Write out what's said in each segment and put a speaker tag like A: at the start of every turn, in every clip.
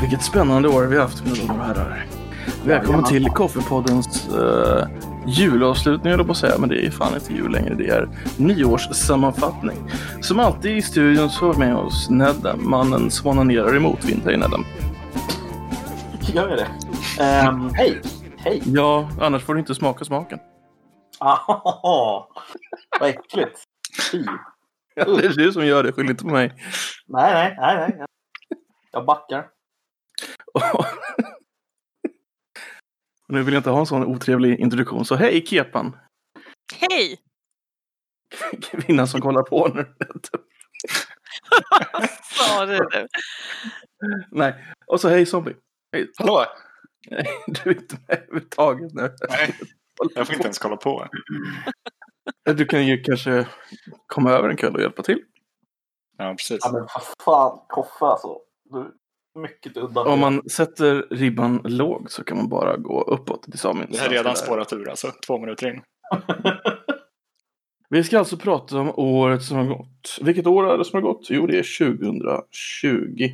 A: Vilket spännande år vi har haft, mina damer och herrar. Välkommen till Koffepoddens uh, julavslutning, höll jag på att säga, men det är ju fan inte jul längre. Det är nyårssammanfattning. Som alltid i studion så har vi med oss Nedda, mannen som onanerar emot vind. Hej Nedda.
B: Gör jag det? Ehm, hej! Hej!
A: Ja, annars får du inte smaka smaken.
B: Ah, vad äckligt. Fy.
A: Ja, det är du som gör det, skyll inte på mig.
B: Nej, nej, nej, nej. Jag backar.
A: Och nu vill jag inte ha en sån otrevlig introduktion, så hej Kepan!
C: Hej!
A: Kvinnan som kollar på nu.
C: Vad sa du nu?
A: Nej, och så hej zombie! Hej.
D: Hallå!
A: Du är inte med överhuvudtaget nu.
D: Nej, jag får inte ens kolla på.
A: Du kan ju kanske komma över en kväll och hjälpa till.
D: Ja, precis.
B: Ja, men vad fan, Koffe alltså. Du, mycket udda.
A: Om man sätter ribban lågt så kan man bara gå uppåt. Det sa min
D: Det har
A: svenska lärare.
D: redan spårat ur alltså, två minuter in.
A: Vi ska alltså prata om året som har gått. Vilket år är det som har gått? Jo, det är 2020.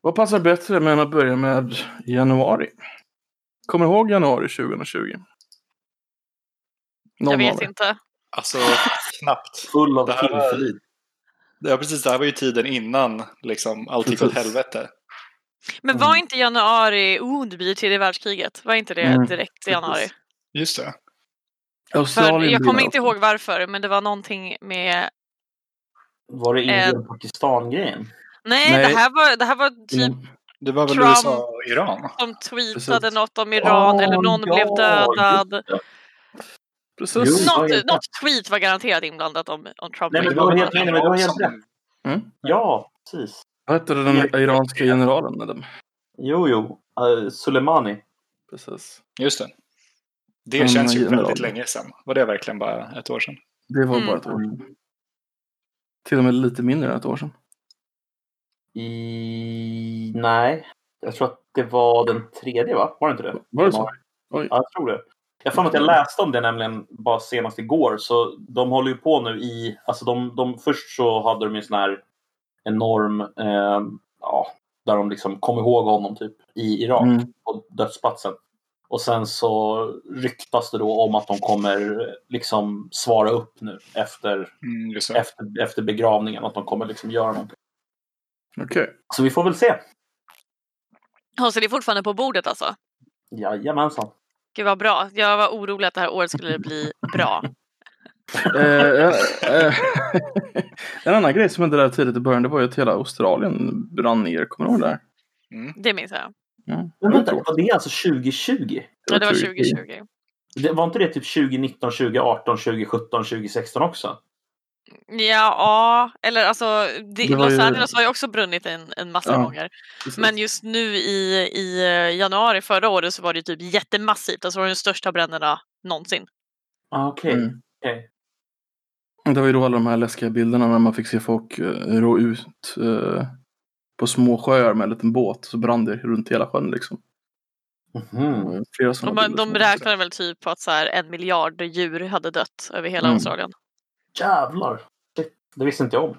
A: Vad passar bättre än att börja med januari? Kommer ihåg januari 2020? Någon
C: Jag
A: av
C: vet
A: er?
C: inte.
D: Alltså, knappt.
B: Full av
D: Det här är-
B: tillförlit.
D: Ja, precis. Det här var ju tiden innan liksom, allt gick åt
A: Precis.
D: helvete.
C: Men
B: Mm.
C: var inte januari, oh det blir ju tredje världskriget, var inte
A: Mm,
C: det direkt i januari?
D: Just det.
C: För jag
A: blir
C: kommer
A: det
C: inte
A: alltså.
C: ihåg varför, men det var någonting med...
B: Var det Indien-Pakistan-grejen?
C: Nej,
A: Nej.
C: Det, här var, det här var typ
A: Mm.
D: Det var väl
C: Trump.
D: USA och Iran?
C: de tweetade
A: Precis.
C: något om Iran eller
B: Åh,
C: någon
B: ja,
C: blev dödad.
A: Precis.
B: Jo.
C: Något,
B: just det.
C: något tweet var garanterat inblandat om, om Trump. liksom.
B: Nej, men
C: och
B: det var
C: Iran.
B: helt- nej, men det var helt
D: som-
B: Ja, precis.
A: Vad hette den iranska generalen? Adam?
B: Jo, jo. Uh, Soleimani.
A: Precis.
D: Just det. Det
A: Mm,
D: känns ju
A: general.
D: väldigt länge sedan. Var det verkligen bara ett år sedan?
A: Det var
C: Mm.
A: bara ett år sedan. Till och med lite mindre än ett år sedan.
B: I... Nej. Jag tror att det var den tredje, va? Var det inte det?
A: Var det så?
B: Ja, jag tror det. Jag har att jag läste om det nämligen bara senast igår. Så de håller ju på nu i... Alltså de, de, först så hade de ju sån här enorm... Eh, ja, där de liksom kom ihåg honom typ i Irak
A: Mm.
B: på dödsplatsen. Och sen så ryktas det då om att de kommer eh, liksom svara upp nu efter,
D: Mm, just det.
B: efter, efter begravningen. Att de kommer liksom göra någonting.
A: Okej.
B: Så vi får väl se.
C: Ja, så det är fortfarande på bordet alltså.
B: Jajamensan.
C: Gud vad bra. Jag var orolig att det här året skulle bli bra.
A: Eh, eh, eh, en annan grej som hände där tidigt i början, det var ju att hela Australien brann ner. Kommer du ihåg det här?
D: Mm.
C: Det minns jag.
A: Ja,
B: Men
A: det var
B: vänta,
A: tråkigt.
B: var det alltså 2020?
C: Ja, det var
A: 2020.
C: 2020.
B: Det, var inte det typ 2019, 2018, 2017, 2016 också?
C: Ja, eller alltså det,
A: Det var
C: Los
A: ju-
C: Angeles har ju också brunnit en, en massa
A: Ja.
C: gånger.
A: Precis.
C: Men just nu i, i eh, januari förra året så var det ju typ jättemassivt. Alltså det var de största bränderna någonsin.
B: Ah, Okej.
A: Mm.
B: Okej.
A: Det var ju då alla de här läskiga bilderna när man fick se folk eh, rå ut eh, på små sjöar med en liten båt. Så brann det runt hela sjön liksom. Det
B: Mhm.
A: var Flera sådana
C: De,
A: bilder
C: de
A: som-
C: räknade väl typ på att så här en miljard djur hade dött över hela
A: Mm.
C: Australien.
B: Jävlar! Shit, det visste inte jag om.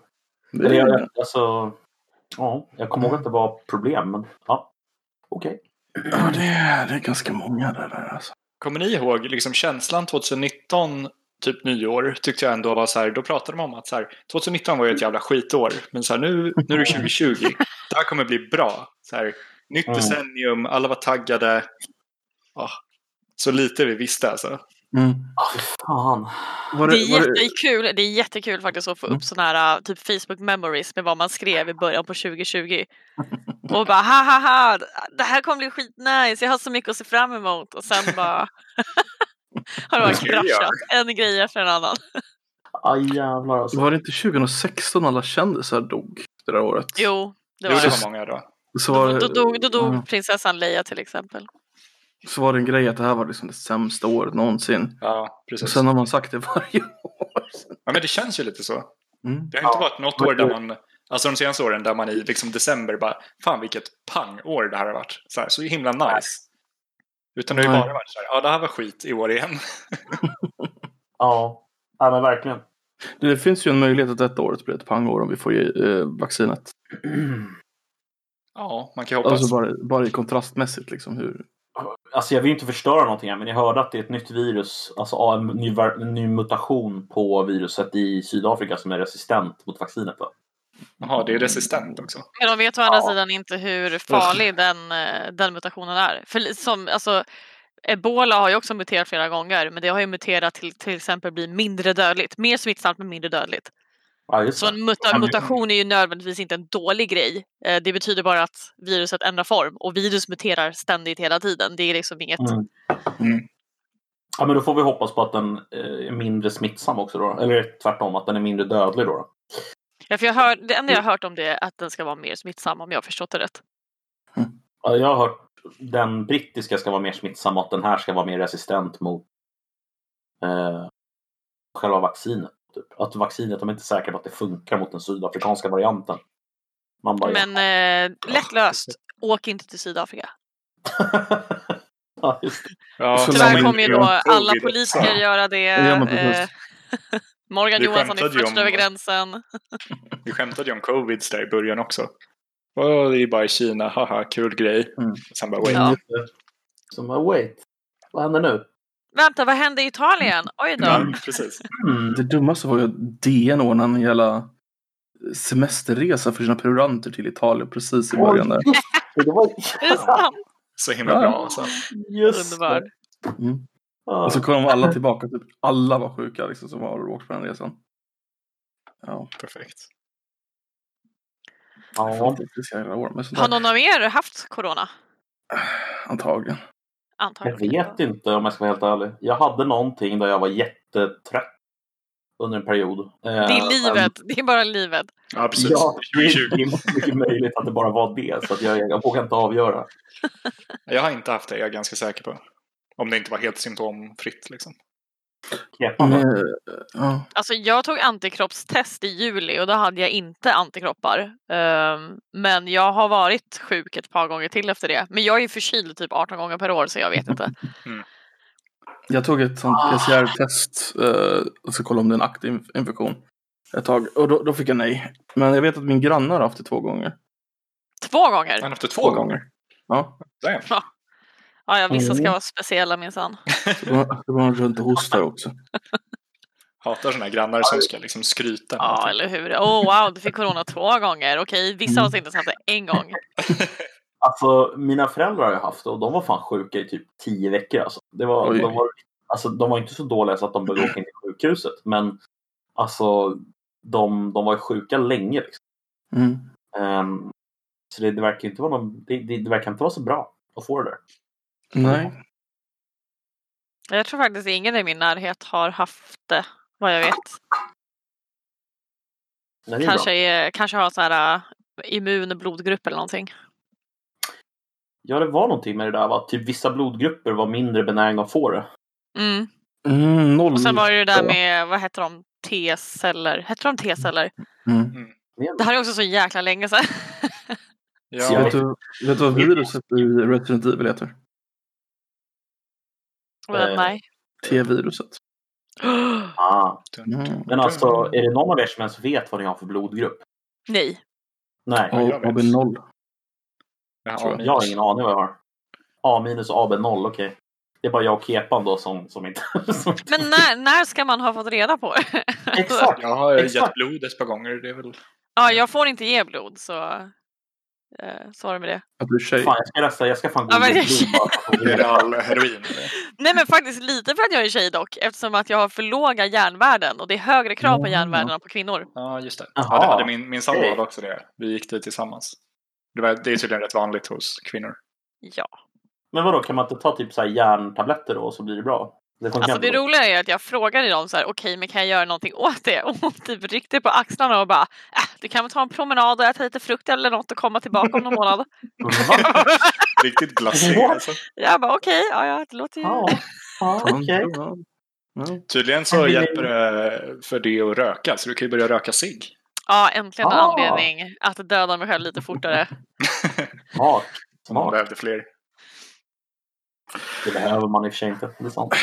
A: Det
B: Eller
A: är-
B: jag, alltså, ja, jag kommer ihåg att det var problem, men ja. Okej.
A: Ja, det är, det är ganska många där, där alltså.
D: Kommer ni ihåg liksom, känslan 2019, typ nyår, tyckte jag ändå var så här, då pratade de om att så här, 2019 var ju ett jävla skitår, men så här, nu, nu är det 2020, det här kommer bli bra. Så här, nytt
B: Mm.
D: decennium, alla var taggade. Ja, så lite vi visste alltså.
A: Mm.
B: Ah, Fan.
A: Var
C: Det är
A: var det-
C: jättekul, det är jättekul faktiskt att få
A: Mm.
C: upp sådana här typ Facebook memories med vad man skrev i början på 2020. Och bara ha ha ha, det här kommer bli skitnice, jag har så mycket att se fram emot. Och sen bara har det bara
D: Vad ska jag
C: kraschat, en grej efter en annan.
B: Aj, jävlar alltså.
A: Var det inte 2016 alla kändisar dog det där året?
C: Jo, det
D: Det
C: var
D: var,
C: det.
D: det var många då.
A: Så var,
C: Då, då, dog, då
A: Ja.
C: dog prinsessan Leia till exempel.
A: så var det en grej att det här var liksom det sämsta året någonsin.
D: Ja,
A: Och
D: precis.
A: sen har man sagt det varje år.
D: Ja, men det känns ju lite så.
A: Mm.
D: Det har inte
B: Ja.
D: varit något år där man, alltså de senaste åren där man i liksom december bara, fan vilket pangår det här har varit. Så, här, så himla nice. Utan det har ju
A: Nej.
D: bara varit så här, ja det här var skit i år igen.
B: Ja. ja, men verkligen.
A: Det finns ju en möjlighet att detta året blir ett pangår om vi får ge, eh, vaccinet.
D: Ja, man kan ju hoppas.
A: Alltså bara, bara i kontrastmässigt liksom hur...
B: Alltså jag vill ju inte förstöra någonting här, men jag hörde att det är ett nytt virus, alltså ja, en ny, ver- en ny mutation på viruset i Sydafrika som är resistent mot vaccinet. Va?
D: Jaha, det är resistent också.
C: Men de vet å andra
B: Ja.
C: sidan inte hur farlig den, eh, den mutationen är. För li- som, alltså, Ebola har ju också muterat flera gånger men det har ju muterat till till exempel bli mindre dödligt. Mer smittsamt men mindre dödligt.
B: Ja, just
C: Så
B: det.
C: en muta-
B: Ja, men-
C: mutation är ju nödvändigtvis inte en dålig grej. Eh, Det betyder bara att viruset ändrar form och virus muterar ständigt hela tiden. Det är liksom inget...
B: Mm. Ja, men då får vi hoppas på att den eh, är mindre smittsam också då. Eller tvärtom, att den är mindre dödlig då. då.
C: Ja, för jag hör, det enda jag har hört om det är att den ska vara mer smittsam om jag har förstått det rätt.
B: Ja, Jag har hört den brittiska ska vara mer smittsam och att den här ska vara mer resistent mot eh, själva vaccinet. Typ. Att vaccinet, de är inte säkra på att det funkar mot den sydafrikanska varianten. Man bara,
C: Men eh, lättlöst, åk inte till Sydafrika.
B: ja, just det.
A: Tyvärr
D: Ja, som
C: Tyvärr
D: en-
C: kommer ju då
D: en
C: alla
D: covid
C: politiker
D: också.
C: göra det.
A: Ja, men precis.
C: eh, Morgan
D: Vi
C: Johansson är
D: skämtade ju
C: först
D: om-
C: över gränsen.
D: Vi skämtade ju om covid där i början också. Åh, det är bara i Kina, haha, kul grej.
A: Mm.
D: Sen bara, wait.
C: Ja.
B: Som bara, wait, vad händer nu?
C: Vänta, vad hände i Italien? Oj då.
D: Ja, precis.
B: Mm.
A: Det dummaste var ju att DN ordnade en jävla semesterresa för sina prenumeranter till Italien precis i början där.
B: Det var
C: Är det sant?
D: Så himla
A: Ja.
D: bra. Alltså.
B: just det.
C: Underbart.
A: Mm.
B: Ja.
A: Och så kom alla tillbaka, typ alla var sjuka liksom, som har åkt på den resan. Ja,
D: Perfekt.
A: jag
B: Ja.
A: fattar inte det jävla år med sånt
C: Har
A: där.
C: någon av er haft corona?
A: Antagligen.
B: Jag
C: Antagligen.
B: vet inte om jag ska vara helt ärlig. Jag hade någonting där jag var jättetrött under en period. Det
C: Det är livet. Det är bara livet.
D: Ja, precis.
B: Ja, det är
D: 2020.
B: inte mycket möjligt att det bara var det. Så att jag, jag vågar inte avgöra.
D: Jag har inte haft det, jag är ganska säker på. Om det inte var helt symptomfritt liksom.
B: Knepande.
A: Men, eh, ja.
C: Alltså jag tog antikroppstest i juli och då hade jag inte antikroppar. Ehm, men jag har varit sjuk ett par gånger till efter det. Men jag är ju förkyld typ 18 gånger per år så jag vet inte.
A: Jag tog ett sånt
C: Ah.
A: PCR-test eh, och ska kolla om det är en aktiv infektion. Ett tag. Och då, då fick jag nej. Men jag vet att min granne har haft det två gånger.
C: Två gånger!
D: Han har haft det två gånger.
A: Ja.
D: Damn.
C: Ja, ja vissa ska
B: Mm.
C: vara speciella minsann.
A: Så går han- så går han runt och hostar också.
D: Hatar sådana grannar som ska liksom skryta. med
C: Ja,
D: allting.
C: eller hur. Oh wow, du fick corona två gånger. Okej, vissa har oss inte ens haft det en gång.
B: Alltså, mina föräldrar har jag haft det och de var fan sjuka i typ tio veckor. Alltså. Det var,
A: Oj.
B: de, var, alltså, de var inte så dåliga så att de behövde åka in till sjukhuset. Men alltså, de, de var ju sjuka länge. Liksom.
A: Mm.
B: Ehm, så det, det, verkar inte vara någon, det, det, det verkar inte vara så bra att få det där.
A: Nej.
C: Jag tror faktiskt ingen i min närhet har haft det, vad jag vet.
B: Nej, det är bra.
C: Kanske, är, kanske har så här äh, immun blodgrupp eller någonting.
B: Ja, det var någonting med det där. Va? Att Typ vissa blodgrupper var mindre benägna att få det.
C: Mm.
A: Mm, noll.
C: Och sen var det ju det där
A: Ja.
C: med, vad heter de, T-celler? Hette de T-celler?
A: Mm.
C: Det här är också så jäkla länge sedan.
A: Vet,
D: Ja,
A: du, vet du vad viruset i Resident Evil heter?
C: Men
B: Eh.
C: nej.
A: T-viruset.
B: Ah.
A: Mm.
B: Men alltså, är det någon av er som ens vet vad ni har för blodgrupp?
C: Nej.
B: Nej,
D: jag vet.
A: Och AB0.
D: Ja,
B: jag har ingen aning vad jag har. A minus AB noll, okej. Det är bara jag och Kepan då som, som inte... Som...
C: Men när, när ska man ha fått reda på det?
B: Exakt!
D: Jag har gett
B: Exakt.
D: blod ett par gånger. Det är väl...
C: Ja, jag får inte ge blod så... Eh, så var det med det.
A: Att du är tjej.
B: Fan, jag ska läsa. Jag ska fan gå
C: Ja, men-
B: in i blod
D: Det är
B: bara.
D: all heroin.
C: Nej men faktiskt lite för att jag är tjej dock eftersom att jag har för låga järnvärden och det är högre krav på
A: Ja.
C: järnvärden än på kvinnor.
D: Ja, just det.
B: Jaha.
D: Ja, det hade min, min sambo
B: Okej.
D: hade också det. Vi gick dit tillsammans. Det, var, det är tydligen rätt vanligt hos kvinnor.
C: Ja.
B: Men vadå, kan man inte ta typ så här järntabletter då och så blir det bra? Det funkar
C: Alltså
B: inte
C: det
B: då.
C: roliga är att jag frågade dem så här, okej men kan jag göra någonting åt det? Och hon typ ryckte på axlarna och bara, äh, du kan väl ta en promenad och äta lite frukt eller något och komma tillbaka om någon månad.
B: Va?
D: Riktigt glacé alltså.
C: jag bara okej, ja, ja det låter ju...
B: Ja, ja okej.
A: Ja. Ja.
D: Tydligen så hjälper det för det att röka, så du kan ju börja röka cigg.
C: Ja, äntligen en
B: Ah.
C: anledning att döda mig själv lite fortare.
B: Smart.
D: Om man
B: Smart.
D: behövde fler.
B: Det behöver man i och för sig inte. Det är sant.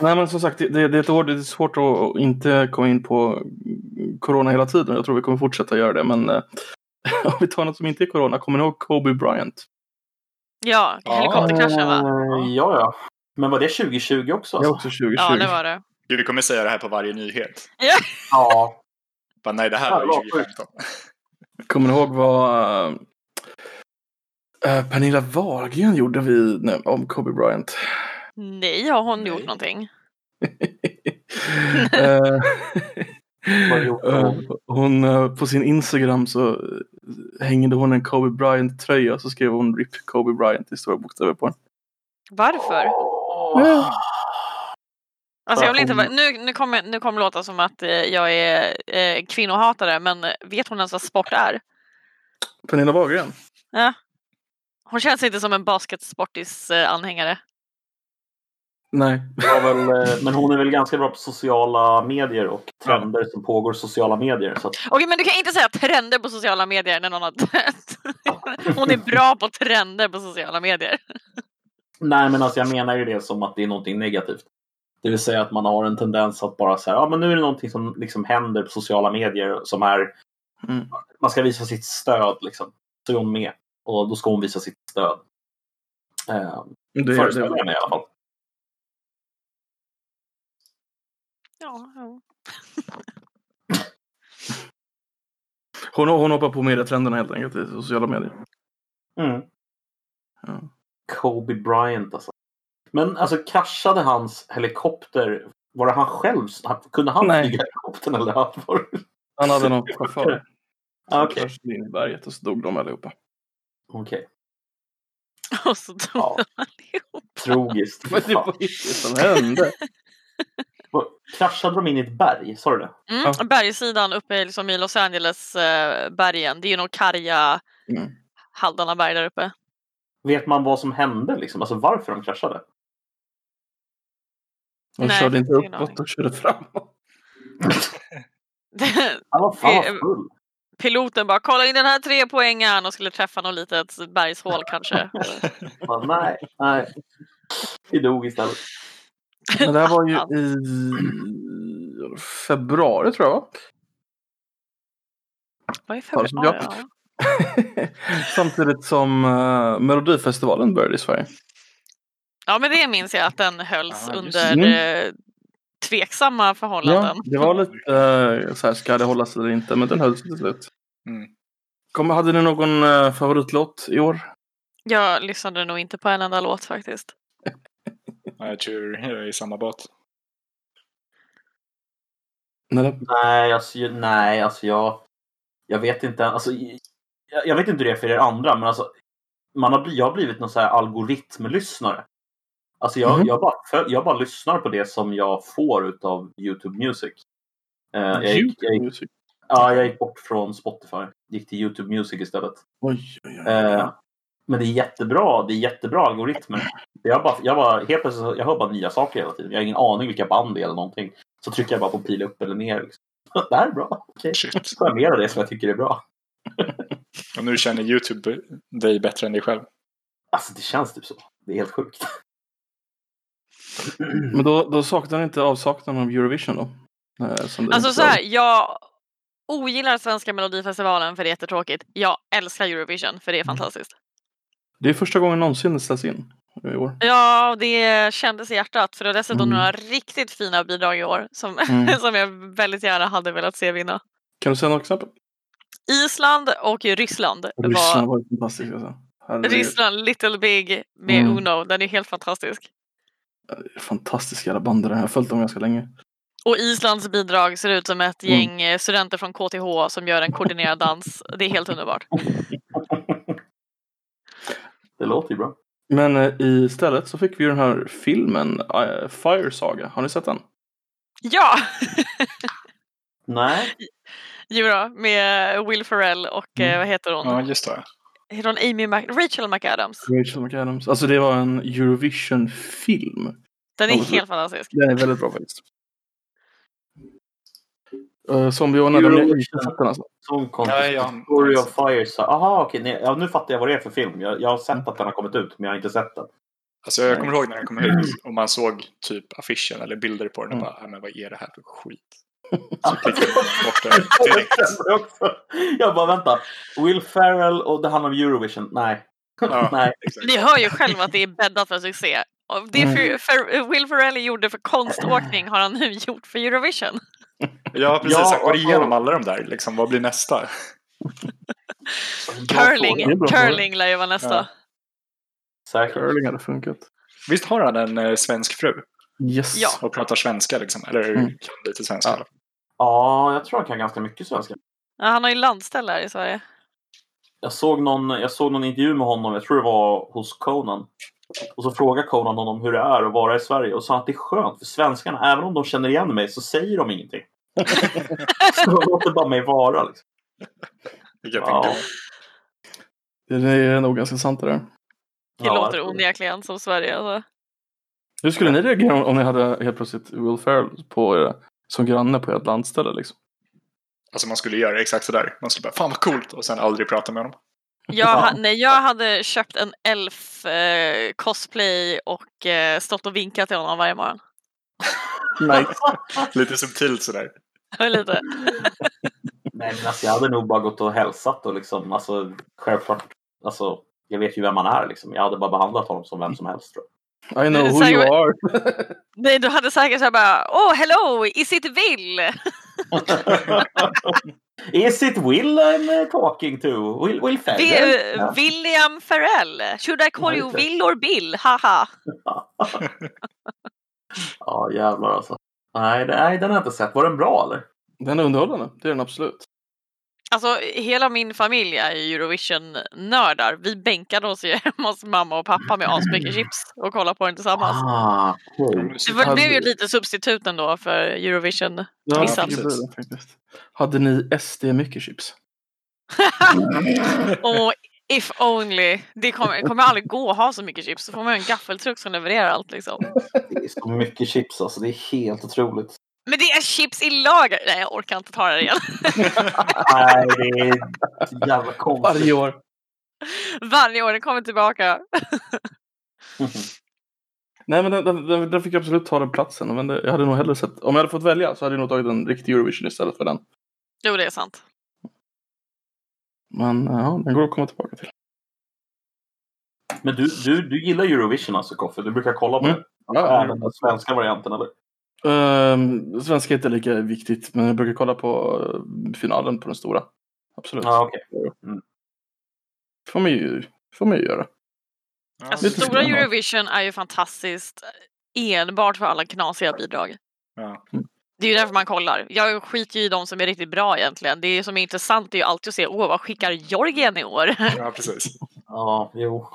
A: Nej men som sagt, det, det, det är ett år, det är svårt att- att inte komma in på corona hela tiden. Jag tror vi kommer fortsätta göra det. Men eh, Om vi tar något som inte är corona, kommer ni ihåg Kobe Bryant?
C: Ja,
D: Ja.
C: helikopterkraschen va?
B: Eh, Ja, ja. Men var det 2020 också?
A: Det är
B: Alltså?
A: också 2020.
C: Ja, det var det.
D: Gud, vi kommer säga det här på varje nyhet.
B: Ja.
D: Bara, nej, det här
B: Ja,
D: var
B: det
D: ju
B: var
D: 2015.
A: Kommer ni ihåg vad eh, Pernilla Wahlgren gjorde vid, nej, om Kobe Bryant?
C: Nej, har hon
D: Nej.
C: gjort någonting?
A: Eh,
B: Vad gjorde hon?
A: eh, hon eh, på sin Instagram så eh, hängde hon en Kobe Bryant-tröja och så skrev hon RIP Kobe Bryant i stora bokstäver på den.
C: Varför?
B: Åh.
C: Alltså jag vill inte
B: Hon-
C: vara- nu, nu kommer nu kommer låta som att eh, jag är eh, kvinnohatare, men eh, vet hon ens vad sport är?
A: Pernilla Wahlgren?
C: Hon känns inte som en basketsportis eh, anhängare.
A: Nej.
B: Det var väl, eh, men hon är väl ganska bra på sociala medier och trender som pågår i sociala medier. Så att,
C: Okej, men du kan inte säga trender på sociala medier när någon har dött. Hon är bra på trender på sociala medier.
B: nej, men alltså jag menar ju det som att det är någonting negativt. Det vill säga att man har en tendens att bara säga, ja men nu är det någonting som liksom händer på sociala medier som är,
A: Mm.
B: man ska visa sitt stöd liksom. Så är hon med och då ska hon visa sitt stöd. Eh,
A: Det, det,
B: Föreställer
A: det,
B: jag mig i alla fall.
C: Ja, ja.
A: hon, hon hoppar på mediatrenderna helt enkelt i sociala medier.
B: Mm.
A: Ja.
B: Kobe Bryant alltså. Men alltså kraschade hans helikopter, var det han själv? som- Kunde han
A: Nej.
B: flyga helikoptern eller vad var det?
A: Han hade Ah, någon chaufför som
B: Okej.
A: kraschade in i berget och så dog de allihopa.
B: Okej.
C: Och så dog
B: Ja.
C: allihop.
B: Tragiskt.
A: Men det
B: Fan.
A: var inte det som hände.
B: Vad- Kraschade de in i ett berg? Sa du det?
C: Mm,
A: Ja.
C: Bergsidan uppe i, liksom, i Los Angeles eh, bergen. Det är ju nog karga
A: Mm.
C: Haldarna berg där uppe.
B: Vet man vad som hände liksom? Alltså varför de kraschade?
A: De
C: Nej,
A: körde inte
C: ingen aning.
A: uppåt, de körde framåt.
B: Han var fan
C: Eh,
B: vad full.
C: Piloten bara kolla in den här tre poängen och skulle träffa något litet bergshål kanske.
B: Bara, nej, nej. Vi dog istället.
A: Men det här var
C: Allt.
A: ju i februari tror jag va?
C: Vad är
A: Ja,
C: februari?
A: ja.
C: Ja.
A: Samtidigt som uh, Melodifestivalen började i Sverige.
C: ja men det minns jag att den hölls
D: Ja, just det.
C: under eh, tveksamma förhållanden.
A: Mm. Ja, det var lite eh, så här, ska det hållas eller inte, men den hölls till slut.
D: Mm.
A: Kom, hade ni någon eh, favoritlåt i år?
C: Jag lyssnade nog inte på en enda låt faktiskt.
D: Ja, Jag tror jag är i samma båt.
A: Nej,
B: Nej, alltså, ju- nej, alltså jag... Jag vet inte. Alltså, jag, jag vet inte hur det är för er andra, men alltså, man har, bli- jag har blivit någon så här algoritmlyssnare. Alltså jag,
A: Mhm.
B: jag, bara, föl- jag bara lyssnar på det som jag får av YouTube Music. Eh, jag, gick, jag, gick,
A: Music.
B: ja, jag gick bort från Spotify. Gick till YouTube Music istället.
A: Oj, oj, oj.
B: Eh, men det är jättebra. Det är jättebra algoritmer. Jag, bara, jag, bara, helt plötsligt, så- jag hör bara nya saker hela tiden. Jag har ingen aning vilka band det är eller någonting. Så trycker jag bara på pil upp eller ner. Liksom. Det här är bra. Okej.
D: Shit.
B: Så får jag mer av det som jag tycker är bra.
D: Och nu känner YouTube dig bättre än dig själv.
B: Alltså det känns typ så. Det är helt sjukt.
A: Men då, då saknar ni inte avsaknaden av Eurovision då? Eh, som det
C: Alltså
A: inte
C: så här, jag ogillar svenska melodifestivalen för det är jättetråkigt. Jag älskar Eurovision för det är
A: Mm.
C: fantastiskt.
A: Det är första gången någonsin det ställs in i år.
C: Ja, och det kändes i hjärtat för det var dessutom
A: Mm.
C: några riktigt fina bidrag i år som,
A: Mm.
C: som jag väldigt gärna hade velat se vinna.
A: Kan du säga några exempel?
C: Island och Ryssland
A: Ryssland
C: var
A: var ju fantastiskt alltså. Herregud.
C: Ryssland Little Big med
A: Mm.
C: Uno. Den är helt fantastisk.
A: Fantastiska alla band det här. Jag har följt dem ganska länge.
C: Och Islands bidrag ser ut som ett
A: Mm.
C: gäng eh, studenter från KTH som gör en koordinerad dans. Det är helt underbart.
B: Det låter ju bra.
A: Men eh, istället så fick vi ju den här filmen eh, Fire Saga. Har ni sett den?
C: Ja!
B: Nej.
C: Jo då, med Will Ferrell och eh,
A: Mm.
C: vad heter hon?
D: Ja, just det.
C: Heter hon Amy Mac- Rachel McAdams?
A: Rachel McAdams. Alltså det var en Eurovision-film.
C: Den är
A: Ja, men-
C: helt fantastisk.
A: Den är väldigt bra faktiskt. Uh, Zombieona, den är
B: Eurovision.
A: inte sett den alltså.
B: Sån konstig.
D: Nej, jag-
B: Story of Fire. Så... Aha, okej. nej, Ja, nu fattar jag vad det är för film. Jag, jag har sett att den har kommit ut, men jag har inte sett den.
D: Alltså, jag kommer ihåg när den kom ut och man såg typ affischen eller bilder på den och
A: Mm.
D: bara, "Nej, men vad är det här för skit? Så klickar man bort det direkt.
B: Jag bara vänta. Will Ferrell och det handlar om Eurovision. Nej.
D: Ja.
B: Nej.
D: Exakt.
C: Ni hör ju själva att det är bäddat för succé. Och det
A: Mm.
C: för, för Will Ferrell gjorde för konståkning har han nu gjort för Eurovision.
D: Jag har precis
B: Ja,
D: sagt, går
B: och-
D: igenom alla de där. Liksom, vad blir nästa?
C: Curling,
A: fråga. Det är bra
C: curling lär ju vara nästa.
B: Säkert.
A: Curling hade funkat.
D: Visst har han en eh, svensk fru?
A: Yes.
C: Ja.
D: Och pratar svenska liksom? Eller
A: Mm.
D: kan lite svenska.
A: Ja.
B: Ja, jag tror han kan ganska mycket svenska.
C: Ja, han har ju landställe här i Sverige.
B: Jag såg, någon, jag såg någon intervju med honom, jag tror det var hos Conan. Och så frågade Conan honom hur det är att vara i Sverige och sa att det är skönt för svenskarna, även om de känner igen mig så säger de ingenting. så de låter bara mig vara. Liksom.
D: Vilket jag
B: Ja.
D: tänker.
A: Det är nog ganska sant det där.
C: Det
B: Ja, alltså,
C: låter
B: verkligen.
C: onekligen som Sverige. Alltså.
A: Hur skulle ni reagera om, om ni hade helt plötsligt Will Ferrell på er, som granne på ert landställe? Liksom?
D: Alltså man skulle göra exakt sådär. Man skulle bara, fan vad coolt! Och sen aldrig prata med honom.
C: Jag, ha- när jag hade köpt en elf eh, cosplay och eh, stått och vinkat till honom varje morgon.
D: Lite subtilt sådär.
A: Mm.
C: Lite.
B: Nej, men alltså, jag hade nog bara gått och hälsat och liksom, alltså, självklart, alltså, jag vet ju vem han är liksom. Jag hade bara behandlat honom som vem som helst tror jag.
A: I know who
C: Säg-
A: you are.
C: Nej, du hade säkert såhär bara Oh hello, is it Will?
B: Is it Will I'm uh, talking to? Will, Will Ferrell?
C: Vi-
B: Ja.
C: William Ferrell. Should I call
B: Ja,
C: you
B: just det.
C: Will or Bill? Haha.
B: Ja, jävlar alltså. Nej, det- nej, den har jag inte sett. Var den bra eller?
A: Den är underhållande, det är den absolut.
C: Alltså hela min familj är ju Eurovision-nördar. Vi bänkade oss ju hemma hos mamma och pappa med asmycket chips och kollade på den tillsammans.
B: Ah, cool.
C: Det var- blev ju lite substitut ändå för Eurovision.
A: Ja,
C: Missat.
A: jag tycker det blir det, faktiskt. Hade ni SD mycket chips?
C: Och if only. Det kommer, kommer aldrig gå att ha så mycket chips. Så får man ju en gaffeltruck som levererar allt liksom.
B: Det är så mycket chips alltså. Det är helt otroligt.
C: Men det är chips i lager! Nej, jag orkar inte ta det igen.
B: Nej, det är så jävla konstigt.
A: Varje år.
C: Varje år, det kommer tillbaka.
A: Nej, men den, den, den, den fick absolut ta den platsen. Men det, jag hade nog hellre sett, om jag hade fått välja så hade jag nog tagit en riktig Eurovision istället för den.
C: Jo, det är sant.
A: Men ja, den går att komma tillbaka till.
B: Men du, du, du gillar Eurovision alltså, Koffe? Du brukar kolla på
A: Mm.
B: det?
A: Ja,
B: Även den svenska varianten, eller?
A: Ehm, svenska är inte lika viktigt, men jag brukar kolla på eh, finalen på den stora. Absolut.
B: Ja, okej.
A: Får man ju, får man ju göra.
D: Ja,
C: Alltså,
A: lite
C: stora
A: skrämmande.
C: Eurovision är ju fantastiskt enbart för alla knasiga bidrag.
D: Ja.
C: Det är ju därför man kollar. Jag skiter ju i de som är riktigt bra egentligen. Det som är intressant är ju alltid att se, åh vad skickar Georgien i år?
D: ja, precis.
B: Ja, jo.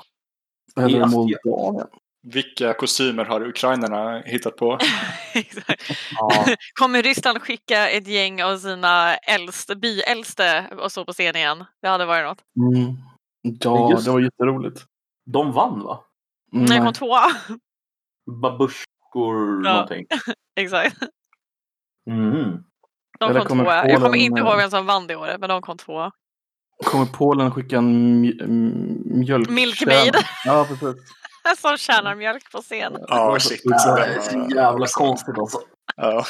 A: Eller
B: Ja,
A: Moldavien.
D: Vilka kostymer har ukrainarna hittat på?
C: Exakt.
B: Ja.
C: Kommer Ryssland skicka ett gäng av sina äldste, byäldste och så på scen igen? Det hade varit något.
A: Mm. Ja,
B: Just-
A: det var jätteroligt.
B: De vann, va?
A: Mm,
C: Nej, jag kom tvåa.
B: Babusjkor
C: Ja.
B: någonting.
C: Exakt.
B: Mm.
C: De
A: Eller
C: kom
A: kommer
C: tvåa. Jag kommer
A: Polen-
C: inte ihåg vem som vann det året, men de kom tvåa.
A: Kommer Polen skicka en mj- m- mjölk...
C: Milk Maid.
A: Ja, precis.
C: Som tjänar mjölk på scen.
D: Ja, shit.
B: Det
D: Så
B: är
D: den
B: så
D: var-
B: jävla konstigt alltså.
D: Ja.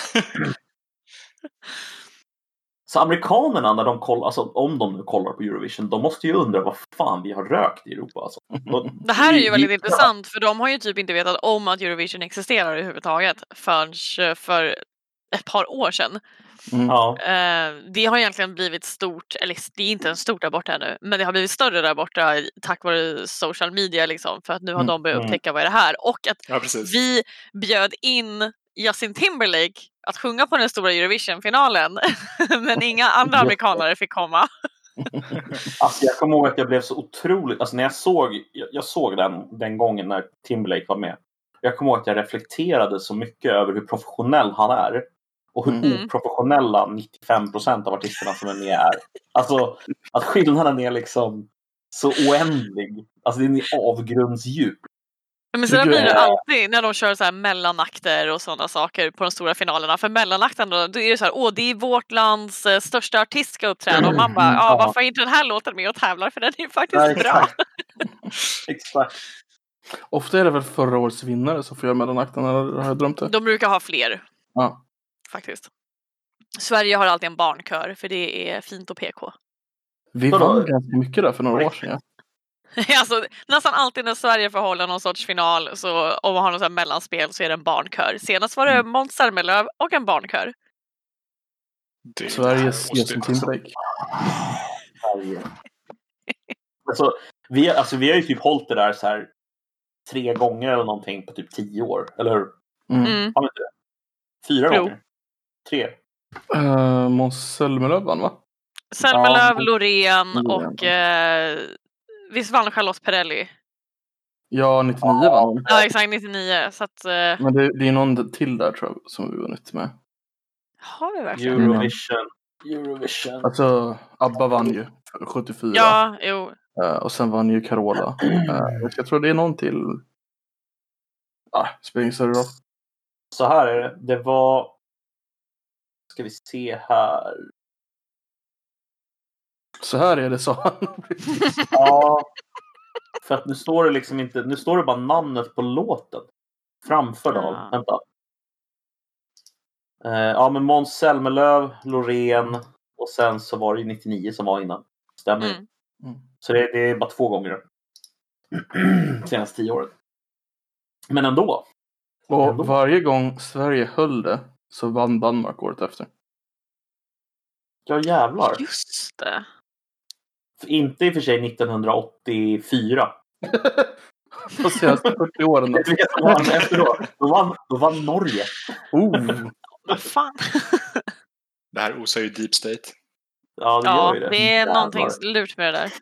B: Så amerikanerna, när de kollar, alltså, om de nu kollar på Eurovision, de måste ju undra vad fan vi har rökt i Europa. Alltså. De,
C: Det här är ju väldigt
B: Ja.
C: intressant för de har ju typ inte vetat om att Eurovision existerar överhuvudtaget förrän eh, för ett par år sedan.
A: Mm.
B: ja.
C: Eh, Det har egentligen blivit stort, eller det är inte ens stort där borta ännu, men det har blivit större där borta i- tack vare social media liksom för att nu har
A: Mm,
C: de börjat
B: mm.
C: upptäcka vad är det här och att
D: ja, precis.
C: vi bjöd in Justin Timberlake att sjunga på den stora Eurovision-finalen men inga andra
A: Ja.
C: amerikanare fick komma.
B: Alltså, jag kommer ihåg att jag blev så otroligt... Alltså, när jag såg, jag, jag såg den, den gången när Timberlake var med. Jag kommer ihåg att jag reflekterade så mycket över hur professionell han är. Och hur
C: Mm.
B: oprofessionella 95 procent av artisterna som är med är. Alltså, att skillnaden är liksom så oändlig. Alltså, den är avgrundsdjup.
C: Men sen
A: Tycker
C: blir det
B: jag-
C: alltid när de kör så här mellanakter och sådana saker på de stora finalerna. För mellanakterna då är det så här, åh det är vårt lands eh, största artist ska uppträda och man bara, ja
B: Ja.
C: varför är inte den här låten med och tävlar för den är ju faktiskt
B: Ja,
C: bra.
B: exakt. exakt.
A: Ofta är det väl förra årets
C: Mm.
A: vinnare som får göra mellanakten, eller har jag drömt det?
C: De brukar ha fler
A: Ja.
C: faktiskt. Sverige har alltid en barnkör för det är fint och PK.
A: Vi
B: Vadå?
A: vann ganska mycket där för några år sedan. ja.
C: alltså, nästan alltid när Sverige får hålla någon sorts final så om man har något sånt här mellanspel så är det en barnkör. Senast var det Måns Zelmerlöw och en barnkör.
D: Det
A: Sveriges
D: måste- alltså,
A: Justin Timberlake.
B: Sverige. Alltså, vi, alltså, vi har ju typ hållit det där så här tre gånger eller någonting på typ tio år. Eller hur?
A: Mm.
C: Mm.
B: Har vi inte det? Fyra
C: Jo.
B: gånger? Tre?
A: Eh, Måns Zelmerlöw vann va?
C: Zelmerlöw,
B: Ja.
C: Loreen
A: Loreen.
C: och eh, visst vann Charlotte Perrelli?
A: Ja, 99 vann hon.
C: Ja exakt, 99. Så att, eh,
A: Men det, det är någon till där tror jag som vi vunnit med.
C: har vi verkligen?
B: Eurovision. Eurovision.
A: Alltså, ABBA vann ju 74.
C: Ja, jo.
A: Eh, och sen vann ju Carola. Eh, jag tror det är någon till. Ah, spelar ingen större roll.
B: Så här är det. Det var... Ska vi se här.
A: Så här är det, sa han.
B: Ja. För att nu står det liksom inte... Nu står det bara namnet på låten. Framför dem.
C: Ah.
B: Vänta. Eh, ja, men Måns Zelmerlöw, Loreen och sen så var det ju 99 som var innan. Stämmer
C: Mm.
A: Mm.
B: Så det, det är bara två gånger. Senaste tio åren. Men ändå.
A: Och varje gång Sverige höll det så vann Danmark året efter.
B: Ja, jävlar.
C: Just det.
B: Inte i och för sig 1984.
A: De senaste 40 åren.
B: Vet du vilka som vann efter då? Då vann, då vann Norge.
A: Oh.
C: Vad fan.
D: Det här osar ju deep state.
B: Ja, det
C: Ja,
B: gör ju det.
C: det är
B: Jävlar.
C: någonting lurt med det där.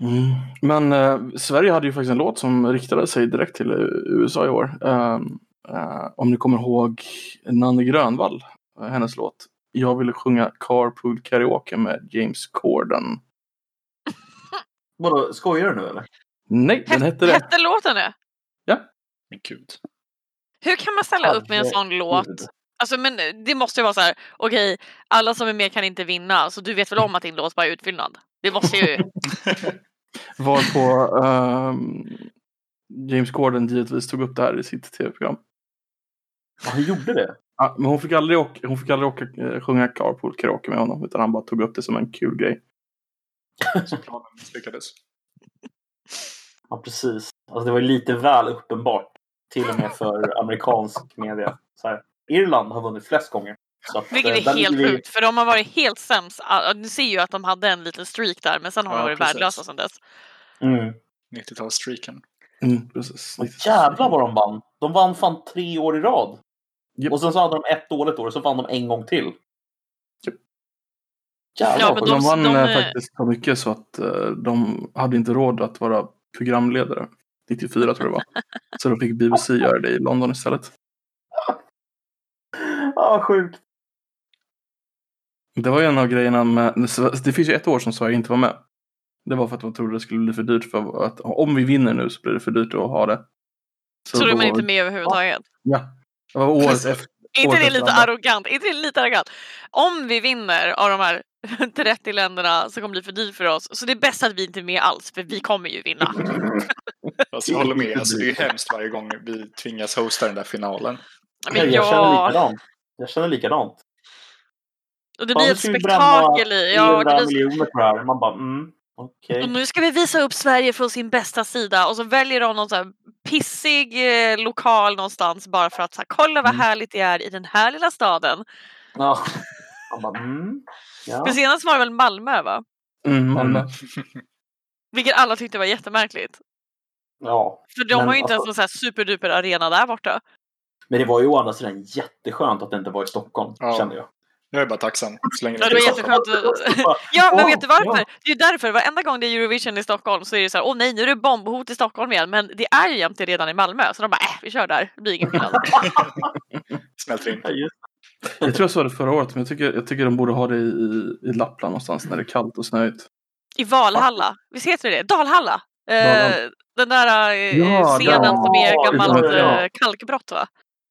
A: Mm. Men eh, Sverige hade ju faktiskt en låt som riktade sig direkt till eh, USA i år. Ehm, eh, om ni kommer ihåg Nanne Grönvall, eh, hennes låt. Jag ville sjunga Carpool Karaoke med James Corden.
B: Vadå, skojar du nu eller?
A: Nej, den hette det.
C: Hette låten det?
D: Men gud.
C: Hur kan man ställa upp med en sån låt? Alltså men det måste ju vara så här, okej, alla som är med kan inte vinna, så du vet väl om att din låt bara är utfyllnad? Det måste ju...
A: Var på ehm, James Corden givetvis tog upp det här i sitt tv-program.
B: Ja, han gjorde det?
A: Ja, men hon fick aldrig, åka, hon fick aldrig åka, eh, sjunga Carpool Karaoke med honom utan han bara tog upp det som en kul grej.
D: Så planen misslyckades.
B: Ja, precis. Alltså, det var ju lite väl uppenbart. Till och med för amerikansk media. Så här. Irland har vunnit flest gånger. Så att, eh,
C: Vilket är
B: där
C: helt
B: ligger vi-
C: sjukt, för de har varit helt sämst. all- Du ser ju att de hade en liten streak där, men sen har de
D: Ja,
C: varit
D: precis.
C: värdelösa sen dess.
B: Mm.
D: 90-talsstreaken.
A: Mm, precis.
B: Och jävlar vad de vann! De vann fan tre år i rad.
A: Japp.
B: Och sen så hade de ett dåligt år och så vann de en gång till.
A: Japp.
B: Jävlar
C: Ja,
B: ja,
C: men
A: Och
C: de-
A: de, vann
C: de-
A: eh, faktiskt så mycket så att eh, de hade inte råd att vara programledare. 94 tror jag det var. Så de fick BBC göra det i London istället.
B: Ja, sjukt.
A: Det var ju en av grejerna med, det finns ju ett år som Sverige inte var med. Det var för att de trodde det skulle bli för dyrt för att om vi vinner nu så blir det för dyrt att ha det.
C: Så de
A: då-
C: är inte med överhuvudtaget.
A: Ja. Det var året
C: Precis.
A: efter.
C: Är inte det
A: Året
C: lite
A: efter andra.
C: arrogant? Är inte det lite arrogant? Om vi vinner av de här 30 länderna så kommer det bli för dyrt för oss. Så det är bäst att vi inte är med alls, för vi kommer ju vinna.
D: Fast jag håller med, alltså, det är ju hemskt varje gång vi tvingas hosta den där finalen.
C: Men
B: Jag känner
C: ja,
B: likadant. Jag känner likadant.
C: och det
B: Fan,
C: blir
B: nu
C: ett
B: ska vi bränna
C: spektakel i. Ja, det
B: 400
C: blir...
B: miljoner på det här. Man bara, mm, okej.
C: Och nu ska vi visa upp Sverige från sin bästa sida och så väljer de någon så här pissig eh, lokal någonstans bara för att så här, kolla vad
A: Mm.
C: härligt det är i den här lilla staden.
B: Ja. Man bara, mm. Ja.
C: För senast var det väl Malmö va?
A: Mm, Malmö.
B: Mm.
C: Vilket alla tyckte var jättemärkligt.
B: ja.
C: För de
B: Men
C: har ju inte
B: alltså-
C: ens en så här superduper arena där borta.
B: Men det var ju å andra sidan jätteskönt att det inte var i Stockholm,
D: Ja.
B: kände jag.
D: Jag är bara tacksam. Så länge
C: Ja, det var
D: inte är
C: jätteskönt. Ja, men vet du varför? Det är ju därför. Varenda gång det är Eurovision i Stockholm så är det så här, åh nej, nu är det bombhot i Stockholm igen. Men det är ju jämte redan i Malmö, så de bara, äh, vi kör där. Det blir ingen skillnad.
D: Smälter in.
B: Ja, just
A: Jag tror jag sa det förra året, men jag tycker, jag tycker de borde ha det i, i Lappland någonstans när det är kallt och snöigt.
C: I Valhalla. Visst heter det det? Dalhalla. Eh,
A: Dalhalla.
C: Den där eh,
A: Ja,
C: scenen
A: den.
C: som är gammalt
A: Ja, ja.
C: eh, kalkbrott va?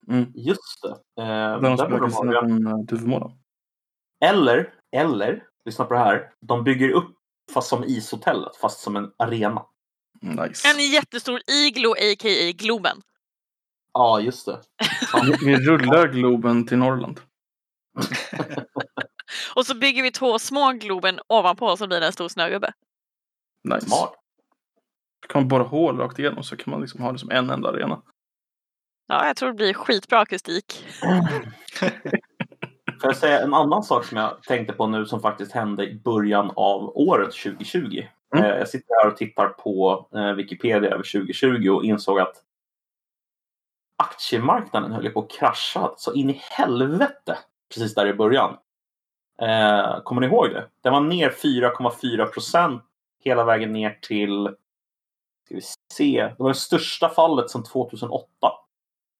A: Mm.
B: det. Just det. Eh,
A: Där de
B: där borde
A: spelar
B: de
A: Kristina
B: ha
A: från eh, Duvemåla.
B: Eller, eller, lyssna på det här. De bygger upp fast som ishotellet, fast som en arena.
A: Nice.
C: En jättestor iglo a.k.a. Globen.
B: Ja, just det.
A: Vi rullar Globen till Norrland.
C: Och så bygger vi två små Globen ovanpå så blir det en stor snögubbe.
A: Nice.
B: Smart.
A: Då kan man borra hål rakt igenom så kan man liksom ha det som en enda arena.
C: Ja, jag tror det blir skitbra akustik.
B: Får jag säga en annan sak som jag tänkte på nu som faktiskt hände i början av året 2020?
A: Mm.
B: Eh, Jag sitter här och tittar på eh, Wikipedia över 2020 och insåg att aktiemarknaden höll ju på att krascha så in i helvete precis där i början. Eh, Kommer ni ihåg det? Den var ner 4,4 procent hela vägen ner till... Ska vi se. Det var det största fallet sedan 2008.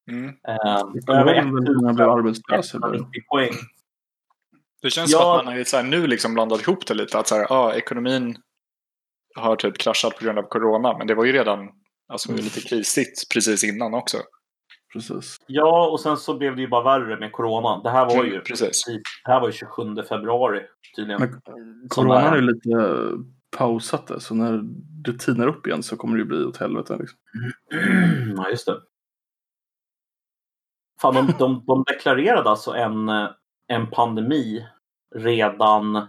D: Mm.
B: Eh,
A: Över
B: Över
A: en när jag blev
B: 1000
A: arbetslös. i början.
B: 190 poäng.
D: Det känns
B: Ja.
D: som att man har ju så här, nu liksom blandat ihop det lite. Att så här, ah, ekonomin har typ kraschat på grund av corona. Men det var ju redan alltså, det var ju lite krisigt precis innan också.
A: Precis.
B: Ja, och sen så blev det ju bara värre med corona. Det här var ju,
D: Precis.
B: det här var ju 27 februari tydligen.
A: Men Corona är ju lite pausat det, så när det tinar upp igen så kommer det ju bli åt helvete. Liksom.
B: ja, just det. Fan, de, de, de deklarerade alltså en, eh, en pandemi redan,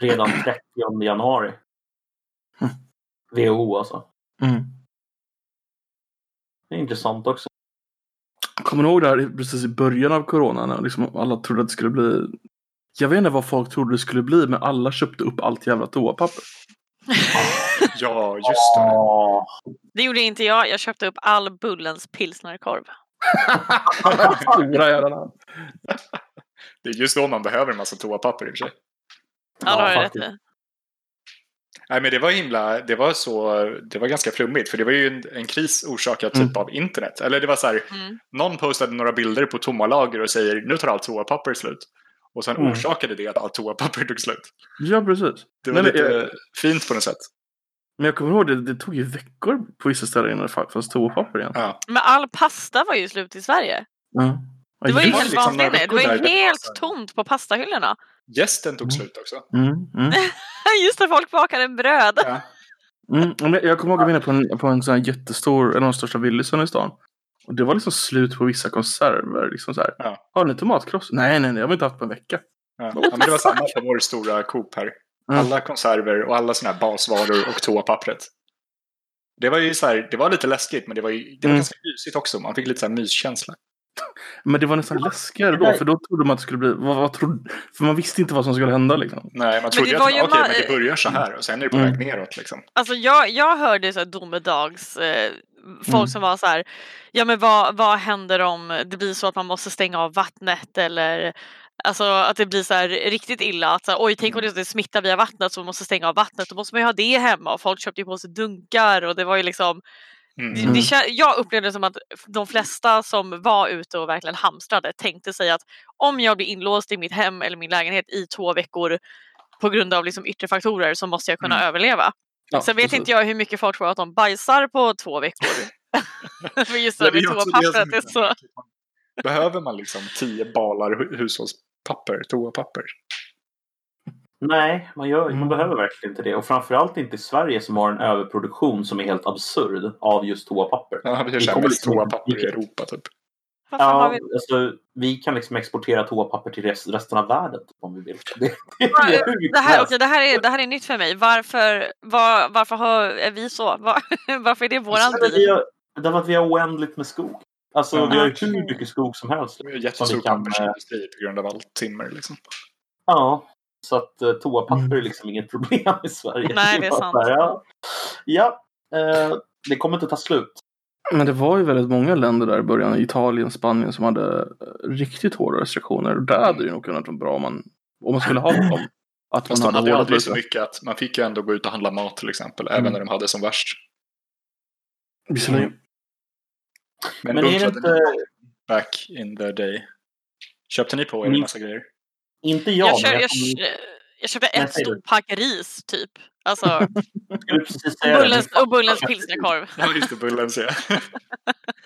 B: redan 30 januari. WHO alltså.
A: Mm.
B: Det är intressant också.
A: Kommer ni ihåg det här i- precis i början av corona när liksom alla trodde att det skulle bli jag vet inte vad folk trodde det skulle bli, men alla köpte upp allt jävla toapapper.
D: Ja, just det.
B: Ja.
C: Det gjorde inte jag. Jag köpte upp all Bullens pilsnerkorv.
A: Stora jävlarna.
D: Det är just då man behöver en massa toapapper i och för sig.
C: Ja, det har
B: Ja,
C: du rätt
B: faktiskt.
C: i.
D: Nej, men det var himla, det var så, det var ganska flummigt för det var ju en, en kris orsakad typ
A: Mm.
D: av internet. Eller det var så här,
C: Mm.
D: någon postade några bilder på tomma lager och säger nu tar allt toapapper slut. Och sen
B: Mm.
D: orsakade det att allt toapapper tog slut.
A: Ja, precis.
D: Det
A: Nej,
D: var
A: men
D: lite
A: jag-
D: fint på något sätt.
A: Men jag kommer ihåg det, det tog ju veckor på vissa ställen innan det fanns toapapper igen.
D: Ja.
C: Men all pasta var ju slut i Sverige.
A: Ja.
C: Det var ju
D: var
A: just-
C: helt
D: liksom några
C: vansinnigt. Det var
D: veckor
C: ju
D: där det
C: helt
D: var så här-
C: tomt på pastahyllorna.
D: Gästen tog
A: Mm.
D: slut också.
A: Mm, mm.
C: Just när folk bakade bröd.
A: Mm, men jag kommer ihåg att vi var inne på en, på en sån här jättestor, en av de största Willisen i stan. Och det var liksom slut på vissa konserver. Liksom så här.
D: Ja.
A: Har ni tomatkross? Nej, nej, nej, jag har vi inte haft på en vecka.
D: Ja. Ja, men det var samma på vår stora Coop här.
A: Mm.
D: Alla konserver och alla sådana här basvaror och toapappret. Det var ju så här, det var lite läskigt men det var ju det var
A: Mm.
D: ganska mysigt också. Man fick lite så här myskänsla.
A: Men det var nästan läskigare då,
B: Nej.
A: för då trodde man att det skulle bli... Vad, vad trodde, för man visste inte vad som skulle hända liksom.
D: Nej, man trodde
C: det
D: ju att
C: var
D: man,
C: ju
D: okej,
C: ma-
D: men det börjar så här och sen är det på
A: Mm.
D: väg neråt liksom.
C: Alltså jag, jag hörde så här domedags eh, folk
A: Mm.
C: som var så här, ja men vad, vad händer om det blir så att man måste stänga av vattnet eller alltså att det blir så här riktigt illa att så här, oj tänk om
D: Mm.
C: det smittar via vattnet så man måste stänga av vattnet då måste man ju ha det hemma och folk köpte ju på sig dunkar och det var ju liksom
D: Mm.
C: det, det, kän- jag upplevde det som att de flesta som var ute och verkligen hamstrade tänkte sig att om jag blir inlåst i mitt hem eller min lägenhet i två veckor på grund av liksom yttre faktorer så måste jag kunna
D: Mm.
C: överleva.
A: Ja,
C: Sen vet inte jag hur mycket folk tror att de bajsar på två veckor. För just det
D: Ja,
C: där
D: det är
C: med
D: också det som
C: toapappret. är
D: är
C: så...
D: Behöver man liksom tio balar hu- hushållspapper, toapapper?
B: Nej, man, gör,
A: Mm.
B: man behöver verkligen inte det. Och framförallt inte i Sverige som har en överproduktion som är helt absurd av just toapapper.
D: Ja, vi har
B: Vi
D: så här
B: kommer
D: mest
B: liksom-
D: toapapper i Europa typ.
C: Vad fan har
B: Ja,
C: vi-
B: alltså, vi kan liksom exportera toapapper till rest, resten av världen typ, om vi vill. Det, det,
C: Ja,
B: är hur
C: Det här,
B: som
C: okay, det, här är, det här är nytt för mig. Varför, var, varför har, är vi så? Var, varför är det våran
B: helst.
C: deal?
B: Alltså, vi har, därför att vi har oändligt med skog. Alltså,
C: Mm.
D: Ja.
B: vi har ju hur mycket skog som helst.
D: De är ju en jättestor
B: vi kan,
D: pappersindustri på grund av allt timmer liksom.
B: Ja, så att eh, toapapper
A: Mm.
B: är liksom inget problem i Sverige.
C: Nej, det är
B: bara
C: sant.
B: så här, ja, ja eh, det kommer inte ta slut.
A: Men det var ju väldigt många länder där i början, Italien, Spanien, som hade eh, riktigt hårda restriktioner. Och Där hade det ju nog kunnat vara bra om man, om man skulle ha dem. Att man
D: Fast de hade
A: hade
D: ju
A: hårda
D: aldrig så
A: restriktioner.
D: mycket att man fick ju ändå gå ut och handla mat till exempel,
A: Mm.
D: även när de hade som värst.
A: Visserligen.
D: Men,
B: Men är det
D: bunkrade ni
B: inte,
D: back in the day? Köpte ni på er en
B: Mm.
D: massa grejer?
B: inte jag,
C: Jag, kö,
B: men
C: jag,
B: jag kommer-
C: kö- jag köpte
B: Nej,
C: ett
B: säg du.
C: stort pack ris typ. Alltså,
B: skulle precis säga det.
C: bullens, och Bullens pilsnerkorv.
D: Ja, just det, Bullens ja.
B: Jag,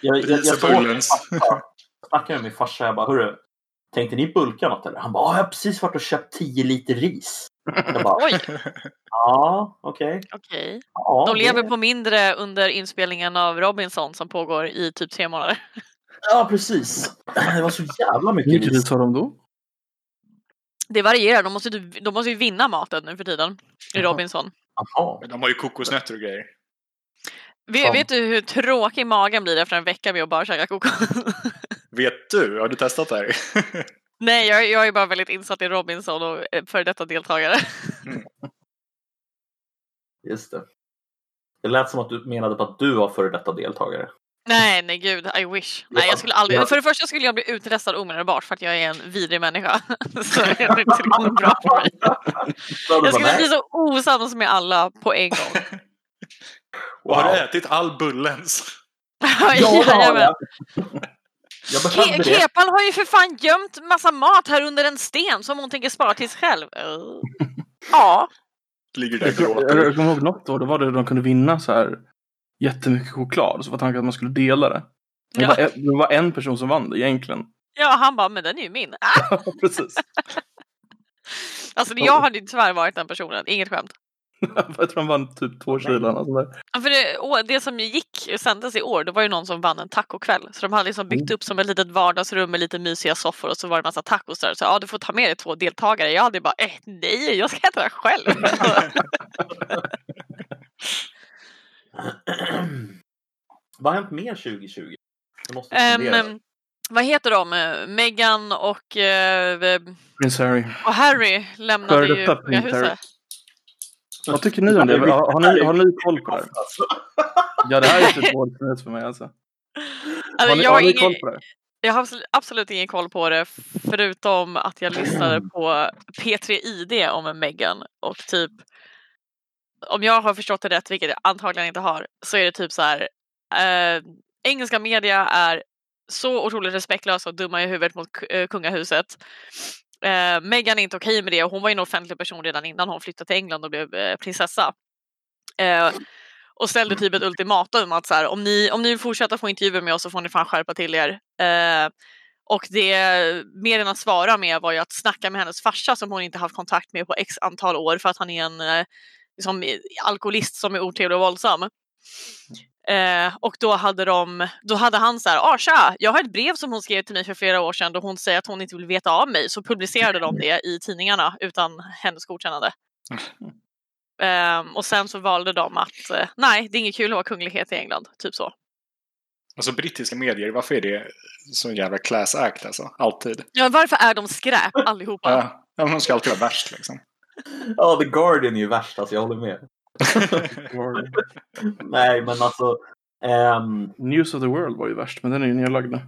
B: jag, jag,
D: Ris och
B: såg min
D: Bullens.
B: farsa. snackade med min farsa. Jag bara, hörru, tänkte ni bulka något eller? Han bara, "Ja, jag har precis varit och köpt 10 liter ris. Jag bara,
C: Oj,
B: ja, okej.
C: okej.
B: Ja,
C: De
B: det-
C: lever på mindre under inspelningen av Robinson som pågår i typ tre månader.
B: Ja, precis. Det var så jävla mycket
A: Hur mycket
B: is.
A: ris har de då?
C: Det varierar, de måste, ju typ- de måste ju vinna maten nu för tiden i
A: Jaha.
C: Robinson.
B: Jaha.
D: Men de har ju kokosnötter och grejer.
C: Vet,
B: Fan.
C: vet du hur tråkig magen blir efter en vecka med att bara käka kokos?
D: Vet du? Har du testat det här?
C: Nej, jag, jag är bara väldigt insatt i Robinson och eh, före detta deltagare.
B: Just det. Det lät som att du menade på att du var före detta deltagare.
C: Nej, nej gud, I wish. Nej, jag skulle aldrig... För det första skulle jag bli utrestad omedelbart för att jag är en vidrig människa. Så det är inte tillräckligt bra för mig.
B: Då hade du
C: Jag
B: bara,
C: skulle
B: nej.
C: bli så osams med alla på en gång.
D: Och Har du
B: Wow.
D: ätit all bullens?
B: Ja, det har
C: Jajamän.
B: jag. Jag
C: Ke-
B: behövde det.
C: Kepan har ju för fan gömt massa mat här under en sten som hon tänker spara till sig själv. Eh, Ja,
D: Ligger där
A: Jag
D: och
A: jag-
D: gråter.
A: jag kommer ihåg något år, då var det de kunde vinna så här jättemycket choklad. Så var tanken att man skulle dela det. Det
C: Ja.
A: var, en- det var en person som vann det egentligen.
C: ja han bara, men den är ju min. Ah!
A: Precis.
C: Alltså jag hade ju tyvärr varit den personen, inget skämt.
A: Jag tror han vann typ två kilo. eller något sånt där.
C: Ja, För det, å- det som gick sändes i år, då var ju någon som vann en tacokväll. Så de hade liksom
A: Mm.
C: byggt upp som ett litet vardagsrum med lite mysiga soffor och så var det massa tacos där. Så ja, du får ta med dig två deltagare. Jag hade bara, eh, nej, jag ska äta det själv.
B: Vad har hänt mer 2020? Jag måste
C: Ehm,
B: fundera.
C: vad heter de? Eh, Meghan och, eh,
A: Prince Harry.
C: och Harry lämnade ju
A: Skördet upp, Prince Harry.
C: kungahuset.
A: Vad tycker ni om det? Har, har, ni, har ni koll på det? här?
B: Alltså,
A: Ja, det här är typ årets nyhet för mig alltså.
C: Alltså,
A: Har ni,
C: jag, har
A: har ni
C: ingen,
A: koll på det?
C: jag har absolut, absolut ingen koll på det förutom att jag lyssnade på P3 ID om Meghan och typ om jag har förstått det rätt, vilket jag antagligen inte har, så är det typ så här eh, engelska media är så otroligt respektlösa och dumma i huvudet mot ku- eh, kungahuset. Eh, Meghan är inte okej med det och hon var ju en offentlig person redan innan hon flyttade till England och blev eh, prinsessa. Eh, och ställde typ ett ultimatum att så här, om, ni, om ni vill fortsätta få intervjuer med oss så får ni fan skärpa till er. Eh, och det medierna svarar med var ju att snacka med hennes farsa som hon inte haft kontakt med på x antal år för att han är en eh, liksom, alkoholist som är otrevlig och våldsam. Eh, och då hade, de, då hade han så här, ah, tja, jag har ett brev som hon skrev till mig för flera år sedan då hon säger att hon inte vill veta av mig. Så publicerade de det i tidningarna utan hennes godkännande. Ehm, och sen så valde de att, eh, nej, det är inget kul att vara kunglighet i England, typ så.
D: Alltså brittiska medier, varför är det så jävla class act alltså? Alltid.
C: Ja, varför är de skräp allihopa?
D: Ja, ja, men de ska alltid vara värst liksom.
B: Ja, The Guardian är ju värst, alltså, jag håller med. Nej, men alltså... ehm,
A: News of the World var ju värst, men den är ju nedlagd nu.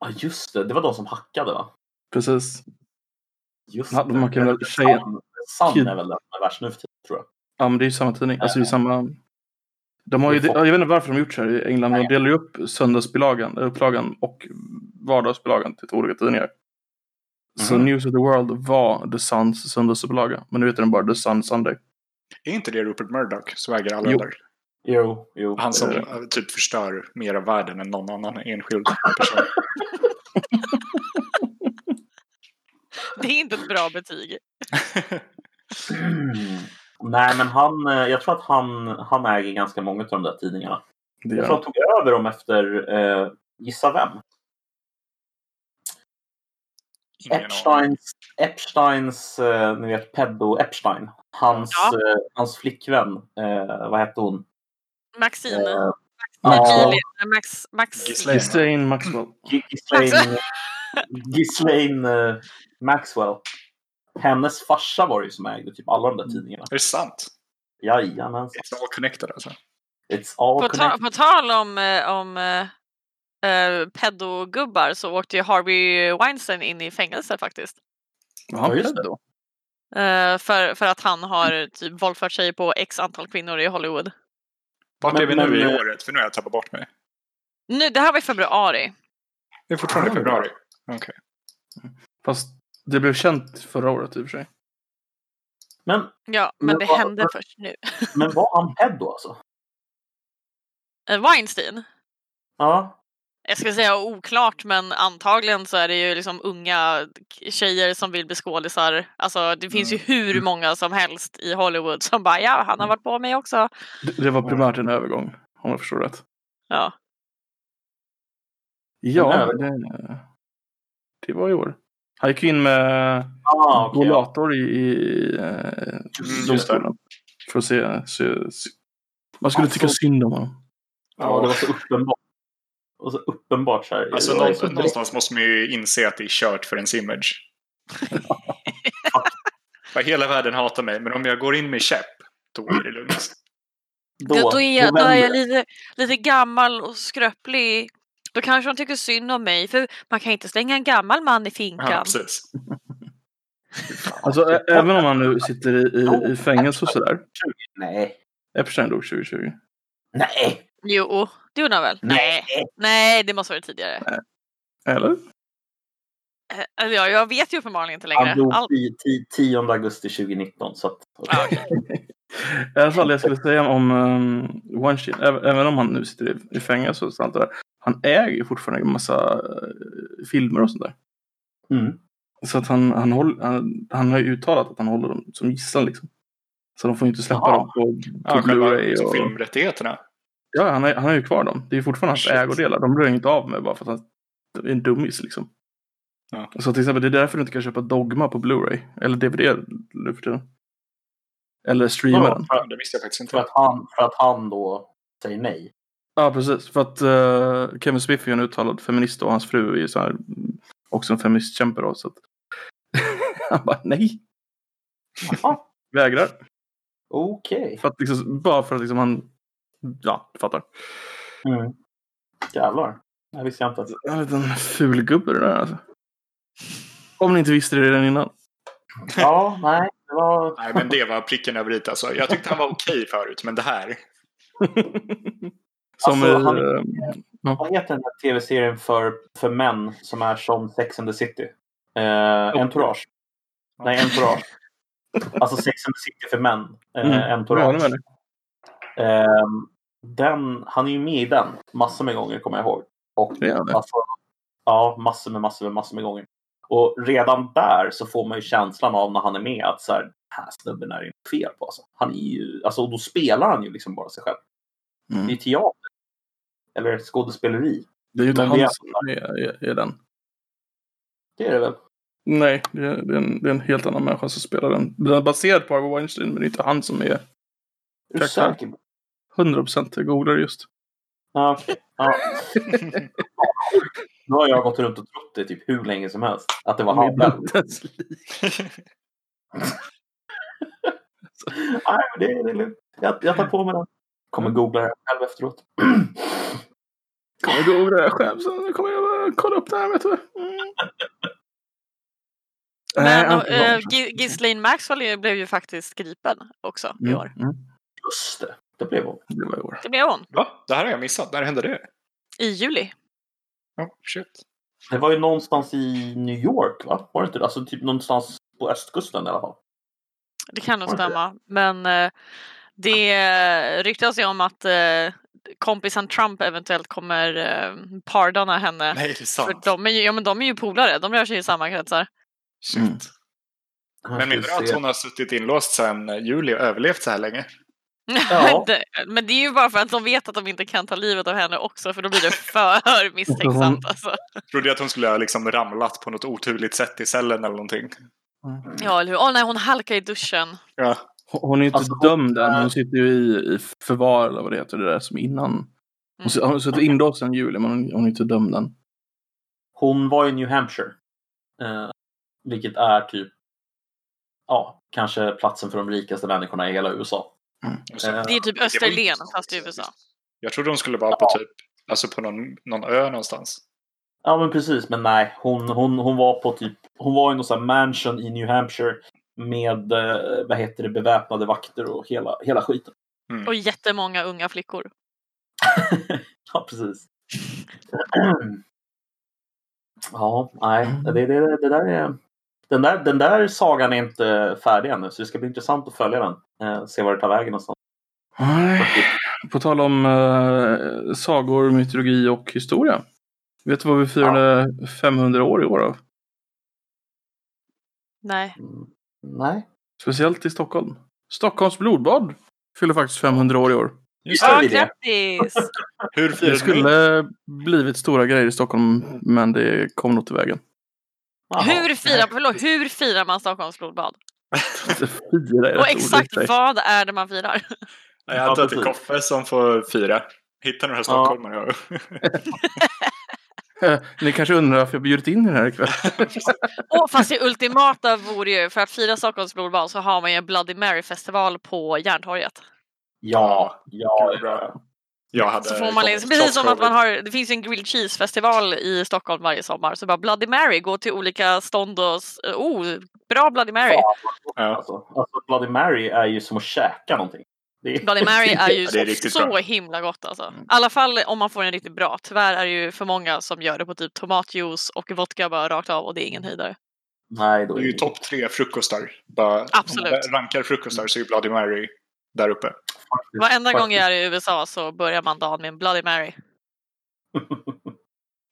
B: Ja, just det. Det var de som hackade, va?
A: Precis.
B: Just
A: Ja,
B: det.
A: man kan väl
B: Sun-
A: säga-
B: Sun är väl den som är värst nu för tiden, tror jag.
A: Ja, men det är ju samma tidning. Alltså det är samma... De har ju, jag vet inte varför de har gjort så här i England, men de delar ju upp söndagsbilagan, eller upplagan och vardagsbilagan till två olika tidningar. Så
D: Mhm.
A: News of the World var The Suns söndagsupplaga, men nu heter den bara The Sun Sunday.
D: Är inte det Rupert Murdoch som äger alla
A: Jo.
D: där?
B: Jo, jo.
D: Han som
A: Eh.
D: eh, typ förstör mer av världen än någon annan enskild person.
C: Det är inte ett bra betyg.
B: Mm. Nej, men han, eh, jag tror att han, han äger ganska många av de där tidningarna.
A: Det
B: Jag
A: gör
B: tror
A: de.
B: han tog över dem efter, eh, gissa vem?
D: Ingen aning.
B: Epsteins, Epsteins eh, ni vet, pedo Epstein. Hans,
C: Ja.
B: eh, hans flickvän, eh, vad hette hon?
C: Maxine,
B: Eh,
C: Maxine
B: ja,
C: Max, Max,
D: Ghislaine.
A: Ghislaine Maxwell.
B: G- Ghislaine, eh, Ghislaine eh, Maxwell. Hennes farsa var det ju som ägde typ alla de där tidningarna.
D: Är det sant?
B: Jajamensan.
D: It's all connected alltså.
B: It's all
C: På, ta-
B: connected.
C: på tal om, eh, om eh, eh, pedogubbar så åkte ju Harvey Weinstein in i fängelse faktiskt.
A: Var han
B: Ja, just
A: född då?
C: Eh, för, för att han har typ våldfört sig på x antal kvinnor i Hollywood.
D: Vart
B: Men-
D: är vi nu
B: men,
D: i
B: eh,
D: året? För nu har jag tappat bort mig.
C: Nu, det här var i februari.
D: Det är fortfarande
B: Ah.
D: februari.
A: Fast det blev känt förra året i och för sig.
B: Men,
C: Ja, men
B: Men
C: det
B: vad-
C: hände först nu.
B: men var han pedo alltså?
C: Eh, Weinstein?
B: Ja.
C: Jag skulle säga oklart, men antagligen så är det ju liksom unga k- tjejer som vill bli skådisar. Alltså, det finns ju hur många som helst i Hollywood som bara ja, han har varit på mig också.
A: Det, det var primärt en övergång, om jag förstår rätt.
C: Ja.
A: Ja,
B: Den
A: det, det var i år. Han gick in med
B: Ah, okej, ja.
A: rollator i, i eh, domstolen. För att se, se, se. Man skulle tycka synd om honom.
B: ja, det var så uppenbart. Det var så uppenbart så här. eh,
D: Alltså
B: Det var
D: någon,
B: så direkt.
D: någonstans måste man ju inse att det är kört för ens image. För hela världen hatar mig, men om jag går in med käpp, då är det lugnt.
C: Då, då, är, jag- då är
B: vänder
C: jag
B: det.
C: lite, lite gammal och skröplig. Då kanske de tycker synd om mig, för man kan inte slänga en gammal man i finkan.
D: Ja, precis.
A: Alltså, ä- även om han nu sitter i, i, i fängelse och sådär.
B: Nej.
A: Epstein dog 2020.
B: Nej.
C: jo, det gjorde han väl? Nej. Nej, det måste ha varit tidigare.
A: Eller?
C: Eh, Alltså, jag, jag vet ju uppenbarligen inte längre.
B: Han dog
C: Allt.
B: i, ti- 10 augusti 2019. Så att,
C: Ja,
A: I alla fall, jag skulle säga om um, One Shin, även, även om han nu sitter i, i fängelse och sånt där. Han äger ju fortfarande en massa eh, filmer och sånt där.
B: mm.
A: Så att han, han, håll, han, han har ju uttalat att han håller dem som gisslan liksom. Så de får ju inte släppa
B: Jaha.
A: dem på,
D: Ja,
A: på Blu-ray.
D: själva liksom,
A: Och,
D: filmrättigheterna.
A: ja, han, har- han har ju kvar dem. Det är ju fortfarande hans
D: Shit.
A: ägodelar. De blir han ju inte av med bara för att han är en dummis liksom.
D: Ja.
A: Så till exempel, det är därför du inte kan köpa Dogma på Blu-ray. Eller DVD nu för tiden. Eller streama
B: Ja.
A: den.
D: Ja, det visste jag faktiskt
B: för,
D: inte.
B: att han, för att han då säger nej.
A: Ja, precis. För att eh, Kevin Smith är ju en uttalad feminist och hans fru är ju så här, mm, också en feministkämpe då. Så att... han bara nej,
B: Jaha,
A: vägrar.
B: Okej.
A: För att liksom, bara för att liksom han... Ja, du fattar.
B: Mm. Jävlar. Det visste jag inte.
A: En liten ful gubbe det där alltså. Om ni inte visste det redan innan.
B: Ja, nej. Det var...
D: Nej, men det var pricken över i alltså. Jag tyckte han var okej förut, men det här.
A: Som
B: Alltså,
A: eh,
B: han- Vad heter den här tv-serien för, för män som är som Sex and the City? Eh, entourage. Nej, Entourage. Alltså Sex and the City för män. Eh,
A: Mm. jag håller
B: Entourage.
A: med dig.
B: Ehm, den, han är ju med i den massor med gånger kommer jag ihåg. Och,
A: Det är han, ja.
B: alltså, ja, massor med massor med massor med gånger. Och redan där så får man ju känslan av när han är med att så här, den här snubben är ju fel på. Alltså. Han är ju, alltså, och då spelar han ju liksom bara sig själv. Det är
A: Mm.
B: ju teater. Eller skådespeleri.
A: Det är ju inte
B: Men
A: han
B: det är-
A: som är, är, är den.
B: Det är det väl?
A: Nej, det är, det, är en, det är en helt annan människa som spelar den. Den är baserad på Harvey Weinstein, men det är inte han som är
B: Är du
A: Tack,
B: säker? på-
A: 100%. Jag googlar det just.
B: Ja, okej. Ja. Nu har jag gått runt och trott det typ hur länge som helst. Att det var han
A: Det är
B: själv.
A: inte ens lik.
B: Nej, men det, det är lugnt. Jag, jag tar på mig den. Kommer googla det själv efteråt.
A: Kommer jag googla det här själv, sen kommer jag eh, kolla upp det här, vet du. Mm. Nej,
C: Men
A: han-
C: äh, Ghislaine Maxwell är- blev ju faktiskt gripen också i år.
A: Mm, mm.
B: Just det, det blev hon.
A: Det var i år.
C: Det blev hon.
D: Va? Det här har jag missat. När hände det?
C: I juli.
D: Ja, shit.
B: Det var ju någonstans i New York, va? Var det inte det? Alltså typ någonstans på östkusten i alla fall.
C: Det kan nog
B: Var det det?
C: stämma. Men eh, det ryktas ju om att eh, kompisen Trump eventuellt kommer eh, pardona henne.
D: Nej, det är
C: För
D: sant.
C: de är, ju, ja, men de är ju polare, de rör sig i samma kretsar.
D: Shit.
A: Mm.
D: Men menar du att hon har suttit inlåst sedan eh, juli och överlevt så här länge?
B: Ja.
C: Det- men det är ju bara för att de vet att de inte kan ta livet av henne också för då blir det för misstänksamt. Alltså.
D: Trodde jag att hon skulle ha liksom ramlat på något oturligt sätt i cellen eller någonting.
C: Ja, eller hur? Åh nej, hon halkar i duschen.
D: Ja.
A: Hon hon är ju inte
B: Alltså, hon-
A: dömd än, men hon sitter ju i, i förvar eller vad det heter, det där som innan.
C: Mm.
A: Hon s- hon har suttit inlåst sedan juli, men hon, hon är inte dömd än.
B: Hon var i New Hampshire. Eh, vilket är typ, ja, kanske platsen för de rikaste människorna i hela USA. Eh,
C: Det är typ Österlen fast i USA.
D: Jag trodde hon skulle vara på typ, alltså på någon, någon ö någonstans.
B: ja, men precis. Men nej, hon, hon, hon var på typ, hon var i någon sån här mansion i New Hampshire med, eh, vad heter det, beväpnade vakter och hela, hela skiten.
C: Och jättemånga unga flickor.
B: Ja, precis. ja, nej. Det, det, det, det där är... Den där, den där sagan är inte färdig ännu, så det ska bli intressant att följa den. Eh, se var det tar vägen någonstans.
A: Nej. På tal om eh, sagor, mytologi och historia. Vet du vad vi firade 500 år i år av?
C: Nej.
B: Mm, Nej.
A: Speciellt i Stockholm. Stockholms blodbad fyller faktiskt 500 år i år.
B: Just
C: Ja,
B: det.
C: grattis!
D: Hur
A: Det
D: firar du?
A: skulle blivit stora grejer i Stockholm, men det kom nog till vägen.
B: Jaha.
C: Hur firar, förlåt, hur firar man Stockholms blodbad?
A: Fira är rätt
C: Och exakt
A: ordriktigt.
C: vad är det man firar?
D: Jag antar att det är
B: Ja, precis.
D: Koffe som får fira. Hitta några stockholmare.
A: Eh, Ni kanske undrar varför jag bjudit in er här ikväll?
C: Och fast det ultimata vore ju, för att fira Stockholms blodbad så har man ju en Bloody Mary-festival på Järntorget.
B: Ja, ja,
D: Gud, vad bra.
B: ja.
D: Jag hade
C: Så får man liksom, precis som att man har, det finns ju en grilled cheese-festival i Stockholm varje sommar. Så bara Bloody Mary, gå till olika stånd och, s- oh, bra Bloody Mary.
D: Ja.
B: Alltså, alltså Bloody Mary är ju som att käka någonting. Det är...
C: Bloody Mary är ju
D: Ja, det är
C: så,
D: riktigt
C: så
D: bra.
C: himla gott alltså. I alla fall om man får en riktigt bra. Tyvärr är det ju för många som gör det på typ tomatjuice och vodka bara rakt av och det är ingen höjdare.
B: Nej, då
D: Det
B: är
D: är ju topp tre frukostar. Bara,
C: Absolut.
D: Om man rankar frukostar så är ju Bloody Mary där uppe.
B: faktiskt-
C: Varenda gång
B: faktiskt-
C: jag är i USA så börjar man dagen med en Bloody Mary.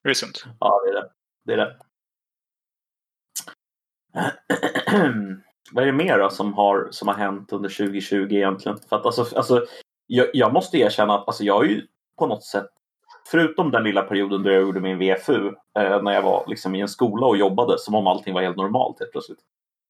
D: Det är sunt.
B: Ja, det är det. Det är det. Vad är det mer då som har, som har hänt under 2020 egentligen? För att alltså, alltså jag, jag måste erkänna att alltså, jag har ju på något sätt, förutom den lilla perioden då jag gjorde min VFU, eh, när jag var liksom, i en skola och jobbade som om allting var helt normalt helt plötsligt,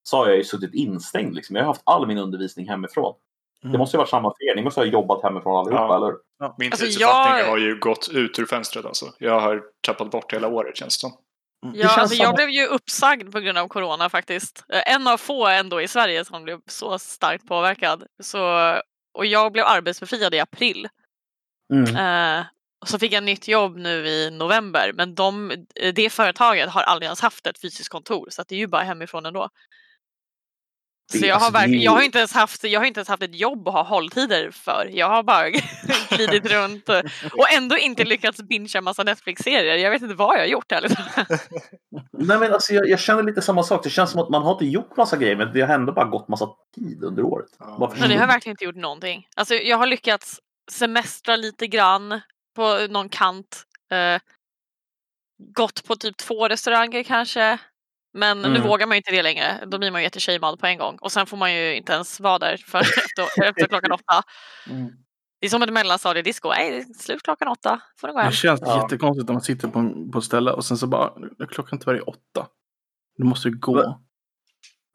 B: så har jag ju suttit instängd. Liksom. Jag har haft all min undervisning hemifrån. Det
A: Mm.
B: måste ju varit samma för er. Ni måste ha jobbat hemifrån allihopa,
D: Ja.
B: eller hur?
D: Min
C: Alltså,
D: tidsuppfattning
C: jag-
D: har ju gått ut ur fönstret alltså. Jag har tappat bort hela året känns det som.
C: Ja,
B: Mm. känns
C: alltså,
B: som-
C: jag blev ju uppsagd på grund av corona faktiskt. Eh, En av få ändå i Sverige som blev så starkt påverkad. Så, och jag blev arbetsbefriad i april.
B: Mm.
C: Eh, och så fick jag nytt jobb nu i november. Men de, eh, det företaget har aldrig ens haft ett fysiskt kontor så att det är ju bara hemifrån ändå. Så
B: Det-
C: jag har,
B: alltså, det är
C: verkligen,
B: ju-
C: jag, har inte ens haft, jag har inte ens haft ett jobb att ha hålltider för. Jag har bara glidit runt eh, och ändå inte lyckats bingea massa Netflix-serier. Jag vet inte vad jag har gjort ärligt talat.
B: Nej, men alltså, jag, jag känner lite samma sak. Det känns som att man har inte gjort massa grejer, men det har ändå bara gått massa tid under året. Bara
C: Men jag har
B: Mm.
C: verkligen inte gjort någonting. Alltså, jag har lyckats semestra lite grann på någon kant. Eh, gått på typ två restauranger kanske. Men nu
B: Mm.
C: vågar man ju inte det längre. Då blir man ju jättetjejmad på en gång. Och sen får man ju inte ens vara där förrän efter, efter klockan åtta.
A: Mm.
C: Det är som ett mellanstadiedisco. Nej, det är slut klockan åtta. Får du gå hem.
A: Det känns
B: Ja.
A: jättekonstigt när man sitter på, en- på ett ställe och sen så bara, klockan tyvärr är åtta. Du måste ju gå.
B: Va?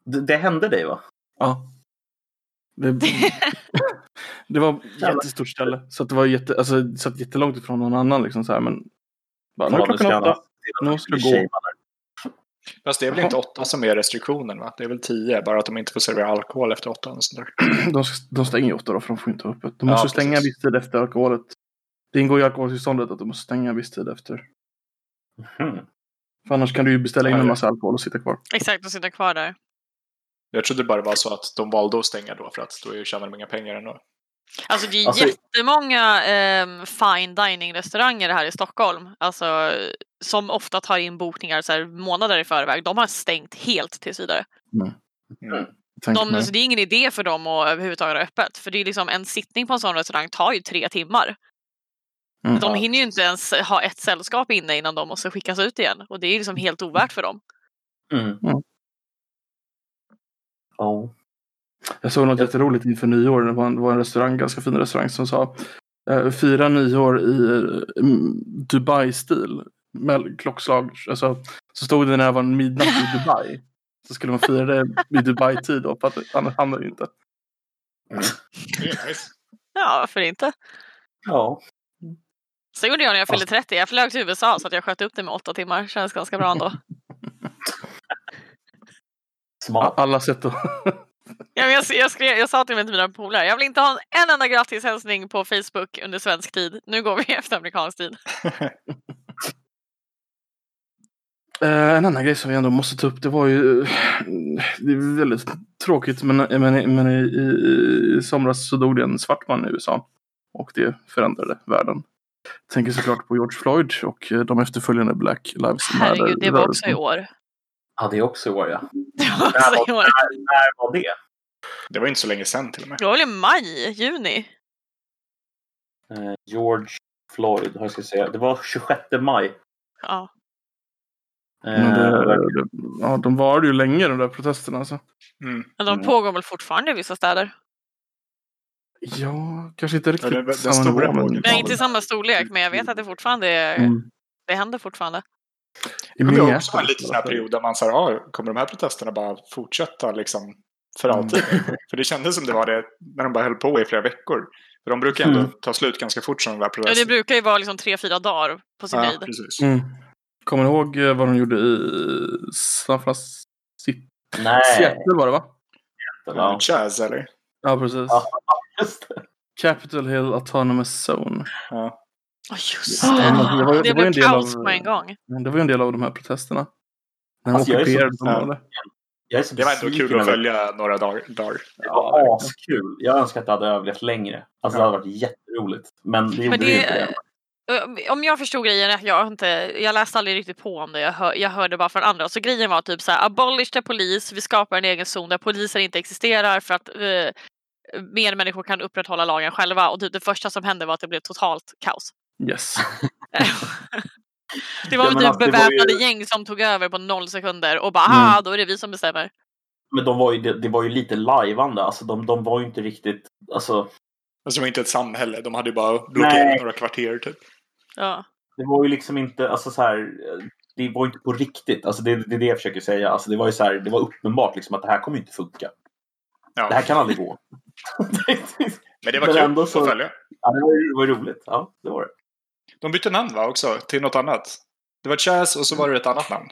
B: Det, det hände dig, va?
A: Ja. Det, det var ett
B: Jävlar.
A: jättestort ställe. Så att det var jätte, alltså, det satt jättelångt ifrån någon annan liksom så här, men. Bara, nu är
B: Ja, nu ska
A: klockan
B: jag-
A: åtta. Nu måste du gå.
D: Fast det är väl inte åtta som är restriktionen va? Det är väl tio, bara att de inte får servera alkohol efter åtta. Och sånt där.
A: De, ska, de stänger ju åtta då, för de får inte ha öppet. De
D: Ja,
A: måste stänga en
D: precis.
A: viss tid efter alkoholet. Det ingår i alkoholtillståndet att de måste stänga en viss tid efter.
B: Mhm.
A: För annars kan du ju beställa in
D: Ja,
A: en
D: ja.
A: massa alkohol och sitta kvar.
C: Exakt, och sitta kvar där.
D: Jag trodde bara det var så att de valde att stänga då för att då tjänar de inga pengar ändå.
C: Alltså det är
B: Alltså-
C: jättemånga ehm, fine dining-restauranger här i Stockholm. Alltså, som ofta tar in bokningar så här, månader i förväg. De har stängt helt tills vidare.
A: Tänk
C: De,
A: mig.
C: så det är ingen idé för dem att överhuvudtaget ha öppet. För det är liksom, en sittning på en sån restaurang tar ju tre timmar.
A: Mm.
C: De hinner ju inte ens ha ett sällskap inne innan de måste skickas ut igen. Och det är ju liksom helt ovärt för dem.
B: Mm.
A: Mm.
B: Ja.
A: Jag såg något jätteroligt inför nyår. Det var en, det var en restaurang, ganska fin restaurang som sa eh, fira nyår i eh, mm, Dubai-stil. Med klockslag. Alltså, så stod det när det var midnatt i Dubai. Så skulle man fira det i Dubai-tid då, för att annars hamnar det ju inte.
C: Ja, varför inte?
B: ja.
C: Så gjorde jag när jag fyllde 30. Jag flög till USA så att jag sköt upp det med åtta timmar. Känns ganska bra ändå.
A: A-
B: Smart.
A: Alla sätt att...
C: Ja, men jag, jag, skrev, jag sa till mig till mina polare, jag vill inte ha en, en enda grattishälsning på Facebook under svensk tid. Nu går vi efter amerikansk tid.
A: Eh, en annan grej som vi ändå måste ta upp, det var ju... eh, Det är väldigt tråkigt, men, men, men i, i, i somras så dog det en svart man i USA. Och det förändrade världen. Tänker såklart på George Floyd och eh, de efterföljande Black Lives Matter.
C: Herregud, det var också i år.
B: Ja, det är också i år, ja.
C: Det var också i år.
B: När var det?
D: Det var inte så länge sedan till och med.
C: Det var väl i maj, juni?
B: Eh, George Floyd, hur ska jag säga? Det var 26 maj.
C: Ja.
B: Eh,
A: Men det, det, ja, de varade ju länge de där protesterna. Alltså.
D: Mm.
C: Men de
B: Mm.
C: pågår väl fortfarande i vissa städer?
A: Ja, kanske inte riktigt
D: Eller den- den
A: samma
D: stora
A: nivå, men
D: bågen.
C: Nej, inte i samma storlek, men jag vet att det fortfarande är,
A: Mm.
C: det händer fortfarande.
A: I
D: Men det var
A: Minneapolis
D: också en liten sån här period där man sa, ja, kommer de här protesterna bara fortsätta liksom för
A: Mm.
D: alltid? För det kändes som det var det när de bara höll på i flera veckor. För de brukar ändå
A: Mm.
D: ta slut ganska fort som de där
C: Ja, det
D: protesterna.
C: brukar ju vara liksom tre, fyra dagar på sin höjd.
D: precis.
A: Mm. Kommer ni ihåg eh, vad de gjorde i San Francisco?
B: Nej.
A: Seattle var det va?
B: Ja.
D: Jazz eller?
A: Ja, precis.
B: Ja. Just det.
A: Capitol Hill Autonomous Zone.
C: Ja, just
A: Ja, men
C: det.
A: det var ju-
C: Det
A: det var ju en
C: blev
A: del av-
C: kaos på en gång.
A: Det var ju en del av de här protesterna. När de
B: Alltså, jag är så-
A: ockuperade
D: Ja.
A: området.
B: Jag är så
D: Det var ändå
B: besviken
D: kul att
B: över-
D: följa några dagar. dagar.
B: Det var askul. Jag önskar att det hade överlevt längre. Alltså det hade varit jätteroligt. Men det gjorde
C: Men
B: det ju inte.
C: det, eh, om jag förstod grejen, rätt, jag, har inte, jag läste aldrig riktigt på om det, jag, hör, jag hörde bara från andra. Så grejen var typ så här, abolish the polis, vi skapar en egen zon där poliser inte existerar för att eh, mer människor kan upprätthålla lagen själva. Och typ det första som hände var att det blev totalt kaos.
A: Yes.
C: det var
B: Ja,
C: väl
B: men
C: typ
B: alltså, det var ju- Mm.
C: beväpnade gäng som tog över på noll sekunder och bara, ah, då är det vi som bestämmer.
B: Men de var ju, det, det var ju lite lajvande. Alltså de, de var ju inte riktigt... Alltså,
D: Alltså det var inte ett samhälle, de hade ju bara blockerat
B: Nej.
D: några kvarter typ.
C: Ja.
B: det var ju liksom inte... Alltså så här, eh, det var ju inte på riktigt. Alltså det, det är det jag försöker säga. Alltså det var ju så här, det var uppenbart liksom att det här kommer ju inte funka.
D: Ja.
B: Det här kan aldrig gå.
D: Men det var
B: Men
D: kul
B: ändå så-
D: att följa.
B: ja, det, var ju, det var ju roligt. Ja, det var det.
D: De bytte namn va också, till något annat. Det var Chaz och så var det ett annat namn.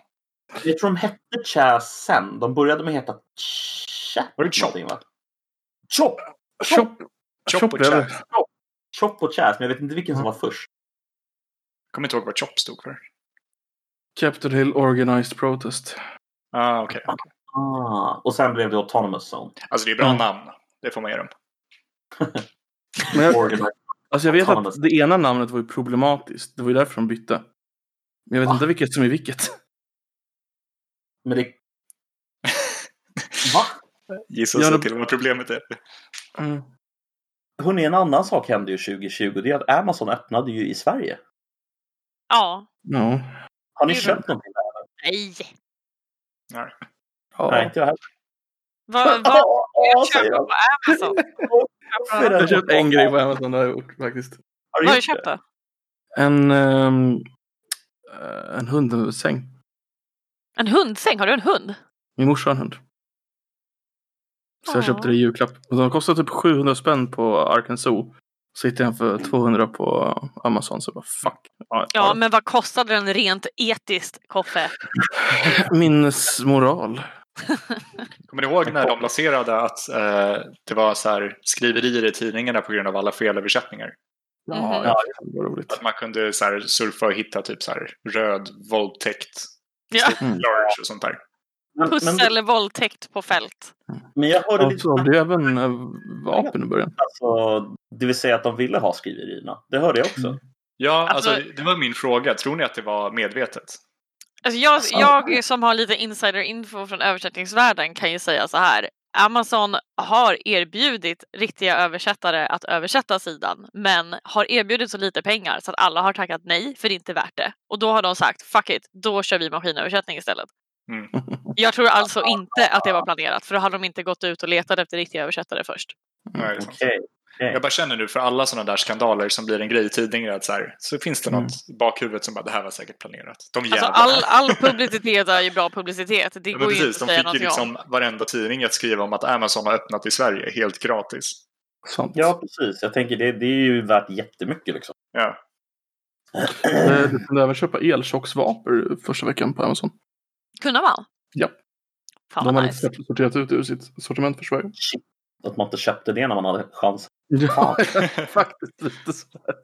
B: Jag tror de hette Chas sen. De började med att heta Chap.
D: Var det Chop?
B: någonting, va? Chop!
A: Chop,
D: Chop och
A: blev det.
D: Chaz.
B: Chop och Chas, men jag vet inte vilken som var först.
D: Kommer inte ihåg vad Chop stod för.
A: Capitol Hill Organized Protest.
D: Ah, okej.
B: Ah, och sen blev det Autonomous Zone.
D: Alltså det är bra
A: Mm.
D: namn. Det får man ge dem.
A: Men jag,
B: Organized.
A: alltså jag vet
B: Autonomous.
A: att det ena namnet var ju problematiskt. Det var ju därför de bytte. Men jag vet
B: Va?
A: inte vilket som är vilket.
B: Men det... Va?
D: Gissa
A: Ja,
D: sig
A: det-
D: till vad problemet är.
A: Mm.
B: Hörrni, en annan sak hände ju 2020. Det är att Amazon öppnade ju i Sverige.
C: Ja.
A: Ja.
B: Har ni
C: Det är
B: köpt någonting där?
C: Nej.
A: Ja.
B: Nej, inte jag heller.
C: Vad vad Äh,
B: Ja,
C: jag
B: säger
C: köpa
B: jag.
C: på Amazon?
B: Varför är det-
A: Jag har köpt en grej på Amazon, det har jag gjort faktiskt.
B: Har
C: Vad har du
B: du köpt
C: köpt då?
A: En, ehm, eh, en hundsäng.
C: En hundsäng? Har du en hund?
A: Min morsa har en hund. Så jag
C: Ja.
A: köpte det i julklapp. Och de kostar typ 700 spänn på Arkansas. Så hittade jag en för 200 på Amazon. Så jag bara fuck. Ja, jag
C: Ja,
A: tar
C: men vad kostade den rent etiskt, Koffe?
A: den. Minnesmoral.
D: Kommer ni ihåg när de lanserade att eh, det var så här skriverier i tidningarna på grund av alla felöversättningar?
A: Ja,
C: Mhm.
A: ja, det var roligt.
D: Att man kunde så här, surfa och hitta typ så här, röd våldtäkt,
C: Ja.
A: Mm.
D: large och sånt där.
B: Men,
C: Pussel
B: men,
C: eller våldtäkt på fält.
B: men jag hörde
A: Och
B: lite
A: så
B: snack,
A: blev även eh, vapen i början.
B: alltså, det vill säga att de ville ha skriverierna. Det hörde jag
A: Mm.
B: också.
D: Ja,
C: Alltså-
D: alltså, det var min fråga. Tror ni att det var medvetet?
C: Alltså jag, jag som har lite insiderinfo från översättningsvärlden kan ju säga så här. Amazon har erbjudit riktiga översättare att översätta sidan men har erbjudit så lite pengar så att alla har tackat nej för det är inte värt det. Och då har de sagt fuck it, då kör vi maskinöversättning istället.
D: Mm.
C: Jag tror alltså inte att det var planerat för då hade de inte gått ut och letat efter riktiga översättare först.
A: Mm.
D: Nej, sant.
B: Okej.
D: Jag bara känner nu för alla sådana där skandaler som blir en grej i tidningar att så, här, så finns det något
A: Mm.
D: i bakhuvudet som bara det här var säkert planerat. De
C: Alltså
D: jävlarna.
C: all, all publicitet är ju bra publicitet. Det
D: Ja, men
C: går ju
D: precis,
C: inte
D: de
C: att säga
D: fick ju
C: någonting om.
D: liksom varenda tidning att skriva om att Amazon har öppnat i Sverige helt gratis.
A: Sant.
B: Ja, precis. Jag tänker det, det är ju värt jättemycket liksom.
D: Ja.
A: Eh, Du kunde även köpa elchocksvapor första veckan på Amazon.
C: Kunde man?
A: Ja.
C: Fan
A: De
C: vad
A: hade
C: nice.
A: inte sorterat ut det ur sitt sortiment för Sverige.
B: Shit, att man inte köpte det när man hade chans.
A: Ja, faktiskt lite så. här.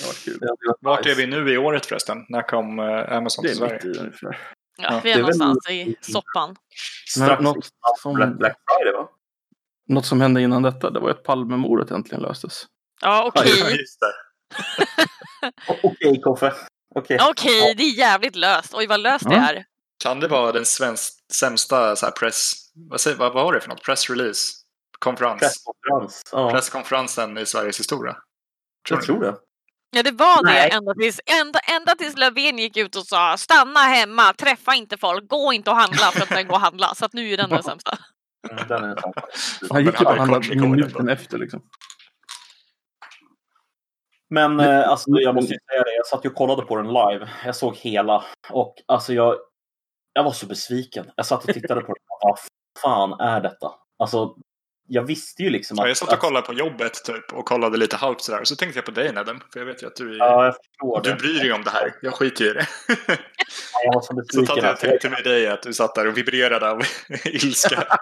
A: Det var kul.
D: Vart är vi nu i året förresten? När kom eh, Amazon
A: Det
D: till Sverige?
A: är mitt i ungefär.
C: Ja, vi
B: det
C: är
B: är väl-
C: någonstans i soppan.
B: Strax
A: Men något
B: innan Black-
A: som-
B: Black Friday va?
A: Något som hände innan detta, det var ju att Palmemordet äntligen löstes.
C: Ja, okej.
D: Ja, just det.
B: O- Okej, Koffe. Okej.
C: Okej, det är jävligt löst. Oj, vad löst det
A: Ja.
C: är.
D: Kan det vara den svensk, sämsta så här press... Vad, säger, vad, vad var det för något? Press release? Konferens?
B: Presskonferens. Ja,
D: Presskonferensen i Sveriges historia? Tror
B: jag
D: ni?
B: tror det.
C: Ja, det var
B: Nej.
C: det ända tills, ända, ända tills Löfven gick ut och sa stanna hemma, träffa inte folk, gå inte och handla för att sen gå och handla. Så att nu är den den sämsta.
B: Mm, Den är sant.
A: Han gick ju bara
D: Men
A: handla
D: Hardcore Chicken var
A: minuten efter liksom.
B: Men eh, alltså, jag måste ju säga det, jag satt ju och kollade på den live. Jag såg hela. Och alltså jag, jag var så besviken. Jag satt och tittade på den. Vad fan är detta? Alltså, jag visste ju liksom
D: Ja, jag satt och kollade på jobbet typ och kollade lite halvt sådär. Så tänkte jag på dig Nedem, för jag vet ju att du, är,
B: Ja, jag förstår
D: du
B: det.
D: bryr dig om det här. Jag skiter ju i det.
B: Jag var så
D: Så
B: besviken.
D: att jag
B: alltså.
D: tänkte med dig att du satt där och vibrerade av ilska.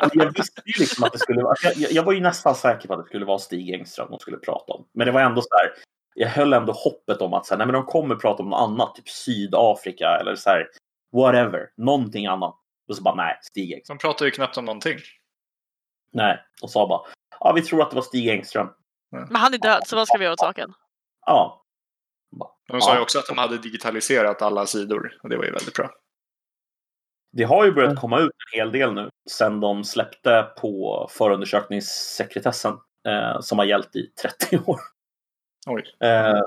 B: Och jag visste ju liksom att det skulle vara... Jag, jag jag var ju nästan säker på att det skulle vara Stig Engström de skulle prata om. Men det var ändå så här... Jag höll ändå hoppet om att så här, nej, men de kommer prata om något annat, typ Sydafrika eller så här, whatever, någonting annat. Och så bara, nej, Stig Engström.
D: De pratar ju knappt om någonting.
B: Nej. Och sa bara, ja, vi tror att det var Stig Engström.
C: Men han är död, så vad ska vi göra åt saken?
B: Ja.
D: De sa ju
B: Ja.
D: också att de hade digitaliserat alla sidor och det var ju väldigt bra.
B: Det har ju
D: Mm.
B: börjat komma ut en hel del nu sen de släppte på förundersökningssekretessen eh, som har gällt i 30 år.
D: Oj.
B: Eh,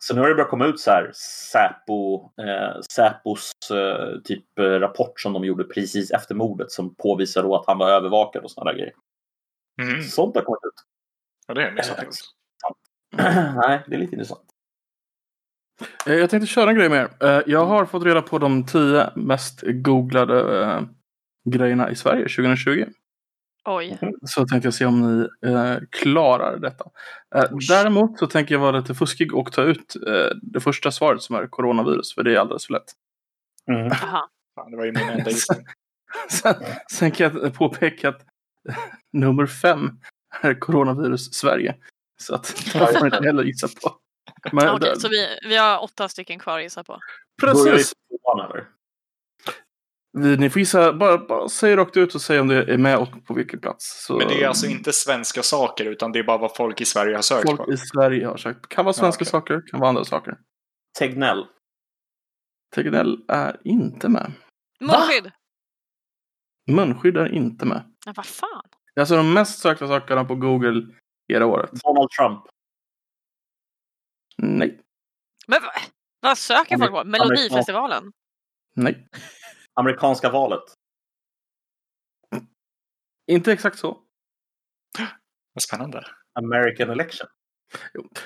B: så nu har det börjat komma ut så här Säpo, eh, Säpos eh, typ eh, rapport som de gjorde precis efter mordet som påvisar då att han var övervakad och sådana där grejer.
D: Mm.
B: Sånt har kommit ut.
D: Ja, det är missat.
B: Nej, det är lite intressant.
A: Eh, Jag tänkte köra en grej med er. Eh, Jag har fått reda på de tio mest googlade eh, grejerna i Sverige 2020.
C: Oj.
A: Så tänkte jag se om ni eh, klarar detta. Eh, däremot så tänker jag vara lite fuskig och ta ut eh, det första svaret som är coronavirus, för det är alldeles för lätt.
B: Mm.
C: Aha.
D: Fan, det var ju min enda gissning.
A: Sen, sen kan jag påpeka att nummer fem är coronavirus Sverige. Så att det får man inte heller gissa på. Men,
C: Okej, så vi, vi har åtta stycken kvar att gissa på.
B: Börjar vi
A: precis!
B: på tvåan, eller?
A: Vi, ni får gissa, bara, bara säg rakt ut och säg om det är med och på vilken plats. Så
D: Men det är alltså inte svenska saker utan det är bara vad folk i Sverige har sökt
A: folk
D: på.
A: i Sverige har sagt. Kan vara svenska
D: okej.
A: saker, kan vara andra saker.
B: Tegnell.
A: Tegnell är inte med.
C: Munskydd!
A: Munskydd är inte med.
C: Men vad fan?
A: Det är alltså de mest sökta sakerna på Google hela året.
B: Donald Trump.
A: Nej,
C: Men vad, vad söker folk på? Melodifestivalen?
A: nej.
B: Amerikanska valet.
A: Inte exakt så.
D: Vad spännande.
B: American election.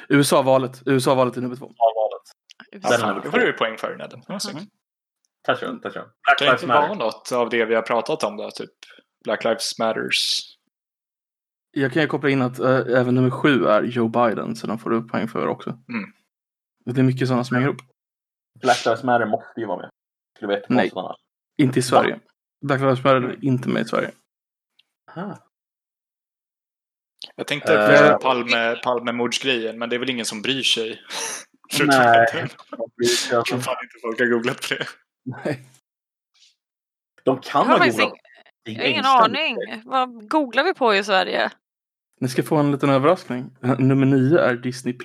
A: USA-valet. USA-valet är nummer två.
B: Valvalet.
D: Ja,
B: Den
D: fan,
B: är
D: det
B: väl två.
D: var du ju poäng för Nedem. Det var snyggt.
B: Touch on, touch on.
D: Kan
B: Black
D: det
B: Lives
D: inte vara
B: Matter.
D: något av det vi har pratat om då? Typ Black Lives Matters.
A: Jag kan ju koppla in att eh, även nummer sju är Joe Biden, så den får du poäng för också.
D: Mm.
A: Det är mycket sådana som hänger upp.
B: Black Lives Matter måste ju vara med. Skulle vara
A: Nej.
B: jättekonstigt annars.
A: Inte i Sverige. Black Lives Matter är inte med i Sverige.
D: Jag tänkte
B: Eh.
D: på Palme, Palmemordsgrejen, men det är väl ingen som bryr sig. Förutom
B: Nej.
D: Nedem. Jag tror
B: De,
D: fan inte folk har googlat på det.
B: de kan
C: Jag
B: ha
C: har faktiskt
B: googlat.
C: ing-
B: Stig
C: jag har ingen
B: Engström.
C: aning. Vad googlar vi på i Sverige?
A: Ni ska få en liten överraskning. Nummer nio är Disney+.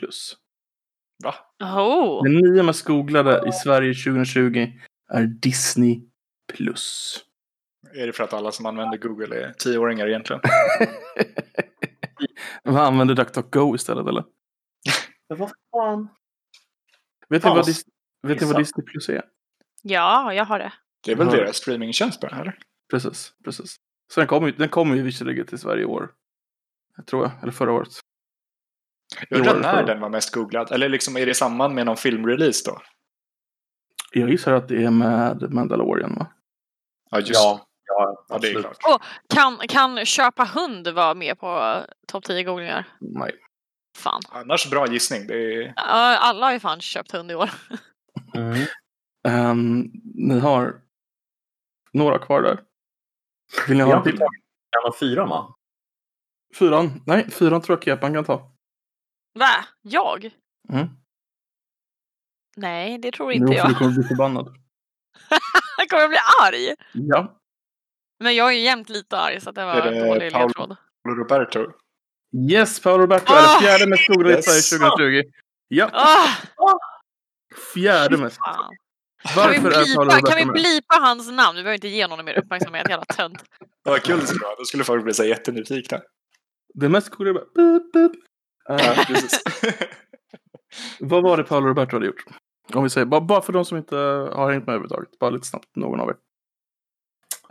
D: Va?
C: Oh.
A: Den nio mest googlade i Sverige 2020 är Disney+.
D: Är det för att alla som använder Google är tioåringar egentligen?
A: Vad använder DuckDuckGo istället eller?
B: Men vad fan?
A: Vet ni vad,
B: Paus.
A: Dis- vet ni vad
B: Gissa.
A: Disney Plus är?
C: Ja, jag har det.
D: Det är väl
A: Ja.
D: deras streamingtjänst bara, eller?
A: Precis, precis. Så den kommer ju, den kom ju visserligen till Sverige i år. Jag tror jag, eller förra året.
D: Jag
A: Jo,
D: undrar
A: det tror
D: när
A: jag.
D: den var mest googlad. Eller liksom, är det i samband med någon filmrelease då?
A: Jag gissar att det är med Mandalorian va?
D: Ja, just
B: Ja, ja,
D: ja, det är
B: absolut.
D: klart.
C: Kan, kan köpa hund vara med på eh, topp 10 googlingar?
A: Nej.
C: Fan.
D: Annars bra gissning. Det är...
C: Ja, Alla har ju fan köpt hund i år.
B: Mm.
A: Ehm, ni har några kvar där. Vill ni
B: Vi
A: ha
B: har
A: en
B: inte
A: till?
B: tagit en av fyra va?
A: Fyran? Nej, fyran tror jag Kepan kan ta.
C: Va? Jag?
A: Mm.
C: Nej, det tror
A: Jo,
C: inte
A: för
C: jag.
A: Du kommer bli förbannad.
C: Jag kommer bli arg.
A: Ja.
C: Men jag är ju jämt lite arg så att det var
D: Är det
C: en dålig
D: Paolo?
C: ledtråd.
D: Roberto.
A: Yes, Paolo Roberto är
C: Ah!
A: det fjärde mest googlade i
D: Yes.
A: Sverige 2020. Ja,
C: Ah,
A: fjärde mest.
C: fan. Kan vi,
A: Varför är Paolo
C: blipa,
A: Roberto
C: kan vi
A: med?
C: blipa hans namn? Vi behöver inte ge honom mer uppmärksamhet, jävla tönt.
D: Ja, Vad kul det skulle vara. Då skulle folk bli så här jättenyfikna.
A: Det mest coola är bara... Boop, boop. Eh,
D: Ja, precis.
A: vad var det Paolo Roberto hade gjort? Om vi säger, bara, bara för de som inte har hängt med överhuvudtaget. Bara lite snabbt, någon av er.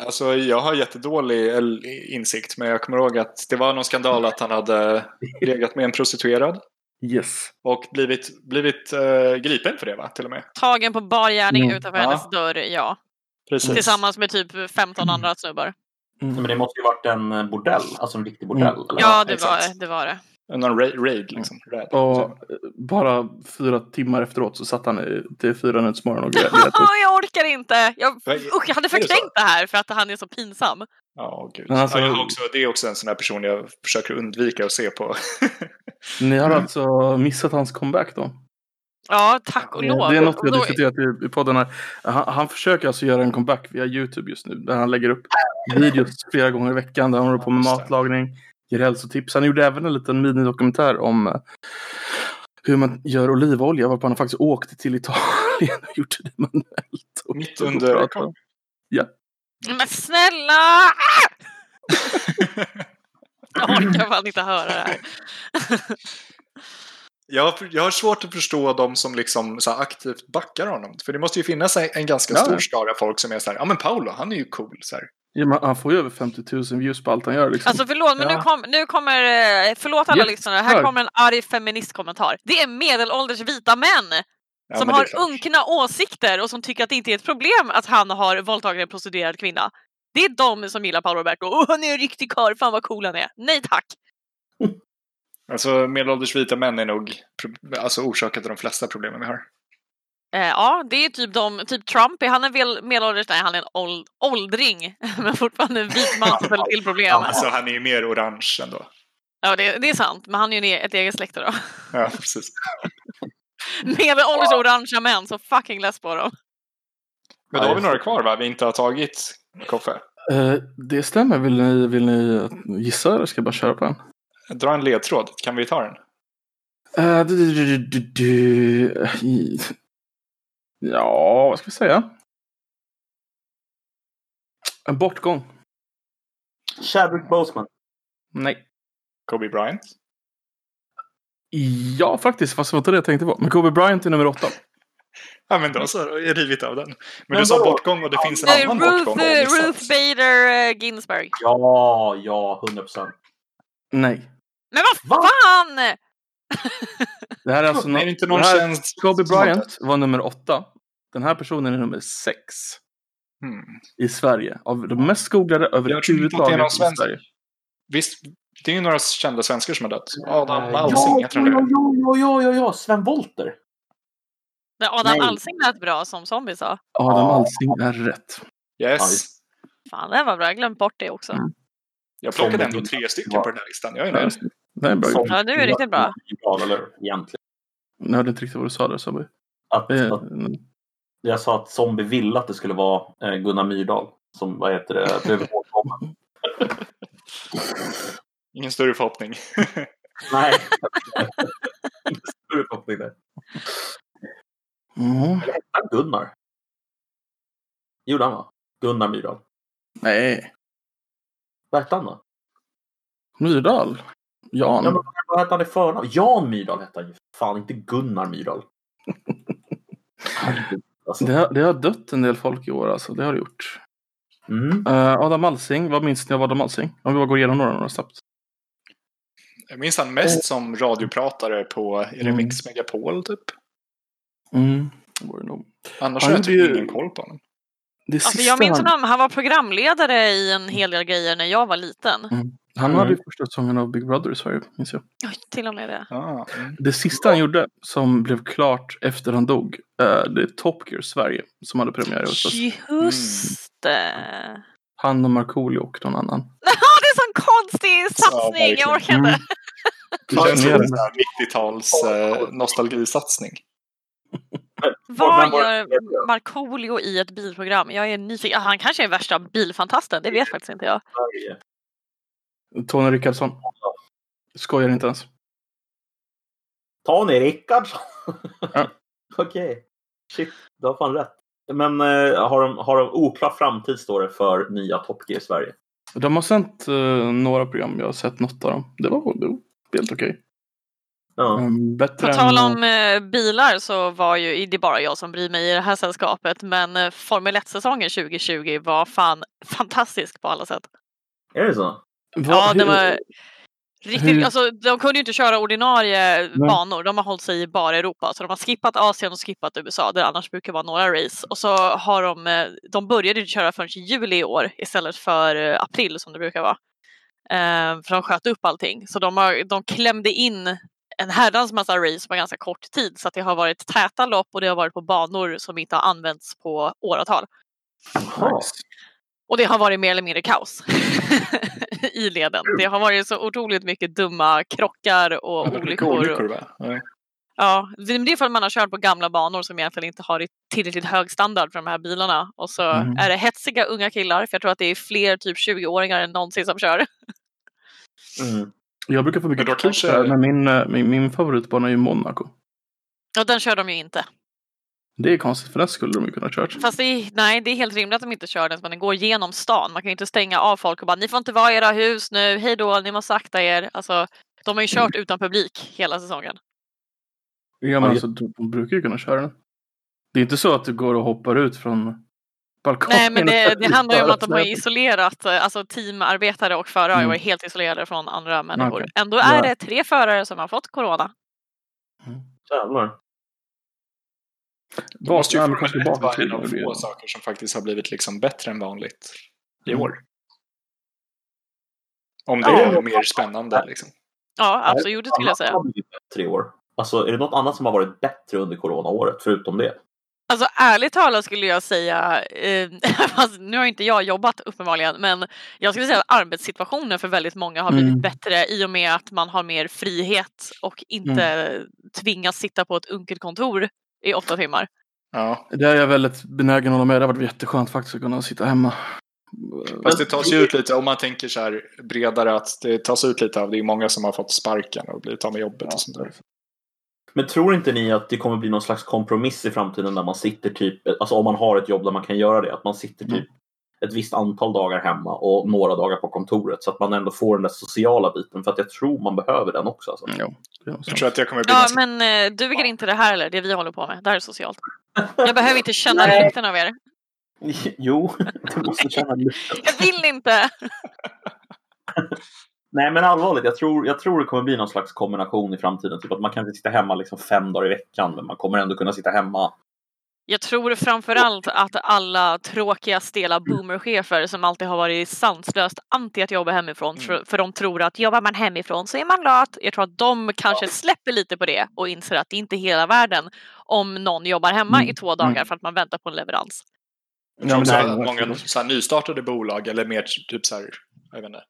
D: Alltså, jag har jättedålig el- insikt, men jag kommer ihåg att det var någon skandal att han hade legat med en prostituerad
A: Yes.
D: och blivit, blivit eh, gripen för det, va? Till och med.
C: Tagen på bar gärning
A: Mm.
C: utanför
D: Ja.
C: hennes dörr, ja.
D: Precis.
C: Tillsammans med typ 15 andra snubbar.
B: Men det måste ju varit en eh, bordell, alltså en riktig bordell. eller?
C: Ja, det var
D: exakt.
C: det. det, var det.
D: Någon ra- raid, liksom. Raid.
A: Och eh, bara fyra timmar efteråt så satt han i- till fyra nyhetsmorgon och grät.
C: jag orkar inte! Jag,
D: Vad-
C: usch, jag hade
D: Är det så?
C: förträngt det här för att han är så pinsam.
D: Ja, gud.
A: Men alltså-
D: ja, jag har också, det är också en sån här person jag försöker undvika att se på.
A: Ni har alltså missat hans comeback då?
C: Ja, tack och lov.
A: Det är något vi
C: Och
A: har
C: då-
A: diskuterat i, i podden här. Han, han försöker alltså göra en comeback via YouTube just nu. Där han lägger upp videos flera gånger i veckan där han håller på med
D: Just det.
A: matlagning, ger hälsotips. Han gjorde även en liten minidokumentär om eh, hur man gör olivolja, varpå han faktiskt åkte till Italien och gjorde det manuellt. Och
D: Mitt
A: och
D: under
A: pratade.
D: rekord.
C: Men snälla! Jag orkar fan inte höra det här.
D: Jag har, jag har svårt att förstå de som liksom så här aktivt backar honom. För det måste ju finnas en, en ganska
A: Ja.
D: stor skara folk som är så här, ja men Paolo, han är ju cool. Så här.
A: Ja, men han får ju över 50 000 views på allt han gör. Liksom.
C: Alltså förlåt, men nu,
D: Ja.
C: kom, nu kommer... eh, Förlåt alla
A: Ja,
C: lyssnare, här
A: kör.
C: kommer en arg feministkommentar. Det är medelålders vita män
D: Ja,
C: som
D: men det är
C: har
D: klart.
C: unkna åsikter och som tycker att det inte är ett problem att han har våldtagit en prostituerad kvinna. Det är de som gillar Paolo Roberto. Åh, han är en riktig karl, fan vad cool han är. Nej tack!
D: Alltså medelålders vita män är nog pro- alltså, orsaken till de flesta problemen vi har.
C: Eh, ja, det är typ de, typ Trump, är han en väl, medelålders? Nej, han är en åld, åldring, men fortfarande en vit man som ställer till problem.
D: Alltså han är ju mer orange ändå.
C: Ja, det, det är sant, men han är ju en e- ett eget släkte då.
D: Ja, precis.
C: Medelålders orangea män, så fucking less på dem.
D: Men då har vi några kvar va? Vi inte har tagit Koffe.
A: Eh, det stämmer. Vill ni, vill ni gissa eller ska jag bara köra på en?
D: Dra en ledtråd. Kan vi ta den?
A: Eh, du, du, du, du, du, i- Ja, vad ska vi säga? En bortgång.
B: Chadwick Boseman.
A: Nej.
D: Kobe Bryant?
A: Ja, faktiskt. Fast det var inte det jag tänkte på. Men Kobe Bryant är nummer åtta.
D: Ja, men då så. Jag har rivit av den. Men,
B: Men
D: du sa
B: då-
D: bortgång och det finns en
C: Eh,
D: annan bortgång.
C: Ruth, eh,
D: Missat.
C: Ruth Bader eh, Ginsburg.
B: Ja, ja, 100 procent.
A: Nej.
C: Men vad
B: Va?
C: fan!
A: Det här är alltså...
D: Nej,
A: nå-
D: det är inte någon
A: det här,
D: tjänst.
A: Kobe
D: som har
A: Bryant var nummer åtta. Den här personen är nummer sex
D: dött. Hmm.
A: i Sverige. Av de mest googlade
D: Jag tror inte att det är
A: överhuvudtaget
D: någon
A: i
D: svensk.
A: Sverige.
D: Visst, det är ju några kända svenskar som har dött.
A: Eh,
D: Adam
A: ja.
D: Alsing, jag tror det.
B: ja,
D: är.
B: ja, ja, ja, ja, Sven Wollter.
C: Nej, Adam
B: Nej.
C: Alsing lät bra som zombie sa.
A: Adam
B: Ja.
A: Alsing är rätt.
B: Ja,
D: Yes.
B: visst.
C: Fan, det här var bra. Jag glömde bort det också.
A: Mm.
D: Jag plockade ändå
B: Zombie.
D: tre stycken på den här listan. Jag är nöjd.
A: Det är bra.
B: Som-
C: Ja, du är riktigt bra.
B: Ja, eller hur? Egentligen.
A: Jag hörde inte riktigt vad du sa där, Sobby.
B: Att,
A: Eh,
B: att jag sa att Zombie ville att det skulle vara eh, Gunnar Myrdal som, vad heter det, blev ihågkommen.
D: Ingen större förhoppning.
B: Nej. Ingen större koppling där.
A: mm.
B: Eller hette han Gunnar? Gjorde han va? Gunnar Myrdal.
A: Nej.
B: Vad hette han då?
A: Myrdal. Jan.
B: Ja, men vad hette han i förnamn? Jan Myrdal hette han ju. Fan, inte Gunnar Myrdal. Herregud, alltså.
A: Det har, det har dött en del folk i år alltså, det har det gjort.
B: Mm.
A: Eh, Adam Alsing, vad minns ni av Adam Alsing? Om vi bara går igenom några, några snabbt.
D: Jag minns han mest som radiopratare på, är det
A: Mm.
D: Mix Megapol typ?
A: Mm. Det, var det, nog.
D: Annars
A: Han
D: har jag
A: gjorde
D: typ
A: ju-
D: ingen koll på honom.
A: det
C: Alltså,
A: sista
C: jag minns
A: han,
C: honom, han var programledare i en hel del grejer när jag var liten.
A: han
D: Mm.
A: hade ju första säsongen av Big Brother i Sverige, minns jag.
C: Oj, till och med det.
D: Ah. mm.
A: Det sista han gjorde, som blev klart efter han dog, eh, det är Top Gear Sverige, som hade premiär i höstas.
C: Just
A: Mm.
C: det.
A: Han och Markoolio och någon annan.
C: Det är en sån konstig satsning, jag
D: verkligen.
C: orkar inte.
A: Mm.
D: Det
A: Ja,
D: känns som
A: det är det.
D: en sån här 90-tals eh, nostalgisatsning.
C: Vad
B: Men var-
C: gör Markoolio i ett bilprogram? Jag är nyfiken. Ah, Han kanske är värsta bilfantasten, det vet faktiskt inte jag.
B: Sverige.
A: Tony Rickardsson. Skojar inte ens.
B: Tony Rickardsson.
A: Ja.
B: Okej. Shit, du har fan rätt. Men eh, har, de, har de oklar framtid står det för nya Top Gear i Sverige.
A: De har sänt eh, några program, jag har sett något av dem. Det var, det var helt okej.
B: Ja.
A: Mm, Bättre
C: På tal
A: än-
C: om eh, bilar så var ju det är bara jag som bryr mig i det här sällskapet men eh, Formel 1-säsongen 2020 var fan fantastisk på alla sätt.
B: Är det så?
A: Vad-
C: Ja, det
A: hur-
C: var riktigt,
A: hur-
C: alltså, de kunde ju inte köra ordinarie banor. De har hållit sig i bara Europa. Så de har skippat Asien och skippat USA där det annars brukar vara några race. Och så har de, eh, de började ju köra förrän i juli i år istället för eh, april som det brukar vara. Eh, för de sköt upp allting. Så de, har, de klämde in en herrans massa race på ganska kort tid. Så att det har varit täta lopp och det har varit på banor som inte har använts på åratal.
A: Nice.
C: Och det har varit mer eller mindre kaos i leden. Det har varit så otroligt mycket dumma krockar och
D: Olika
C: olyckor.
D: olyckor va? Ja.
C: Ja, det men det är för att man har kört på gamla banor som egentligen inte har tillräckligt hög standard för de här bilarna. Och så
A: Mm.
C: är det hetsiga unga killar, för jag tror att det är fler typ 20-åringar än någonsin som kör.
B: Mm.
A: Jag brukar få mycket
D: Men då
A: kritik
D: kanske-
A: där, men min, eh, min, min favoritbana är ju Monaco.
C: Och den kör de ju inte.
A: Det är konstigt, för den skulle de ju kunna ha kört.
C: Fast det är, nej, det är helt rimligt att de inte kör den, men den går genom stan. Man kan ju inte stänga av folk och bara ni får inte vara i era hus nu, hej då, ni måste akta er. Alltså, de har ju kört utan publik hela säsongen.
A: Ja, men
B: Ja,
A: alltså, de de brukar ju kunna köra den. Det är inte så att du går och hoppar ut från balkongen.
C: Nej, men det,
A: och
C: det handlar ju om att de har
A: bara-
C: isolerat, eh, alltså teamarbetare och förare har ju
A: Mm.
C: varit helt isolerade från andra människor.
A: Okej.
C: Ändå är
A: Ja.
C: det tre förare som har fått corona.
B: Jävlar.
D: Det måste ju
A: Vaknar,
D: Formel
A: kanske
D: 1
A: bakåt
D: vara
A: till
D: en av
A: och det-
D: få saker som faktiskt har blivit liksom bättre än vanligt i
A: Mm.
D: år. Om det
C: Ja.
D: är mer spännande liksom.
C: Ja, absolut det skulle jag säga.
B: Annat har blivit bättre i år. Alltså, är det något annat som har varit bättre under coronaåret förutom det?
C: Alltså ärligt talat skulle jag säga, eh, fast nu har inte jag jobbat uppenbarligen, men jag skulle säga att arbetssituationen för väldigt många har blivit
A: Mm.
C: bättre i och med att man har mer frihet och inte
A: Mm.
C: tvingas sitta på ett unkelt kontor i åtta timmar.
D: Ja.
A: Det är jag väldigt benägen att hålla med. Det har varit jätteskönt faktiskt att kunna sitta hemma.
D: Fast det tas ju ut lite, om man tänker så här bredare, att det tas ut lite av, det är många som har fått sparken och blivit av med jobbet och sånt där.
B: Men tror inte ni att det kommer bli någon slags kompromiss i framtiden där man sitter typ, alltså om man har ett jobb där man kan göra det, att man sitter typ ett visst antal dagar hemma och några dagar på kontoret så att man ändå får den där sociala biten för att jag tror man behöver den också. Alltså.
A: Jo, det är nog
D: Jag
A: sant.
D: tror att det kommer bli
C: Ja,
D: ganska
C: men eh, duger inte det här eller det vi håller på med? Det här är socialt. Jag behöver inte känna
B: Nej.
C: lukten av er.
B: Jo, du måste känna lite.
C: Jag vill inte!
B: Nej men allvarligt, jag tror, jag tror det kommer bli någon slags kombination i framtiden. Typ att man kan inte sitta hemma liksom fem dagar i veckan men man kommer ändå kunna sitta hemma.
C: Jag tror framförallt att alla tråkiga stela boomerchefer som alltid har varit sanslöst anti att jobba hemifrån för, för de tror att jobbar man hemifrån så är man lat. Jag tror att de kanske släpper lite på det och inser att det inte är hela världen om någon jobbar hemma
A: Mm,
C: i två dagar
A: mm.
C: för att man väntar på en leverans.
D: Jag tror
A: men
D: också
A: det är
D: att
A: nog
D: många
A: absolut.
D: så här, nystartade bolag eller mer typ så här, jag vet inte,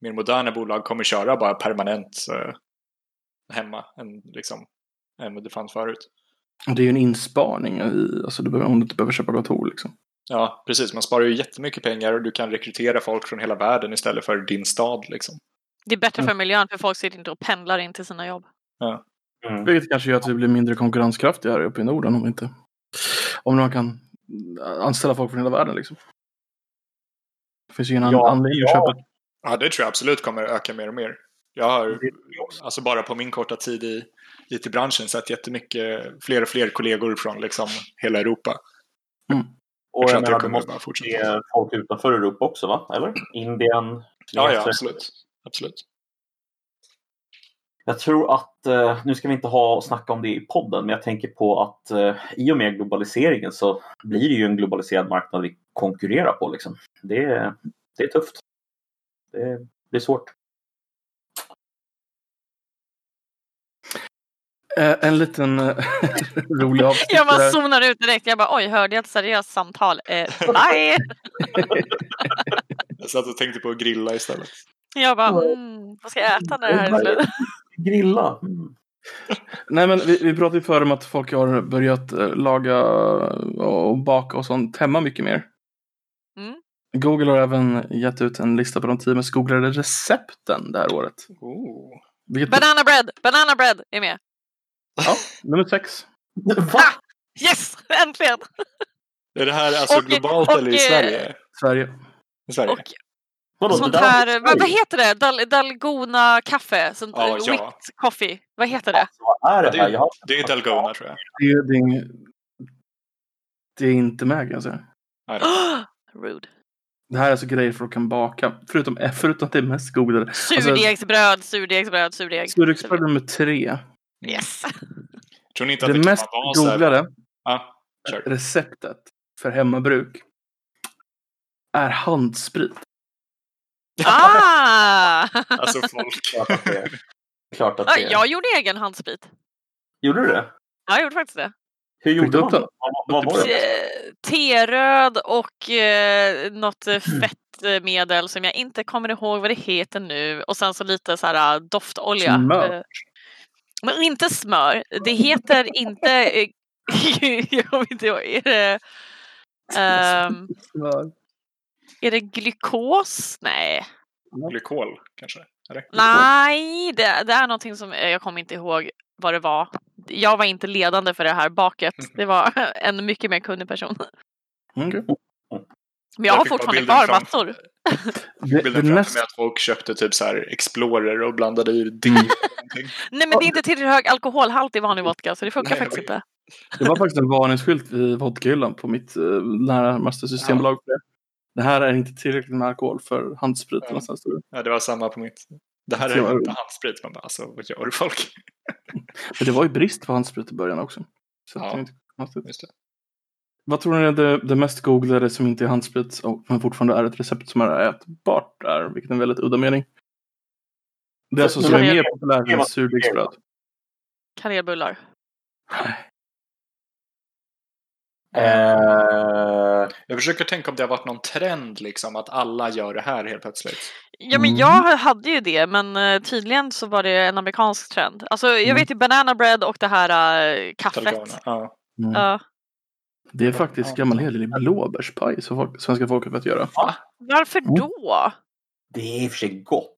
D: mer moderna bolag kommer köra bara permanent eh, hemma än, liksom, än vad det fanns förut.
A: Och Det är ju en inspaning. I, alltså, du behöver, om du inte behöver köpa dator liksom.
D: Ja, precis. Man sparar ju jättemycket pengar och du kan rekrytera folk från hela världen istället för din stad. Liksom.
C: Det är bättre
A: Mm.
C: för miljön för folk sitter inte och pendlar in till sina jobb.
A: Vilket kanske gör att vi blir mindre konkurrenskraftiga här uppe i Norden om vi inte... Om man kan anställa folk från hela världen liksom. Det finns ju ingen
B: Ja,
A: anledning att
B: ja.
A: köpa
D: Ja, det tror jag absolut kommer öka mer och mer. Jag har alltså bara på min korta tid i IT-branschen sett jättemycket fler och fler kollegor från liksom, hela Europa.
B: Och
D: Jag
B: jag
D: tror att det
B: menar, det
D: kommer
B: måste
D: bara
B: Det
D: fortsätta.
B: är folk utanför Europa också, va? Eller? Indien?
D: Ja, ja,
B: Kineser.
D: absolut. absolut.
B: Jag tror att, eh, nu ska vi inte ha och snacka om det i podden, men jag tänker på att eh, i och med globaliseringen så blir det ju en globaliserad marknad vi konkurrerar på. Liksom. Det, är- det är tufft. Det blir svårt.
A: Eh, en liten eh, rolig avsnitt.
C: Jag bara
A: där.
C: zonar ut direkt. Jag bara oj, hörde jag ett seriöst samtal? Eh, nej!
D: Jag satt och tänkte på att grilla istället.
C: Jag bara mm, vad ska jag äta när det här är slut?
B: Grilla! Mm.
A: Nej, men vi, vi pratade ju förr om att folk har börjat eh, laga eh, och baka och sånt hemma mycket mer.
C: Mm.
A: Google har även gett ut en lista på de tio mest googlade recepten det här året.
D: Oh.
A: Vilket
C: Banana bread! Banana bread är med!
A: nummer sex.
B: Va?
C: Ah! Yes! Äntligen!
D: Är det här alltså
C: Och-
D: globalt
C: och,
D: eller i
C: eh,
D: Sverige?
A: Sverige.
D: I Sverige?
C: Och,
B: Vadå,
C: Sånt
B: det där-
C: här, vad, vad heter det? Dal, dalgona kaffe? Sånt,
D: Ja, ja.
C: Whipped coffee? Vad heter det?
B: Vad är det här? Jag har...
D: Det är Dalgona tror jag.
A: Det är, det är, ing- det är inte med kan jag säga.
C: Rude.
A: Det här är alltså grejer folk kan baka. Förutom, förutom att det är mest godare.
C: Surdegsbröd, surdegsbröd, surdeg.
A: Surdegsbröd nummer tre.
C: Yes!
D: Tror ni inte att det,
A: Det
D: kan
A: mest
D: vara så här?
A: googlade
D: Ja, kör.
A: receptet för hemmabruk är handsprit.
C: Ah!
D: Alltså folk.
B: Klart att det är. Klart att
C: Ja,
B: det är.
C: jag gjorde egen handsprit.
B: Gjorde du det?
C: Ja, jag gjorde faktiskt det.
B: Hur
A: Fick du
B: gjorde
A: upp
B: man
A: den?
B: det? Vad, vad var det?
C: Eh, T-röd och eh, något eh,
D: Mm.
C: fettmedel som jag inte kommer ihåg vad det heter nu. Och sen så lite så här eh, doftolja.
A: Smör.
C: Eh, Men inte smör. Det heter inte... eh, jag vet inte vad är det.
A: Mm,
C: Ehm, är det glukos? Nej.
D: Glykol kanske? Eller?
C: Nej, det, det är någonting som eh, jag kommer inte ihåg vad det var. Jag var inte ledande för det här baket. Det var en mycket mer kunnig person.
A: Mm, okej.
C: Men jag
D: Jag
C: har
D: fick bara
C: fortfarande
D: bilden
C: kvar
D: fram-
C: massor.
A: Det, det
D: Bilden framför
A: mest
D: mig att folk köpte typ så här Explorer och blandade i dill
A: Mm.
D: eller någonting.
C: Nej men det är inte tillräckligt hög alkoholhalt i vanlig vodka så det funkar
D: Nej,
C: faktiskt
D: okej.
C: inte.
A: Det var faktiskt en varningsskylt vid vodkahyllan på mitt eh, närmaste systembolag. För det. det här är inte tillräckligt med alkohol för handsprit.
D: Ja.
A: eller något sånt, står det.
D: Ja, det var samma på mitt. Det här
A: Ja.
D: är inte handsprit. Man bara, alltså vad gör folk?
A: Men det var ju brist på handsprit i början också. Så
D: Ja.
A: det är inte konstigt.
D: Just det.
A: Vad tror ni är det, det mest googlade som inte är handsprit och, men fortfarande är ett recept som är ätbart? Där, vilket är en väldigt udda mening. Det är alltså som är mer populärt än surdegsbröd.
C: Kanelbullar.
B: Eh,
D: Jag försöker tänka om det har varit någon trend liksom att alla gör det här helt plötsligt.
C: Ja men
A: Mm.
C: jag hade ju det men eh, tydligen så var det en amerikansk trend. Alltså jag
A: Mm.
C: vet ju banana bread och det här eh, kaffet.
D: Dalgona. Ja.
A: Mm.
C: Ja.
A: Det är faktiskt gammal hederlig blåbärspaj som folk, svenska folket vet göra.
C: varför
A: Mm.
C: då?
B: det är i och för sig gott.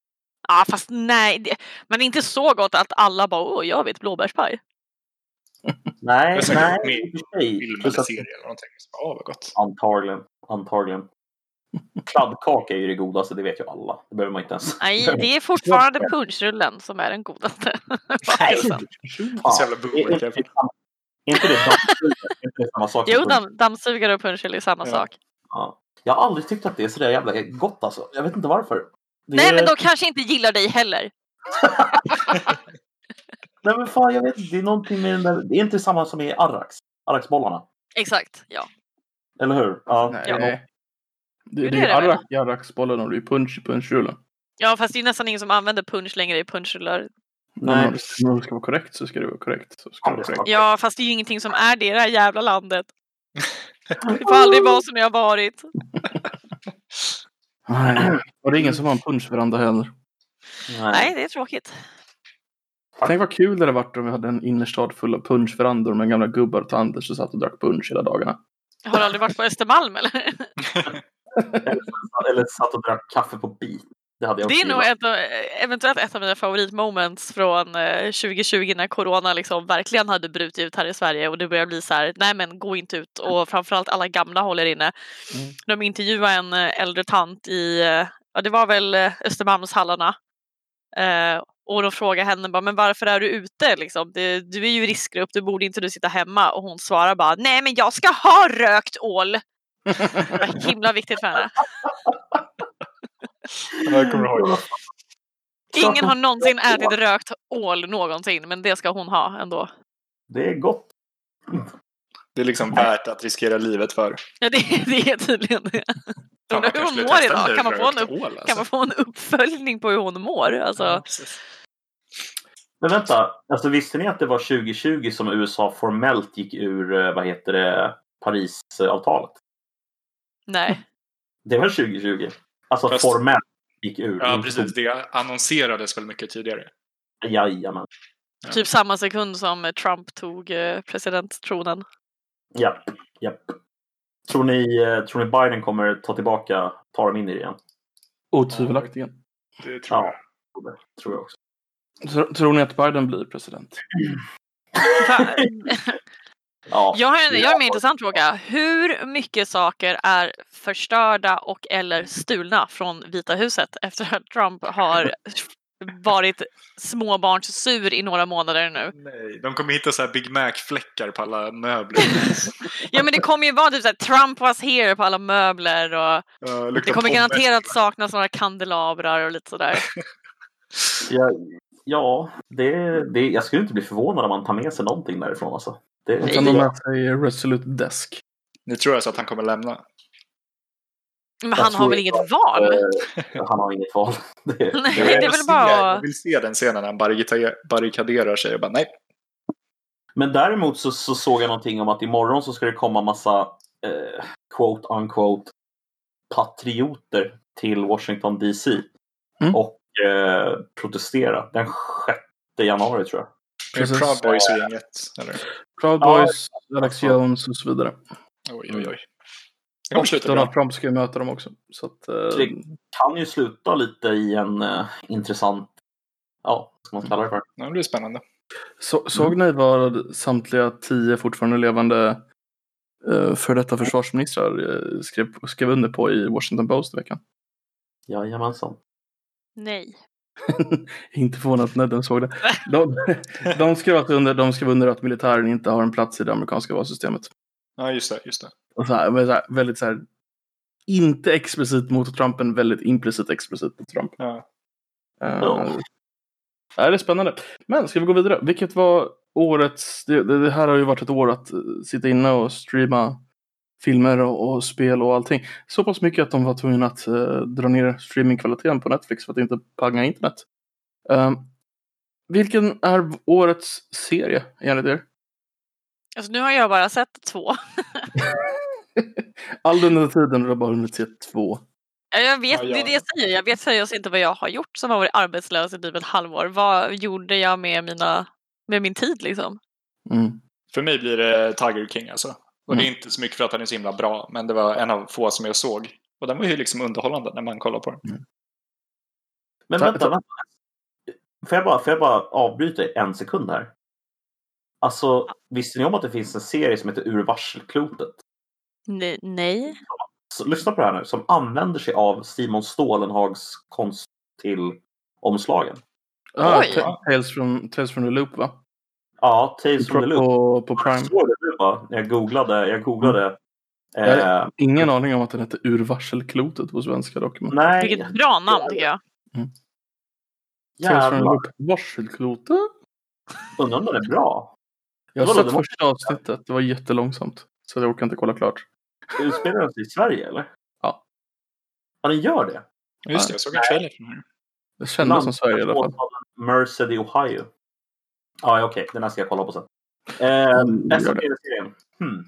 C: Ja fast nej, det, men inte så gott att alla bara åh jag vet blåbärspaj.
B: Nej,
D: Jag har
B: nej.
D: säkert med
B: i och för sig.
D: film
B: Plus
D: eller
B: att-
D: serie eller någonting. Så, bara, Åh, vad gott.
B: Antagligen. Antagligen. Kladdkaka är ju det godaste, det vet ju alla. Det behöver man inte ens.
C: Nej det är fortfarande punchrullen som är den godaste.
D: Det är
B: Fan.
D: så jävla
B: Är
D: boomer.
B: inte det samma- är inte det dammsugare? Är inte det samma sak? som
C: Jo
B: punsch?
C: damm, dammsugare och punchrulle är samma
D: Ja.
C: sak.
B: Ja. Jag har aldrig tyckt att det är sådär jävla gott alltså. Jag vet inte varför. Det
C: Nej
B: är...
C: men de kanske inte gillar dig heller.
B: Nej men fan, jag vet inte. Det är någonting med den där... Det är inte samma som i Arrax. Arraxbollarna.
C: Exakt, ja.
B: Eller hur? Ja.
C: Ja.
A: Nej. Det,
C: är
A: det är
C: det väl?
A: arrak, arraksbollen och det är punch i punchrullen.
C: Ja fast det är nästan ingen som använder punch längre i punchrullar.
A: Nej.
B: Nej.
A: Om det- om det ska vara korrekt så ska det vara korrekt. Så ska det vara korrekt.
C: Ja, fast det är ju ingenting som är det i det här jävla landet. Det får aldrig vara som jag har varit.
A: Nej. Och det är ingen som har en punschveranda heller.
C: Nej, det är tråkigt.
A: Tänk vad kul det hade varit om vi hade en innerstad full av punschverandor med gamla gubbar och tanter som satt och drack punch hela dagarna.
C: Jag har aldrig varit på Östermalm eller?
B: Eller satt och drack kaffe på bit. Det hade jag
C: Det
B: också
C: är nog
B: gillat.
C: ett, av- eventuellt ett av mina favoritmoments från eh, 2020 när corona liksom verkligen hade brutit ut här i Sverige och det börjar bli så här, nej men gå inte ut
B: Mm.
C: och framförallt alla gamla håller inne.
A: Mm.
C: De intervjuade en eh, äldre tant i, eh, ja det var väl eh, Östermalmshallarna. Eh, och de frågar henne bara, men varför är du ute liksom? Det, du är ju i riskgrupp, du borde inte du sitta hemma? Och hon svarar bara, nej men jag ska ha rökt ål! Det var himla viktigt för henne.
D: Jag kommer ihåg.
C: Ingen har någonsin ätit rökt ål någonsin, men det ska hon ha ändå.
B: Det är gott.
D: Det är liksom värt att riskera livet för.
C: Ja, det, det är tydligen det.
D: Fan,
C: Undrar hur
D: man kanske
C: hon
D: skulle
C: mår
D: testa
C: idag. Kan
D: en
C: man, få en upp,
D: rökt ål,
C: kan
D: alltså.
C: man få en uppföljning på hur hon mår? Alltså,
D: Ja, precis.
B: Men vänta, alltså visste ni att det var 2020 som USA formellt gick ur, eh, vad heter det, Parisavtalet?
C: nej.
B: Det var 2020. Alltså
D: Fast-
B: formellt gick ur.
D: Ja, precis. Det annonserades väl mycket tidigare.
B: Jajamän.
D: Ja.
C: Typ samma sekund som Trump tog eh, presidenttronen.
B: Japp, japp. Tror ni, eh, tror ni Biden kommer ta tillbaka, ta dem in i det igen?
A: Otvivelaktigen.
D: Det tror
B: Ja.
D: jag.
B: Tror jag också.
A: Tr- Tror ni att Biden blir president?
C: Fan.
B: Ja.
C: Jag har en, jag har en mer intressant fråga. Hur mycket saker är förstörda och eller stulna från Vita huset efter att Trump har varit småbarnssur i några månader nu?
D: Nej, de kommer hitta så här Big Mac-fläckar på alla möbler.
C: Ja men det kommer ju vara typ såhär Trump was here på alla möbler och
D: Eh,
C: det
D: luktar
C: kommer
D: pommes.
C: garanterat saknas några kandelabrar och lite sådär.
B: Ja, ja det, det, jag skulle inte bli förvånad om man tar med sig någonting därifrån alltså. Det,
A: Utan de med sig Resolute Desk.
D: Ni tror alltså att han kommer lämna?
C: Men
B: Jag
C: han har
B: tror
C: väl
B: inte
C: inget val?
B: Eh, han har inget val. Det,
C: Nej,
D: Jag
C: det
D: vill
C: är väl
D: se-
C: bara
D: Jag
C: att...
D: vill se den scenen när han barrikade- barrikaderar sig och bara nej.
B: Men däremot så, så såg jag någonting om att imorgon så ska det komma massa eh, quote unquote patrioter till Washington DC
A: Mm.
B: och eh, protestera den 6 januari tror jag.
D: Är det
A: Precis.
D: Proud Boys-gänget? Eller?
A: Proud
B: Ja,
A: Boys, Alex
B: alltså.
A: Jones och så vidare.
D: Oj, oj, oj. Det kommer sluta
A: Donald
D: bra.
A: Trump ska ju möta dem också. Så att, eh,
B: Det- Kan ju sluta lite i en eh, intressant, ja, vad ska man kalla det för?
D: Ja, Det blir spännande.
A: så, såg
B: Mm.
A: ni vad samtliga tio fortfarande levande eh, för detta försvarsministrar eh, skrev, skrev under på i Washington Post i veckan?
B: Jajamensan.
C: Nej.
A: Inte förvånad att nödden såg det. De, de, skrev alltså under, de skrev under att militären inte har en plats i det amerikanska valsystemet.
D: Ja, just det. Just det.
A: Och så här, men så här, väldigt så här, inte explicit mot Trump, men väldigt implicit explicit mot Trump.
D: Ja.
A: Eh,
B: Ja.
A: ja, det är spännande. Men ska vi gå vidare? Vilket var årets... Det, det, det här har ju varit ett år att eh, sitta inne och streama filmer och, och spel och allting. Så pass mycket att de var tvungna att eh, dra ner streamingkvaliteten på Netflix för att inte panga internet. Eh, vilken är v- årets serie enligt er?
C: Alltså, nu har jag bara sett två.
A: All den här tiden har jag bara hunnit se två.
C: Ja, Jag vet,
D: Ja,
C: det
D: ja.
C: är det jag säger. Jag vet seriöst inte vad jag har gjort som har varit arbetslös i typ ett halvår. Vad gjorde jag med, mina, med min tid liksom?
A: Mm.
D: För mig blir det Tiger King alltså. Och det är
A: Mm.
D: inte så mycket för att den är så himla bra, men det var en av få som jag såg. Och den var ju liksom underhållande när man kollar på den.
B: Men
A: Ta-
B: vänta,
A: ta-
B: vänta. Får jag, bara, får jag bara avbryta i en sekund här? Alltså, visste ni om att det finns en serie som heter Ur varselklotet?
C: Ne- nej.
B: Så, lyssna på det här nu. Som använder sig av Simon Stålenhags konst till omslagen.
A: Ah,
C: Oj.
A: Ta- Tales from, Tales from the Loop va?
B: Ja, Tales from the Loop.
A: På, på
B: Jag
A: Prime.
B: såg det nu va? När Jag googlade. Jag googlade. Eh,
A: Ingen aning om att den hette Ur varselklotet på svenska dock. men-
B: nej,
C: Vilket bra namn tycker jag.
A: Tales from the
B: jävlar.
A: Loop. Varselklotet?
B: Undrar om den är bra.
A: Jag har
B: Vadå,
A: sett
B: det var-
A: första avsnittet. Det var jättelångsamt. Så jag orkar inte kolla klart.
B: Utspelar den sig i Sverige eller?
A: Ja.
B: Ja, den gör det.
D: Just det, jag såg en trailer från den.
A: Det kändes som Sverige i alla fall.
B: Landsbygdsåtalen Merced i Ohio. Ja, ja, okej. Den här ska jag kolla på sen. Eh, nästa
A: Mm, gör det.
B: tv-serien. Hmm.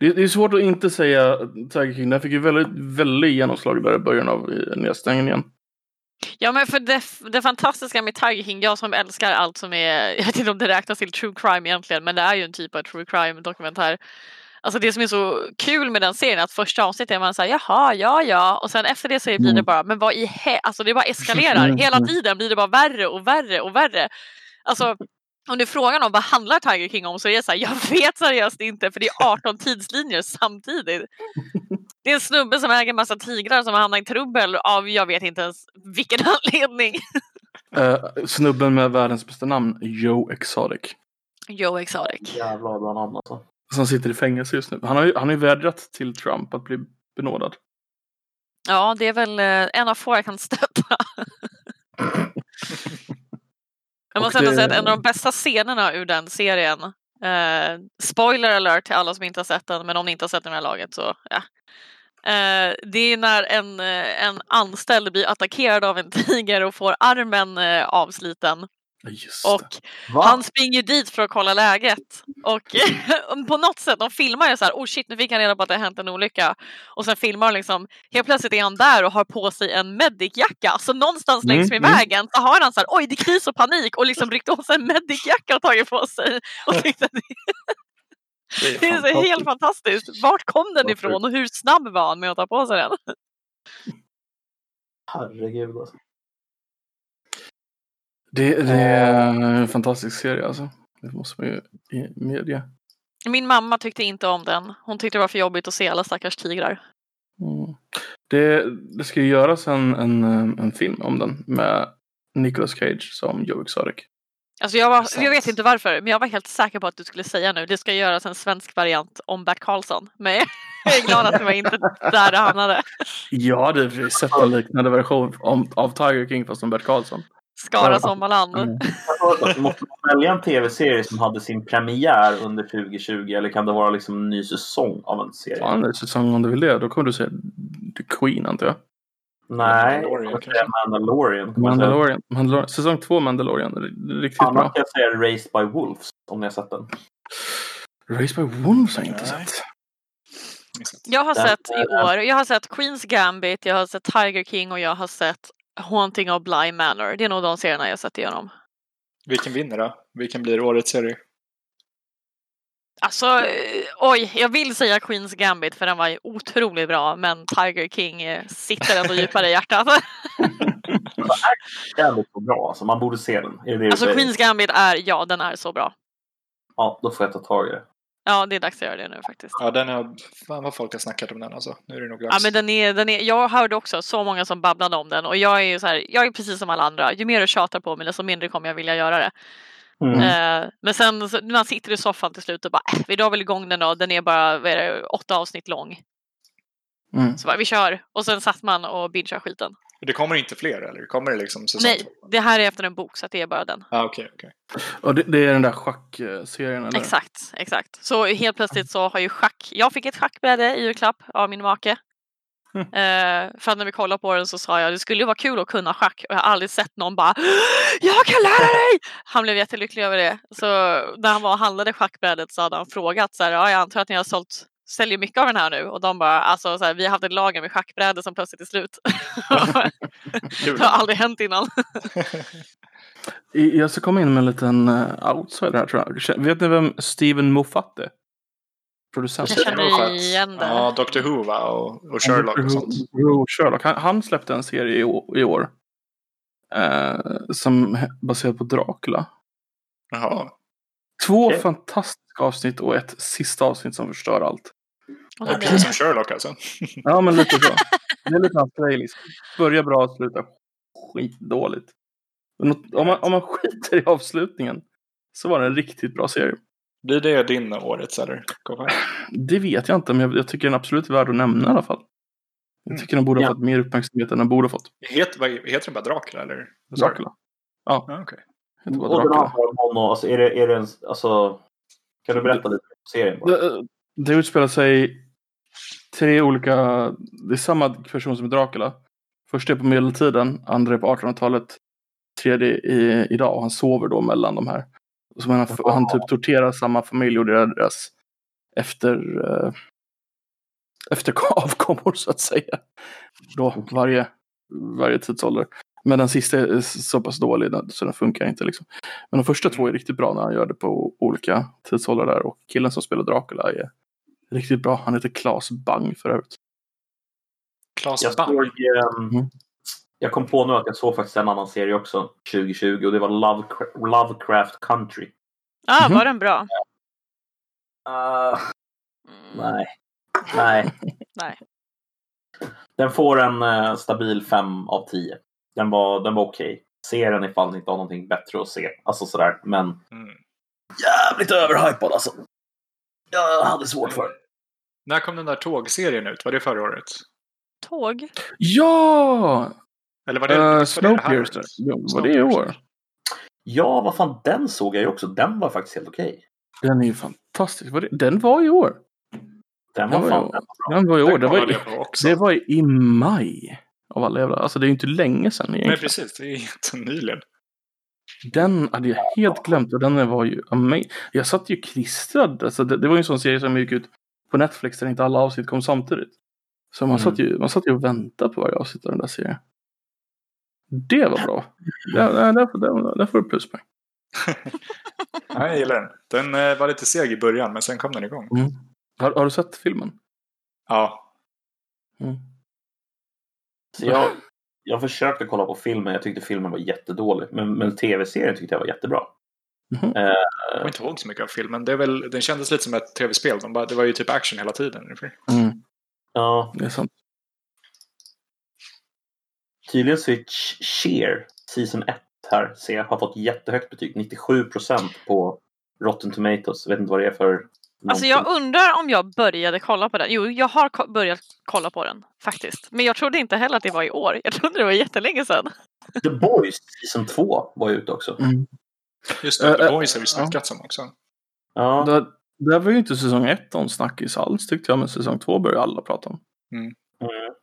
A: Det, det är svårt att inte säga Tiger King. Den fick ju väldigt, väldigt genomslag där i början av eh, nedstängningen.
C: Ja men för det, det fantastiska med Tiger King, jag som älskar allt som är, jag vet inte om det räknas till true crime egentligen, men det är ju en typ av true crime dokumentär. Alltså det som är så kul med den serien är att första avsnittet är man såhär jaha, ja, ja och sen efter det så blir det
A: Mm.
C: bara men vad i he-? Alltså det bara eskalerar.
A: Mm,
C: Hela
A: mm.
C: tiden blir det bara värre och värre och värre. Alltså om du frågar någon vad handlar Tiger King om så är det såhär jag vet seriöst inte för det är 18 tidslinjer samtidigt. Det är en snubbe som äger en massa tigrar som har hamnat i trubbel av jag vet inte ens vilken anledning.
A: Eh, snubben med världens bästa namn, Joe Exotic.
C: Joe Exotic.
B: Jävlar bra namn alltså.
A: Som sitter i fängelse just nu. Han har ju, han har ju vädrat till Trump att bli benådad.
C: Ja, det är väl eh, en av få jag kan stötta. jag måste
A: Och
C: ändå
A: det-
C: säga att en av de bästa scenerna ur den serien, eh, spoiler alert till alla som inte har sett den, men om ni inte har sett den i det här laget så ja. Eh, det är när en, eh, en anställd blir attackerad av en tiger och får armen eh, avsliten.
A: Ja, Just
C: Och
A: det.
B: Va?
C: Han springer dit för att kolla läget. Och på något sätt, de filmar ju så här, oh shit nu fick han reda på att det har hänt en olycka. Och sen filmar de liksom, helt plötsligt är han där och har på sig en medicjacka. Så någonstans längs
A: Mm,
C: med
A: mm.
C: vägen så har han så här, oj det är kris och panik och liksom ryckt åt sig en medicjacka och tagit på sig. Och tyckte, att det är så helt fantastiskt. Vart kom den
A: Vad
C: ifrån och hur snabb var han med att ta på sig den?
B: Herregud alltså. Eh.
A: Det, det är en fantastisk serie alltså. Det måste man ju i- medge.
C: Min mamma tyckte inte om den. Hon tyckte det var för jobbigt att se alla stackars tigrar.
A: Mm. Det, det ska ju göras en, en, eh, en film om den med Nicolas Cage som Joe Exotic.
C: Alltså jag, var, jag vet
D: Sant.
C: inte varför, men jag var helt säker på att du skulle säga nu. Det ska göras en svensk variant om Bert Karlsson. Men jag är glad att det var inte där det hamnade.
A: Jag hade i och för sig sett en liknande version om, av Tiger King fast som Bert Karlsson.
C: Skara Sommarland.
A: Mm.
B: Alltså, måste man välja en tv-serie som hade sin premiär under 2020 eller kan det vara liksom en ny säsong av en serie?
A: Fan, det är säsong om du vill det. Då kommer du säga The Queen antar jag.
B: Nej,
D: Mandalorian,
B: jag kommer säga
D: kanske.
B: Mandalorian. kommer jag säga.
A: Mandalorian. Mandalorian. Säsong två Mandalorian. R- Riktigt
B: Annars
A: bra.
B: kan jag säga Raised by Wolves om ni har sett den.
A: Race by Wolves har jag inte
D: Nej.
A: sett.
C: Jag har
B: Den-
C: sett i år, jag har sett Queens Gambit, jag har sett Tiger King och jag har sett Haunting of Bly Manor. Det är nog de serierna jag har sett igenom.
D: Vilken vinner då? Vilken blir årets serie?
C: Alltså, eh, oj, jag vill säga Queens Gambit för den var ju otroligt bra men Tiger King eh, sitter ändå djupare i hjärtat.
B: Den är så bra alltså. Man borde se den. Är det det du
C: Alltså
B: säger?
C: Queens Gambit är, ja den är så bra.
B: Ja, då får jag ta tag i det.
C: Ja, det är dags att göra det nu faktiskt.
D: Ja, den har... Fan vad folk har snackat om den alltså. Nu är det nog dags.
C: Ja, men den är, den är, jag hörde också så många som babblade om den och jag är ju så här, jag är precis som alla andra. Ju mer du tjatar på mig desto mindre kommer jag vilja göra det.
B: Mm.
C: Eh, men sen så- när man sitter i soffan till slut och bara, "Äh, vi drar väl igång den då. Den är bara vad är det, åtta avsnitt lång.
A: Mm.
C: Så bara, vi kör. Och sen satt man och bingeade skiten.
D: Det kommer inte fler eller? Kommer det liksom säsong
C: Nej,
D: två?
C: det här är efter en bok så att det är bara den.
D: Ah, okej, okej.
A: Och det, det är den där schackserien eller?
C: Exakt, exakt. Så helt plötsligt så har ju schack, jag fick ett schackbräde i julklapp av min make.
A: Mm.
C: Eh, för att när vi kollade på den så sa jag det skulle ju vara kul att kunna schack och jag har aldrig sett någon bara Jag kan lära dig! Han blev jättelycklig över det. Så när han var och handlade schackbrädet så hade han frågat så här, ja, jag antar att ni har sålt säljer mycket av den här nu och de bara alltså så här, vi har haft ett lager med schackbrädor som plötsligt är slut.
D: Kul.
C: det har aldrig hänt innan.
A: I- Jag ska komma in med en liten eh, outsider här tror jag. Kä- Vet ni vem Steven Moffat är? Producent.
C: Jag känner
D: Sherlock Holmes.
C: igen det.
D: Ja, Dr. Who va? Och, och Sherlock och sånt.
A: Jo, Sherlock. Han, han släppte en serie i år, i år eh, som he- baserad på Dracula.
D: Jaha.
A: Två
B: Okej.
A: fantastiska avsnitt och ett sista avsnitt som förstör allt.
C: Och
D: Ja,
C: det-
D: precis som Sherlock alltså.
B: Mm.
A: Ja, men lite så. Det är lite hans grej liksom. Börja bra och sluta skitdåligt. Men något- Om man, om man skiter i avslutningen så var det en riktigt bra serie.
D: Blir det din årets eller? Kolla.
A: Det vet jag inte, men jag, jag tycker den är absolut värd att nämna i alla fall. Jag tycker den borde ha
B: Mm. Ja.
A: fått mer uppmärksamhet än den borde ha fått.
D: Het, vad, heter den bara Dracula eller?
A: Dracula.
D: Ja, Ah, okej.
A: Heter bara
B: Och den
A: Dracula.
B: handlar om honom. Alltså, är det, är det en, alltså, kan du berätta lite om serien? Bara?
A: Det, Eh, det utspelar sig tre olika... Det är samma person som i Dracula. Första är på medeltiden, andra är på 1800-talet, tredje i, idag. Och han sover då mellan de här. Och så han, och han typ torterar samma familj och deras efter, eh, efter avkommor så att säga. Då varje, varje tidsålder. Men den sista är så pass dålig så den funkar inte. Liksom. Men de första två är riktigt bra när han gör det på olika tidsåldrar där. Och killen som spelar Dracula är riktigt bra. Han heter Claes Bang för övrigt.
D: Claes
B: Jag,
D: Bang.
B: såg, ehm,
A: Mm.
B: jag kom på nu att jag såg faktiskt en annan serie också 2020 och det var Lovecraft, Lovecraft Country.
C: Ah,
A: Mhm.
C: var den bra?
B: Ah,
C: Mm.
B: nej. nej.
C: Nej.
B: Den får en eh, stabil 5 av 10. Den var, den var okej. Se den ifall ni inte har någonting bättre att se. Alltså sådär. Men
D: Mm.
B: jävligt överhypad alltså. Jag hade svårt för det.
D: När kom den där tågserien ut? Var det förra året?
C: Tåg?
A: Ja!
D: Eller var det, var det det
A: Uh,
D: här
A: Snowpiercer.
D: året?
A: Ja, Var det i år?
B: Ja, vad fan, den såg jag ju också. Den var faktiskt helt okej.
A: Den är ju fantastisk. Var det- Den var i år.
B: Den var
A: Den var
B: fan
A: ju-
B: den var bra.
A: Den var i år.
D: Den
A: Det var,
D: kollade
A: i-
D: jag på också.
A: det var i maj. Av alla jävla... Alltså det är ju inte länge sedan
D: Nej,
A: egentligen.
D: precis. Det är jättenyligen.
A: Den hade jag helt glömt och den var ju amazing. Jag satt ju klistrad. Alltså det, det var ju en sån serie som gick ut på Netflix där inte alla avsnitt kom samtidigt. Så man,
B: Mm.
A: satt, ju, man satt ju och väntade på varje avsnitt av den där serien. Det var bra. Där, där, där, får- där, där får du pluspoäng.
D: Ja, jag gillar den. Den eh, var lite seg i början, men sen kom den igång.
A: Har, har du sett filmen?
D: Ja,
B: Så jag, jag försökte kolla på filmen. Jag tyckte filmen var jättedålig. Men, men tv-serien tyckte jag var jättebra.
A: Mhm.
B: Eh,
D: Jag kommer inte ihåg så mycket av filmen. Det är väl, den kändes lite som ett tv-spel. De bara, det var ju typ action hela tiden. ungefär.
A: Mm,
B: ja,
A: det är sant.
B: tydligen så är Ch- Cheer, season 1 här, ser jag, har fått jättehögt betyg. 97 procent på Rotten Tomatoes. Jag vet inte vad det är för...
C: Alltså jag undrar om jag började kolla på den. Jo, jag har ko- börjat kolla på den faktiskt. Men jag trodde inte heller att det var i år. Jag trodde det var jättelänge sedan.
B: The Boys, season 2, var ju ute också.
D: Just
A: Eh,
D: det, The
A: eh,
D: Boys har vi snackat om också.
B: Ja.
A: Där, där var ju inte säsong ett någon snackis alls tyckte jag, men säsong två började alla prata om.
D: Mm.
B: Mm.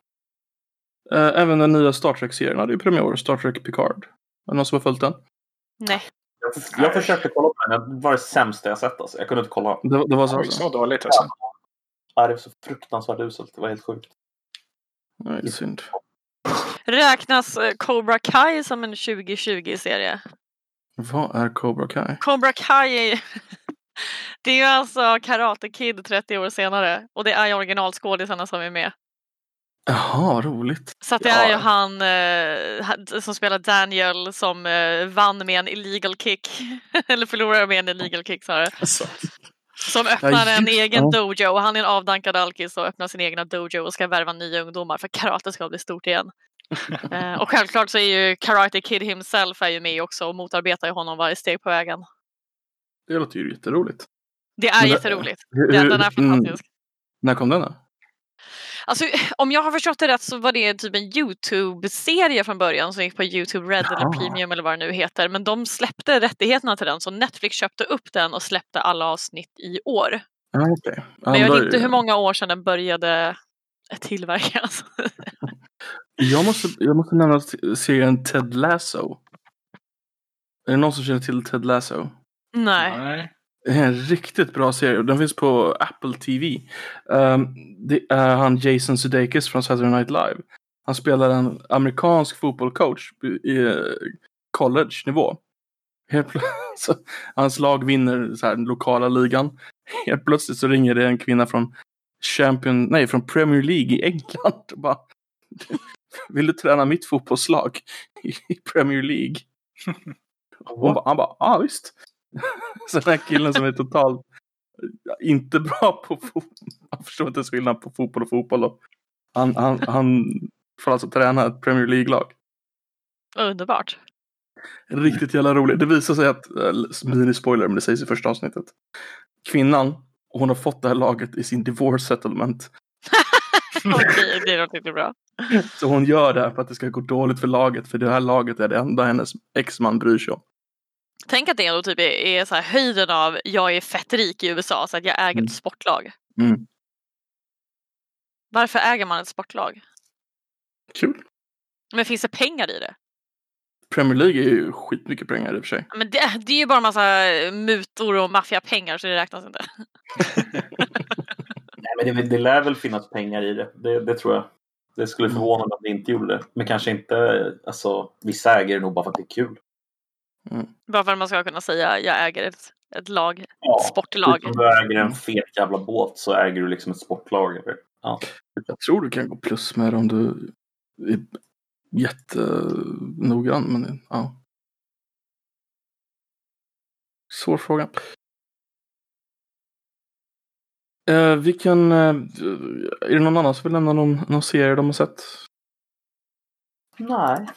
A: Eh, även den nya Star Trek-serien hade ju premiär, Star Trek Picard. Är det någon som har följt den?
C: Nej.
B: Jag, jag försökte kolla på den. Det var det sämsta jag sett. Alltså. Jag kunde inte kolla.
A: Det, var- det var så?
D: Oj,
A: alltså.
D: så dåligt alltså.
B: Ja, Det var så fruktansvärt uselt. Det var helt sjukt.
A: Nej, det är synd.
C: Räknas eh, Cobra Kai som en 2020-serie?
A: Vad är Cobra Kai?
C: Cobra Kai är ju... Det är ju alltså Karate Kid 30 år senare och det är ju originalskådisarna som är med.
A: Jaha, roligt.
C: Så att det
A: Ja.
C: är ju han eh, han som spelar Daniel som eh, vann med en illegal kick. Eller förlorade med en illegal kick snarare.
A: Alltså.
C: Som öppnar en
A: just-
C: egen
A: ja.
C: dojo och han är en avdankad alkis och öppnar sin egna dojo och ska värva nya ungdomar för karate ska bli stort igen. eh, och självklart så är ju Karate Kid himself är ju med också och motarbetar ju honom varje steg på vägen.
A: Det låter ju jätteroligt.
C: Det är
A: Men det-
C: jätteroligt.
A: Hur,
C: Den, den är
A: mm,
C: fantastisk.
A: när kom den då?
C: Alltså, om jag har förstått det rätt så var det typ en Youtube-serie från början som gick på Youtube Red
A: Jaha.
C: eller Premium eller vad det nu heter. Men de släppte rättigheterna till den så Netflix köpte upp den och släppte alla avsnitt i år.
A: Ja, okej. Ja,
C: Men
A: men
C: jag
A: då är
C: vet inte
A: det-
C: hur många år sedan den började tillverkas.
A: Jag måste, jag måste nämna s- serien Ted Lasso. Är det någon som känner till Ted Lasso?
C: Nej.
D: Nej.
A: Det är en riktigt bra serie. och Den finns på Apple TV. Ehm, det är han Jason Sudeikis från Saturday Night Live. Han spelar en amerikansk fotbollscoach i eh, college-nivå. Helt plö- så Hans lag vinner så här, den lokala ligan. Helt plötsligt så ringer det en kvinna från, Champion, nej, från Premier League i England. Och bara, Vill du träna mitt fotbollslag i Premier League? Hon bara, han bara, ja ah, visst. Så den här killen som är totalt inte bra på fotboll. Han förstår inte ens skillnad på fotboll och fotboll. Och han, han, han får alltså träna ett Premier League-lag.
C: Underbart.
A: Riktigt jävla roligt. Det visar sig att, eh, mini-spoiler, men det sägs i första avsnittet. Kvinnan, hon har fått det här laget i sin divorce settlement.
C: Okej, det låter inte bra.
A: Så hon gör det här för att det ska gå dåligt för laget. För det här laget är det enda hennes exman bryr sig om.
C: Tänk att det ändå typ är, är så här höjden av jag är fett rik i USA så att jag äger
A: Mm.
C: ett sportlag.
A: Mm.
C: Varför äger man ett sportlag?
A: Kul.
C: Men finns det pengar i det?
A: Premier League är ju skitmycket pengar i och för sig.
C: Men det, det är ju bara en massa eh, mutor och maffiapengar så det räknas inte.
B: Nej, men det, det lär väl finnas pengar i det. Det, det tror jag. Det skulle
A: Mm.
B: förvåna mig om det inte gjorde det. Men kanske inte. Alltså, vissa äger det nog bara för att det är kul.
C: Bara för att man ska kunna säga jag äger ett, ett lag,
B: Ja,
C: ett sportlag.
B: precis Som du äger en fet jävla båt så äger du liksom ett sportlag. eller? Ja.
A: Jag tror du kan gå plus med det om du är jättenoggrann. Men ja. Svår fråga. Eh, vi kan, eh, är det någon annan som vill nämna någon, någon serie de har sett?
B: Nej.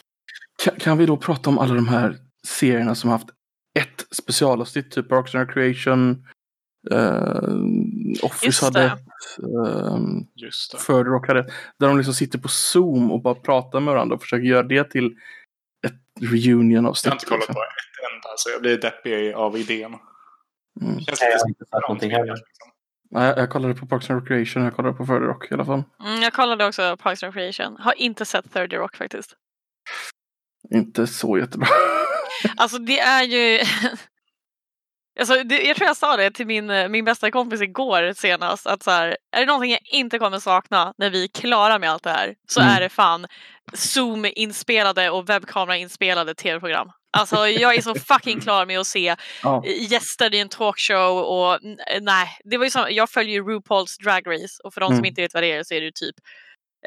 A: Kan, kan vi då prata om alla de här serierna som har haft ett specialavsnitt? Typ Parks and Recreation, eh, Office
C: Just
A: hade
C: det.
A: ett, ehm,
D: Just det.
A: föredragade. Där de liksom sitter på Zoom och bara pratar med varandra och försöker göra det till ett
D: Jag
A: reunion-avsnitt.
D: har inte kollat
A: liksom.
D: på ett enda, så jag blir deppig av idén.
A: Mm.
D: Känns
B: Nej,
D: lite
B: jag har
D: som
B: inte sett någonting heller.
D: liksom.
A: Nej, jag kollade på Parks and Recreation, jag kollade på Föredrag i alla fall.
C: Mm, jag kollade också Parks and Recreation. Har inte sett 30 Rock faktiskt.
A: Inte så jättebra.
C: Alltså det är ju... Alltså, det, jag tror jag sa det till min, eh, min bästa kompis igår senast. Att så här, är det någonting jag inte kommer sakna när vi är klara med allt det här så
A: Mm.
C: är det fan Zoom-inspelade och webbkamera-inspelade tv-program. Alltså jag är så fucking klar med att se
A: ja.
C: gäster i en talkshow och n- nej, det var ju som, jag följer ju RuPaul's Drag Race och för de som
A: Mm.
C: inte vet vad det är så är det ju typ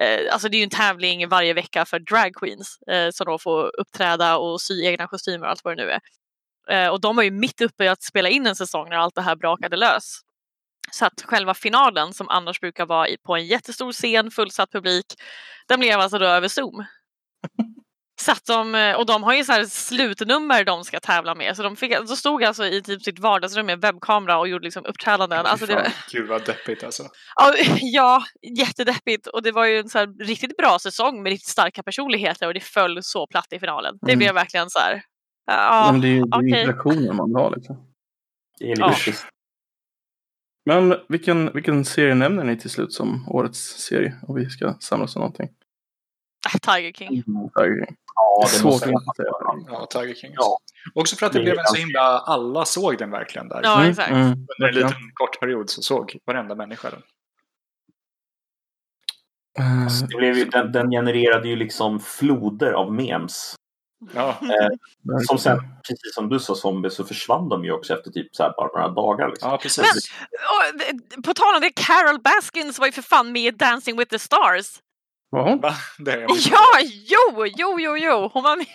C: eh, Alltså det är ju en tävling varje vecka för drag queens eh, som då får uppträda och sy egna kostymer och allt vad det nu är. Eh, och de var ju mitt uppe i att spela in en säsong när allt det här brakade lös. Så att själva finalen som annars brukar vara i- på en jättestor scen, fullsatt publik, den blev alltså då över Zoom. Så att de, eh, och de har ju så här slutnummer de ska tävla med. Så de, fick, de stod alltså i typ sitt vardagsrum med en webbkamera och gjorde liksom uppträdanden. Alltså det, var-
D: Gud vad deppigt alltså.
C: Ja, Ja, jättedeppigt. Och det var ju en så här riktigt bra säsong med riktigt starka personligheter och det föll så platt i finalen. Det
A: Mm.
C: blev verkligen så här.
A: Ja, men
C: Ja,
A: det är ju det är ju
C: okej.
A: interaktionen man har liksom.
B: Det är
C: Ja.
B: lite trist.
A: Men vilken, vilken serie nämner ni till slut som årets serie? Om vi ska samlas om någonting.
C: äh, Tiger King.
A: Tiger King.
B: Ja, det
A: Svårt
B: måste
A: att
B: jag.
A: inte säga.
D: Ja, Tiger King.
B: Ja.
D: Alltså. Också för att det
B: Det är
D: blev en så
B: ganska-
D: himla... Alla såg den verkligen där.
A: Mm,
C: Ja, exakt.
D: Under en liten kort period så såg varenda människa den.
B: Alltså, Det blev ju, den, den genererade ju liksom floder av memes.
D: Ja,
A: Eh,
B: Som sen, precis som du sa zombie, så försvann de ju också efter typ så här bara några dagar. Liksom.
D: ja precis.
C: Och, eh, på tal om det, Carol Baskins var ju för fan med i Dancing with the Stars.
A: Var hon?
D: Va? Det är
C: Ja, jo, jo, jo, jo. Hon var med,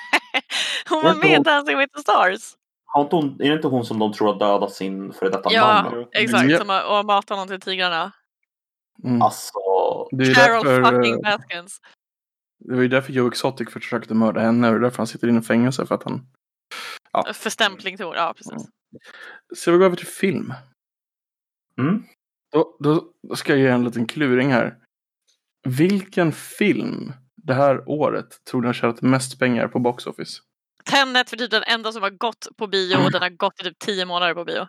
C: hon var med i Dancing with the Stars.
B: Har inte hon, är det inte hon som de tror har dödat sin före detta
C: Ja.
B: man?
C: Exakt,
A: Ja.
C: som har, och har matat honom till tigrarna.
A: Mm.
B: Alltså,
A: Det är ju
C: Carol
A: därför, eh,
C: fucking Baskins.
A: det var ju därför Joe Exotic försökte mörda henne och det är därför han sitter inne i fängelse för att han...
C: Förstämpling till hon, ja precis.
A: Så vi går över till film.
B: Mm.
A: Då, då, då ska jag ge en liten kluring här. Vilken film det här året tror ni har tjänat mest pengar på box office?
C: Tenet för typ den enda som har gått på bio
A: Mm.
C: och den har gått i typ tio månader på bio.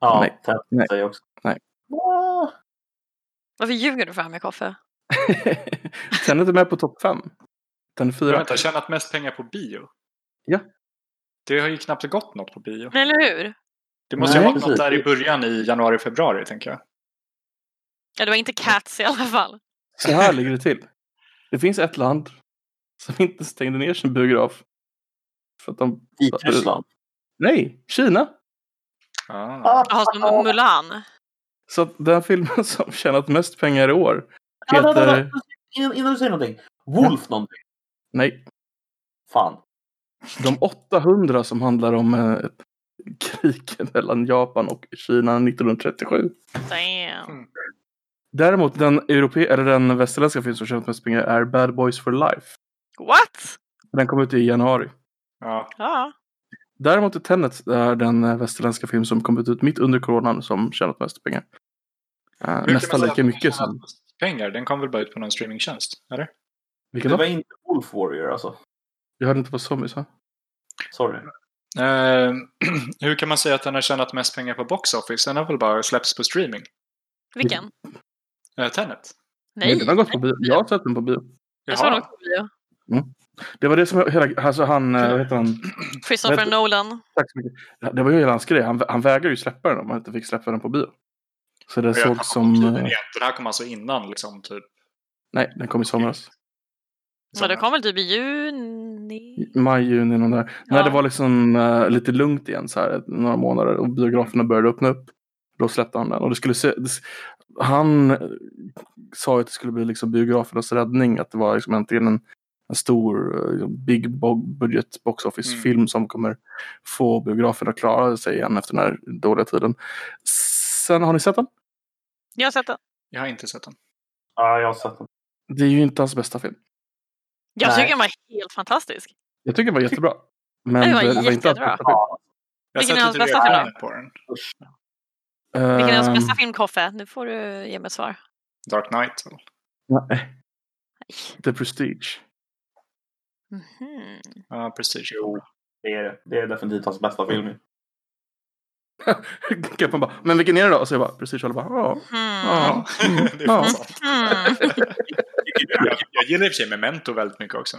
B: ja,
A: Nej.
B: Ted
A: Nej.
B: säger också.
A: Nej.
B: Ah,
C: Varför ljuger du för mig, Koffe?
A: Tenet är med på topp fem. Den är fyra.
D: Vänta, tjänat mest pengar på bio?
A: Ja.
D: Det har ju knappt gått något på bio.
C: Men eller hur?
D: Det måste ju
B: Nej,
D: ha varit
B: precis.
D: något där i början i januari, februari tänker jag.
C: Ja, det var inte Cats i alla fall.
A: Så här ligger det till. Det finns ett land som inte stängde ner sin biograf. För att de...
B: Vitryssland.
A: Nej, Kina!
D: Ah.
C: Jaha, som Mulan.
A: Så att den filmen som tjänat mest pengar i år
B: Vänta, vänta,
A: heter...
B: vänta. Innan, innan du säger någonting. Wolf någonting.
A: Nej,
B: Fan.
A: de 800 som handlar om eh, ett krig mellan Japan och Kina 1937.
C: Damn.
A: Däremot den, europe... eller den västerländska film som tjänat mest pengar är Bad Boys for Life.
C: What?
A: Den kom ut i januari.
D: Ja.
C: Ja.
A: Däremot är Tenet är den eh, västerländska film som kommit ut mitt under coronan som tjänat mest pengar. Eh,
D: Hur kan man
A: nästan
D: säga
A: lika
D: att den
A: mycket
D: tjänat
A: som...
D: mest Pengar, den kom väl bara ut på någon streamingtjänst? Eller?
A: Vilken
B: Det var
A: då?
B: inte Wolf Warrior alltså.
A: Jag hörde inte på zombies va?
B: Sorry.
D: Eh, hur kan man säga att den har tjänat mest pengar på box office? Den har väl bara släppts på streaming?
C: Vilken?
D: Uh, Tenet?
A: Nej,
C: Nej.
A: den har gått på bio. Jag har sett den på bio.
C: Jag såg
D: Jaha.
C: den på bio.
A: Det var det som hela, alltså han, eh, vad heter han,
C: Christopher
A: Vet-
C: Nolan.
A: tack så mycket. Det- Det var ju hela hans grej, han, han vägrade ju släppa den om han inte fick släppa den på bio. Så det
D: Ja,
A: såg som,
D: Den
A: eh,
D: här kom alltså innan liksom typ.
A: nej den kom i somras.
C: Men den kom väl typ i juni?
A: Maj, juni, någon där.
C: Ja.
A: När det var liksom eh, lite lugnt igen så här, några månader och biograferna började öppna upp. Då släppte han den och det skulle se, det, s- han eh, sa ju att det skulle bli liksom biografernas räddning, att det var liksom äntligen en, en stor eh, big bo- budget box office
D: Mm.
A: film som kommer få biograferna att klara sig igen efter den här dåliga tiden. Sen har ni sett den?
C: Jag har sett den.
D: Jag har inte sett den.
B: Ja, jag har sett den.
A: Det är ju inte hans bästa film.
C: Jag
B: Nej.
C: tycker den var helt fantastisk.
A: Jag tycker den var jättebra. Men
C: Det var
A: hans
C: jättebra.
A: bästa film.
D: Jag
C: Vilken är
D: satte
C: hans
D: direkt
C: bästa film då?
D: ögonen på den.
C: Vilken är hans
A: Ehm,
C: bästa film, Koffe? Nu får du ge mig ett svar.
D: Dark Knight. eller?
A: nej, The Prestige.
C: Mhm.
D: Ja, Prestige.
B: Jo, det är det. Det är definitivt hans bästa film.
A: Kappan bara, men vilken är det då? Och så jag bara, precis, alla bara, ja.
C: Mhm.
A: ja.
D: Ja, det är
A: Ja.
D: fan sant.
C: Mhm.
D: Jag, jag gillar i och för sig Memento väldigt mycket också.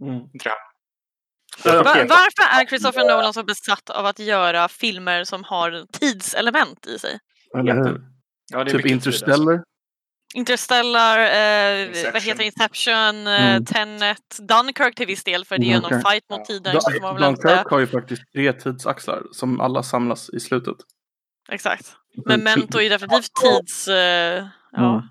A: Mm.
B: Jag
C: Va-
B: tycker-
C: Varför är Christopher Nolan så besatt av att göra filmer som har tidselement i sig?
A: Eller hur?
D: Ja, det är
A: Typ
D: mycket tid, alltså.
A: Interstellar.
C: Interstellar, eh,
D: Inception.
C: vad heter Inception, eh,
A: Mm.
C: Tenet, Dunkirk till viss del för det är ju någon
A: Dunkirk.
C: fight mot
D: Ja.
C: tiden. så får man
A: Dan-
C: väl inte...
A: Dunkirk har ju faktiskt tre tidsaxlar som alla samlas i slutet. Mm.
C: Exakt. Men Memento är ju definitivt tids... Eh, ja.
A: Mm.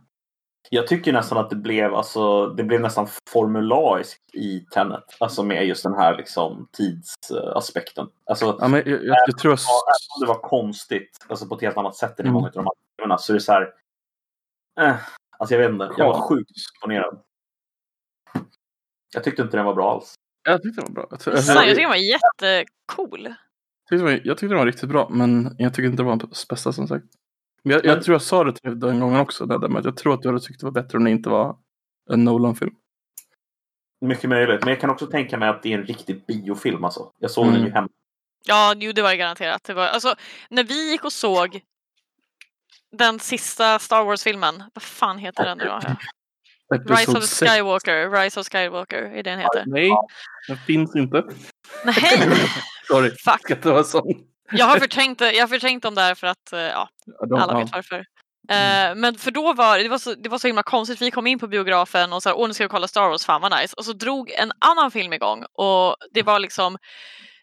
B: Jag tycker nästan att det blev, alltså, det blev nästan formulaiskt i Tenet. Alltså med just den här liksom, tidsaspekten. Alltså,
A: Ja, men jag, jag, jag tror jag... s-
B: Ja, även om det var konstigt alltså på ett helt annat sätt än i
A: Mm.
B: många av de andra filmerna så är det så här... Eh, alltså jag vet inte. Jag var sjukt imponerad. Jag tyckte inte den var bra alls.
A: Jag tyckte den var bra. Jag, ty-
C: Fan, Alltså, jag tycker
A: jag,
C: den var jättecool.
A: tyckte den var- jag tyckte den var riktigt bra, men jag tycker inte det var hans bästa som sagt. Men jag, jag tror jag sa det till dig den gången också, det där med att jag tror att du hade tyckt det var bättre om det inte var en Nolan-film.
B: Mycket möjligt. Men jag kan också tänka mig att det är en riktig biofilm alltså. Jag såg den ju
A: Mm.
B: hemma.
C: Ja, jo, det var det garanterat. Det var, alltså, när vi gick och såg den sista Star Wars-filmen, vad fan heter den nu då? Rise
A: Episod
C: of
A: sex.
C: Skywalker, Rise of Skywalker är den heter.
A: Nej, den finns inte.
C: Nej,
A: Sorry,
C: fuck!
A: att det var sån.
C: Jag har förträngt, det- jag har förträngt dem där för att eh, ja,
A: Ja, de- ja.
C: alla
A: Mm.
C: vet varför. Eh, men för då var det, var så, det var så himla konstigt, vi kom in på biografen och så här, åh nu ska vi kolla Star Wars, fan vad nice. Och så drog en annan film igång och det var liksom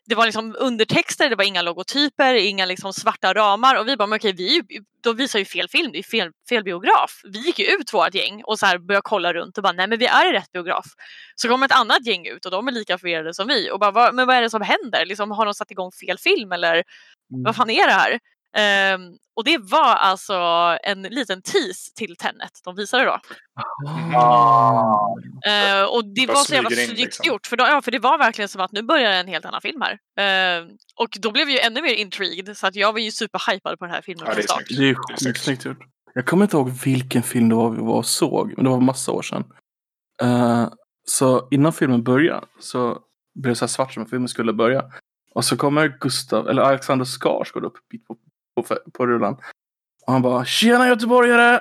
C: det var liksom undertexter, det var inga logotyper, inga liksom svarta ramar och vi bara, men okej, vi, är ju- de visar ju fel film, det är fel, fel biograf. Vi gick ju ut vårt gäng och så här började kolla runt och bara, nej men vi är i rätt biograf. Så kommer ett annat gäng ut och de är lika förvirrade som vi och bara, vad, men vad är det som händer? Liksom, har de satt igång fel film eller
A: Mm.
C: vad fan är det här? Ehm, och det var alltså en liten tease till Tenet de visade då.
B: Ah.
C: Eh, och det
D: Bara
C: var så jävla
D: smyger in,
C: snyggt
D: liksom.
C: gjort, för, då, ja, för det var verkligen som att nu börjar en helt annan film här. Eh, och då blev jag ju ännu mer intrigued, så att jag var ju superhypad på den här filmen
D: Ja, det
C: från
D: är
C: start.
D: snyggt.
A: Det är skitsnyggt gjort. Jag kommer inte ihåg vilken film det var vi var och såg, men det var massa år sedan. Eh, så innan filmen började så blev det så här svart som filmen skulle börja. Och så kommer Gustav, eller Alexander Skarsgård upp bit på, på, på rullan. Och han bara “Tjena göteborgare!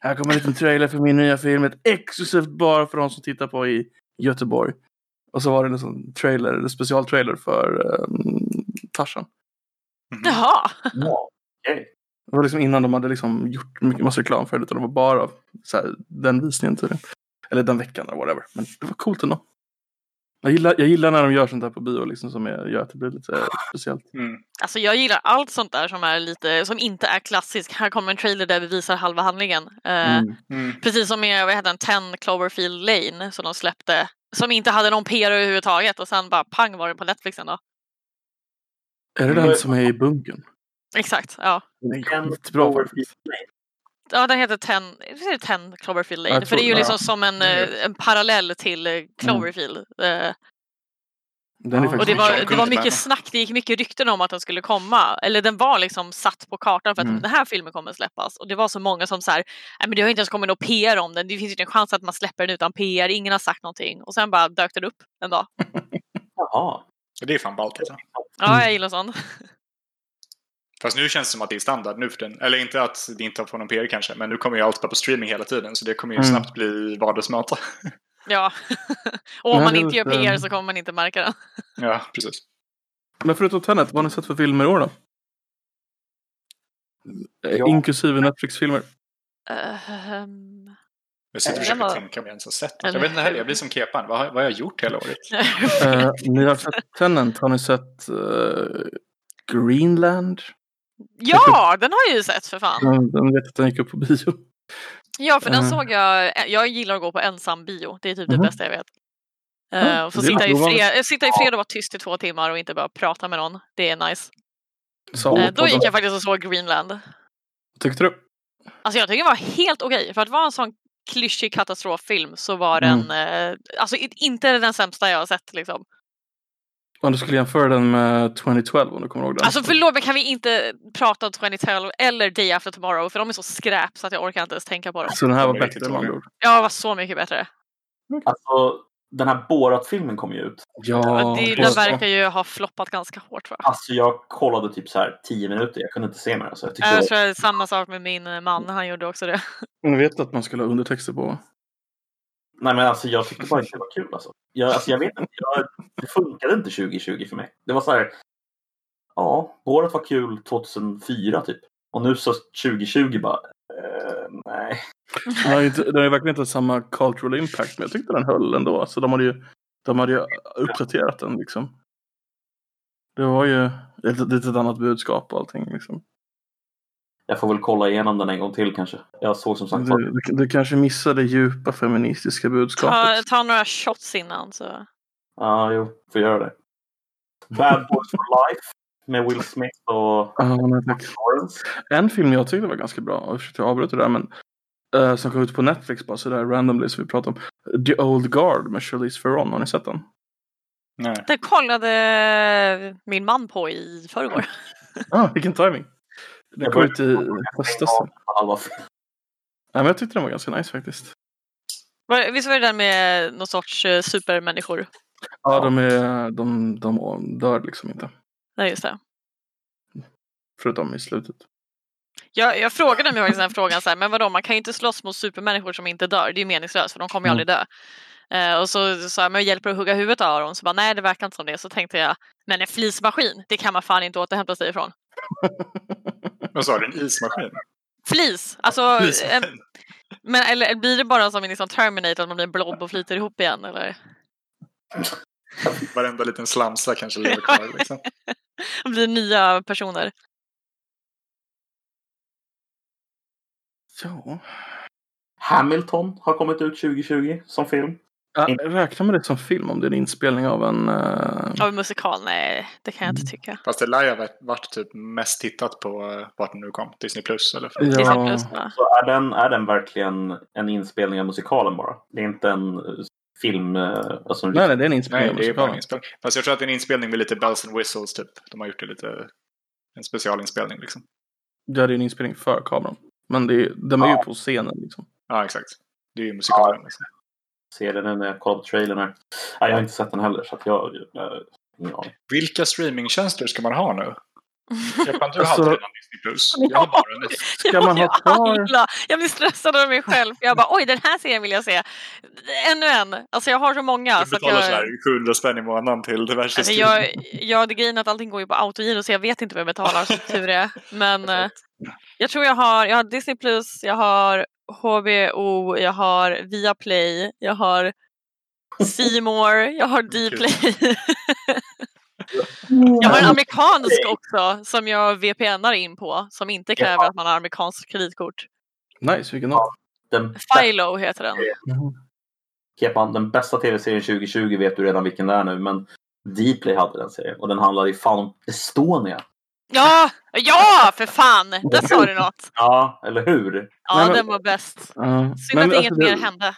A: Här kommer en liten trailer för min nya film, ett exklusivt bara för de som tittar på i Göteborg”. Och så var det en sån trailer, en specialtrailer för um, Tarzan.
D: Mhm.
C: Jaha!
B: Ja. Okej.
A: Det var liksom innan de hade liksom gjort mycket, massa reklam för det, utan det var bara så här, den visningen tydligen. Eller den veckan eller whatever. Men det var coolt ändå. Jag gillar, jag gillar när de gör sånt här på bio liksom, som är, gör att det blir lite speciellt.
D: Mm.
C: Alltså jag gillar allt sånt där som, är lite, som inte är klassiskt. Här kommer en trailer där vi visar halva handlingen. Eh,
A: Mm.
D: Mm.
C: Precis som med vad heter den, 10 Cloverfield Lane som de släppte. Som inte hade någon PR överhuvudtaget och sen bara pang var den på Netflix ändå.
A: Är det
B: Mm.
A: den som är i bunkern?
C: Exakt, ja.
A: Den är
B: Den
A: skitbra
B: Cloverfield
A: faktiskt.
C: Ja, den heter 10, visst är det 10 Cloverfield Lane?
A: Jag
C: För det är ju
A: tror-
C: liksom som en,
D: Mm.
C: eh, en parallell till
A: Mm.
C: eh, Cloverfield. Eh,
A: Den är
D: Ja,
C: Och
A: faktiskt
C: det
D: Jag
C: var, det
D: kunde
C: var
D: inte med mig.
C: mycket snack, det gick mycket rykten om att den skulle komma. Eller den var liksom satt på kartan för att
A: Mm.
C: den här filmen kommer släppas. Och det var så många som så här, nej men det har ju inte ens kommit någon PR om den. Det finns ju inte en chans att man släpper den utan PR, ingen har sagt någonting. Och sen bara dök den upp en dag.
B: Jaha.
D: Det är fan ballt alltså.
A: Mm.
C: Ja, jag gillar sånt.
D: Fast nu känns det som att det är standard nu för den. Eller inte att det inte har fått någon PR kanske, men nu kommer ju allt vara på streaming hela tiden så det kommer ju
A: Mm.
D: snabbt bli vardagsmat.
C: Ja. Och om
A: Nej,
C: man
A: det är
C: inte gör
A: lite-
C: PR så kommer man inte märka den.
D: ja, precis.
A: Men förutom Tenet, vad har ni sett för filmer i år då? Eh,
B: Ja.
A: Inklusive Netflix-filmer.
C: Ehm,
D: Jag sitter och
B: Den
D: försöker
C: var-
D: tänka om jag ens har sett något.
C: Eller
D: Jag vet inte heller,
C: hur?
D: jag blir som Kepan. Vad har, vad har jag gjort hela året?
A: Eh, ni har sett Tenet, har ni sett eh, Greenland?
C: ja, den har jag ju sett för fan.
A: Den, Mm, den vet att den gick upp på bio.
C: Ja, för den
A: Eh.
C: såg jag. Jag gillar att gå på ensam bio. Det är typ
A: Mhm.
C: det bästa jag vet. Eh,
A: Ja,
C: och få
A: det är
C: sitta i,
A: lite ovanligt.
C: fred, eh, sitta i fred och vara tyst i två timmar och inte bara prata med någon. Det är nice.
A: Sa
C: Eh, då
A: podden.
C: gick jag faktiskt och såg Greenland.
A: Tyckte du?
C: Alltså jag tycker den var helt okej. För att vara en sån klyschig katastroffilm så var
A: Mm.
C: den eh, alltså i- inte den sämsta jag har sett. Liksom.
A: Om du skulle jämföra den med 2012 om du kommer ihåg den.
C: Alltså förlåt men kan vi inte prata om 2012 eller Day After Tomorrow för de är så skräp så att jag orkar inte ens tänka på dem.
A: Så den här var
D: Kommer riktigt
A: bättre med andra
D: dålig.
A: ord.
C: Ja, det var så mycket bättre.
B: Alltså, den här Borat-filmen kom ju ut.
A: Ja,
C: det, den
A: just det.
C: verkar ju ha floppat ganska hårt. Va?
B: Alltså jag kollade typ så här 10 minuter. Jag kunde inte se mer. Alltså, jag tyckte
C: Ja,
B: det
C: Jag
B: var...
C: tror det är samma sak med min eh, man, han gjorde också det.
A: Ni vet att man skulle ha undertexter på?
B: Nej men alltså jag tyckte bara inte det var kul alltså. Jag, alltså, jag vet inte. Jag, det funkade inte 2020 för mig. Det var så här. Ja, året var kul 2004 typ. Och nu så 2020 bara. Eh, nej.
A: Den har ju inte- den har ju verkligen inte samma cultural impact, men jag tyckte den höll ändå. Så de hade ju, de hade ju uppdaterat den liksom. Det var ju ett ett litet annat budskap och allting liksom.
B: Jag får väl kolla igenom den en gång till kanske. Jag såg som sagt
A: Du, du, du kanske missar det djupa feministiska
C: Ta,
A: budskapet.
C: ta några shots innan så.
B: Ja, ah, jo, får göra det. Bad Boys for Life med Will Smith och
A: Ja, nej, tack.
B: Lawrence.
A: En film jag tyckte var ganska bra, och jag försökte avbryta det där, men eh, som kom ut på Netflix bara sådär randomly som vi pratade om. The Old Guard med Charlize Theron, har ni sett den?
D: Nej.
C: Det kollade min man på i förrgår.
A: Ah, vilken timing. Den
B: Jag
A: kom
B: började
A: ut i höstas. Ja,
B: Halva
A: men jag tyckte den var ganska nice faktiskt.
C: Var- Visst var det den med någon sorts eh, supermänniskor?
A: Ja, de, är, de, de dör liksom inte.
C: Nej, just det.
A: Förutom i slutet.
C: Jag, jag frågade mig faktiskt den här frågan så här, men vadå, man kan ju inte slåss mot supermänniskor som inte dör, det är ju meningslöst för de kommer ju aldrig dö. Eh, och så sa jag, men hjälper det att hugga huvudet av dem? Så bara, nej det verkar inte som det. Så tänkte jag, men en flismaskin, det kan man fan inte återhämta sig ifrån.
D: Vad sa du? En ismaskin?
C: Flis! Alltså, en,
D: Ismaskin.
C: men, eller blir det bara som i liksom Terminator, att man blir en blob och flyter ihop igen? Eller
D: Varenda liten slamsa kanske lever kvar. Liksom.
C: blir nya personer?
A: Ja.
B: Hamilton har kommit ut 2020 som film.
A: Ja, räkna med det som film om det är en inspelning av en... eh,
C: Av en musikal? Nej, det kan jag inte tycka.
D: Fast det lär ju ha varit- varit typ mest tittat på eh, vart den nu kom. Disney Plus eller?
C: Disney
A: ja,
C: Plus, va?
B: Så är den, är den verkligen en inspelning av musikalen bara? Det är inte en eh, film... eh, Alltså en
A: nej, nej, det är en inspelning
D: Nej,
A: av
D: det är bara
A: musikalen.
D: en inspelning. Fast jag tror att det är en inspelning med lite bells and whistles typ. De har gjort det lite... En specialinspelning liksom.
A: Ja, det är en inspelning för kameran. Men det är, de är ju på scenen liksom.
D: Ja, exakt. Det är ju musikalen. Liksom.
B: ser det nu när jag kollar på trailern här. Nej, jag har inte sett den heller så att jag... eh, ingen aning.
D: Vilka streamingtjänster ska man ha nu? Stefan, du
A: Alltså-
D: hade redan Disney Plus. Jag har bara Netflix.
A: Ska man ha
C: Jag
A: kvar...
C: Alla. Jag blir stressad över mig själv. Jag bara, oj den här serien vill jag se. Ännu en. Alltså jag har så många.
D: Du
C: Så att
D: betalar sådär
C: jag,
D: 700 spänn i månaden till diverse
C: alltså
D: streaming.
C: jag, jag, det grejen är att allting går ju på autogiro så jag vet inte vad jag betalar som tur är. Men eh, jag tror jag har, jag har Disney Plus, jag har HBO, jag har Viaplay, jag har C More, jag har Dplay. Jag har en amerikansk också som jag VPNar in på som inte kräver att man har amerikanskt kreditkort.
A: Nice, vilken app.
B: Den
C: Philo heter den.
B: Kepan, den bästa tv-serien 2020 vet du redan vilken det är nu, men Dplay hade den serien och den handlade ju fan om Estonia.
C: Ja, ja för fan! Där sa du något.
B: Ja, eller hur?
C: Ja,
A: Nej, men-
C: den var bäst.
A: Ja.
C: Synd
A: Nej,
C: att
A: men
C: inget
A: alltså,
C: mer
A: det-
C: hände.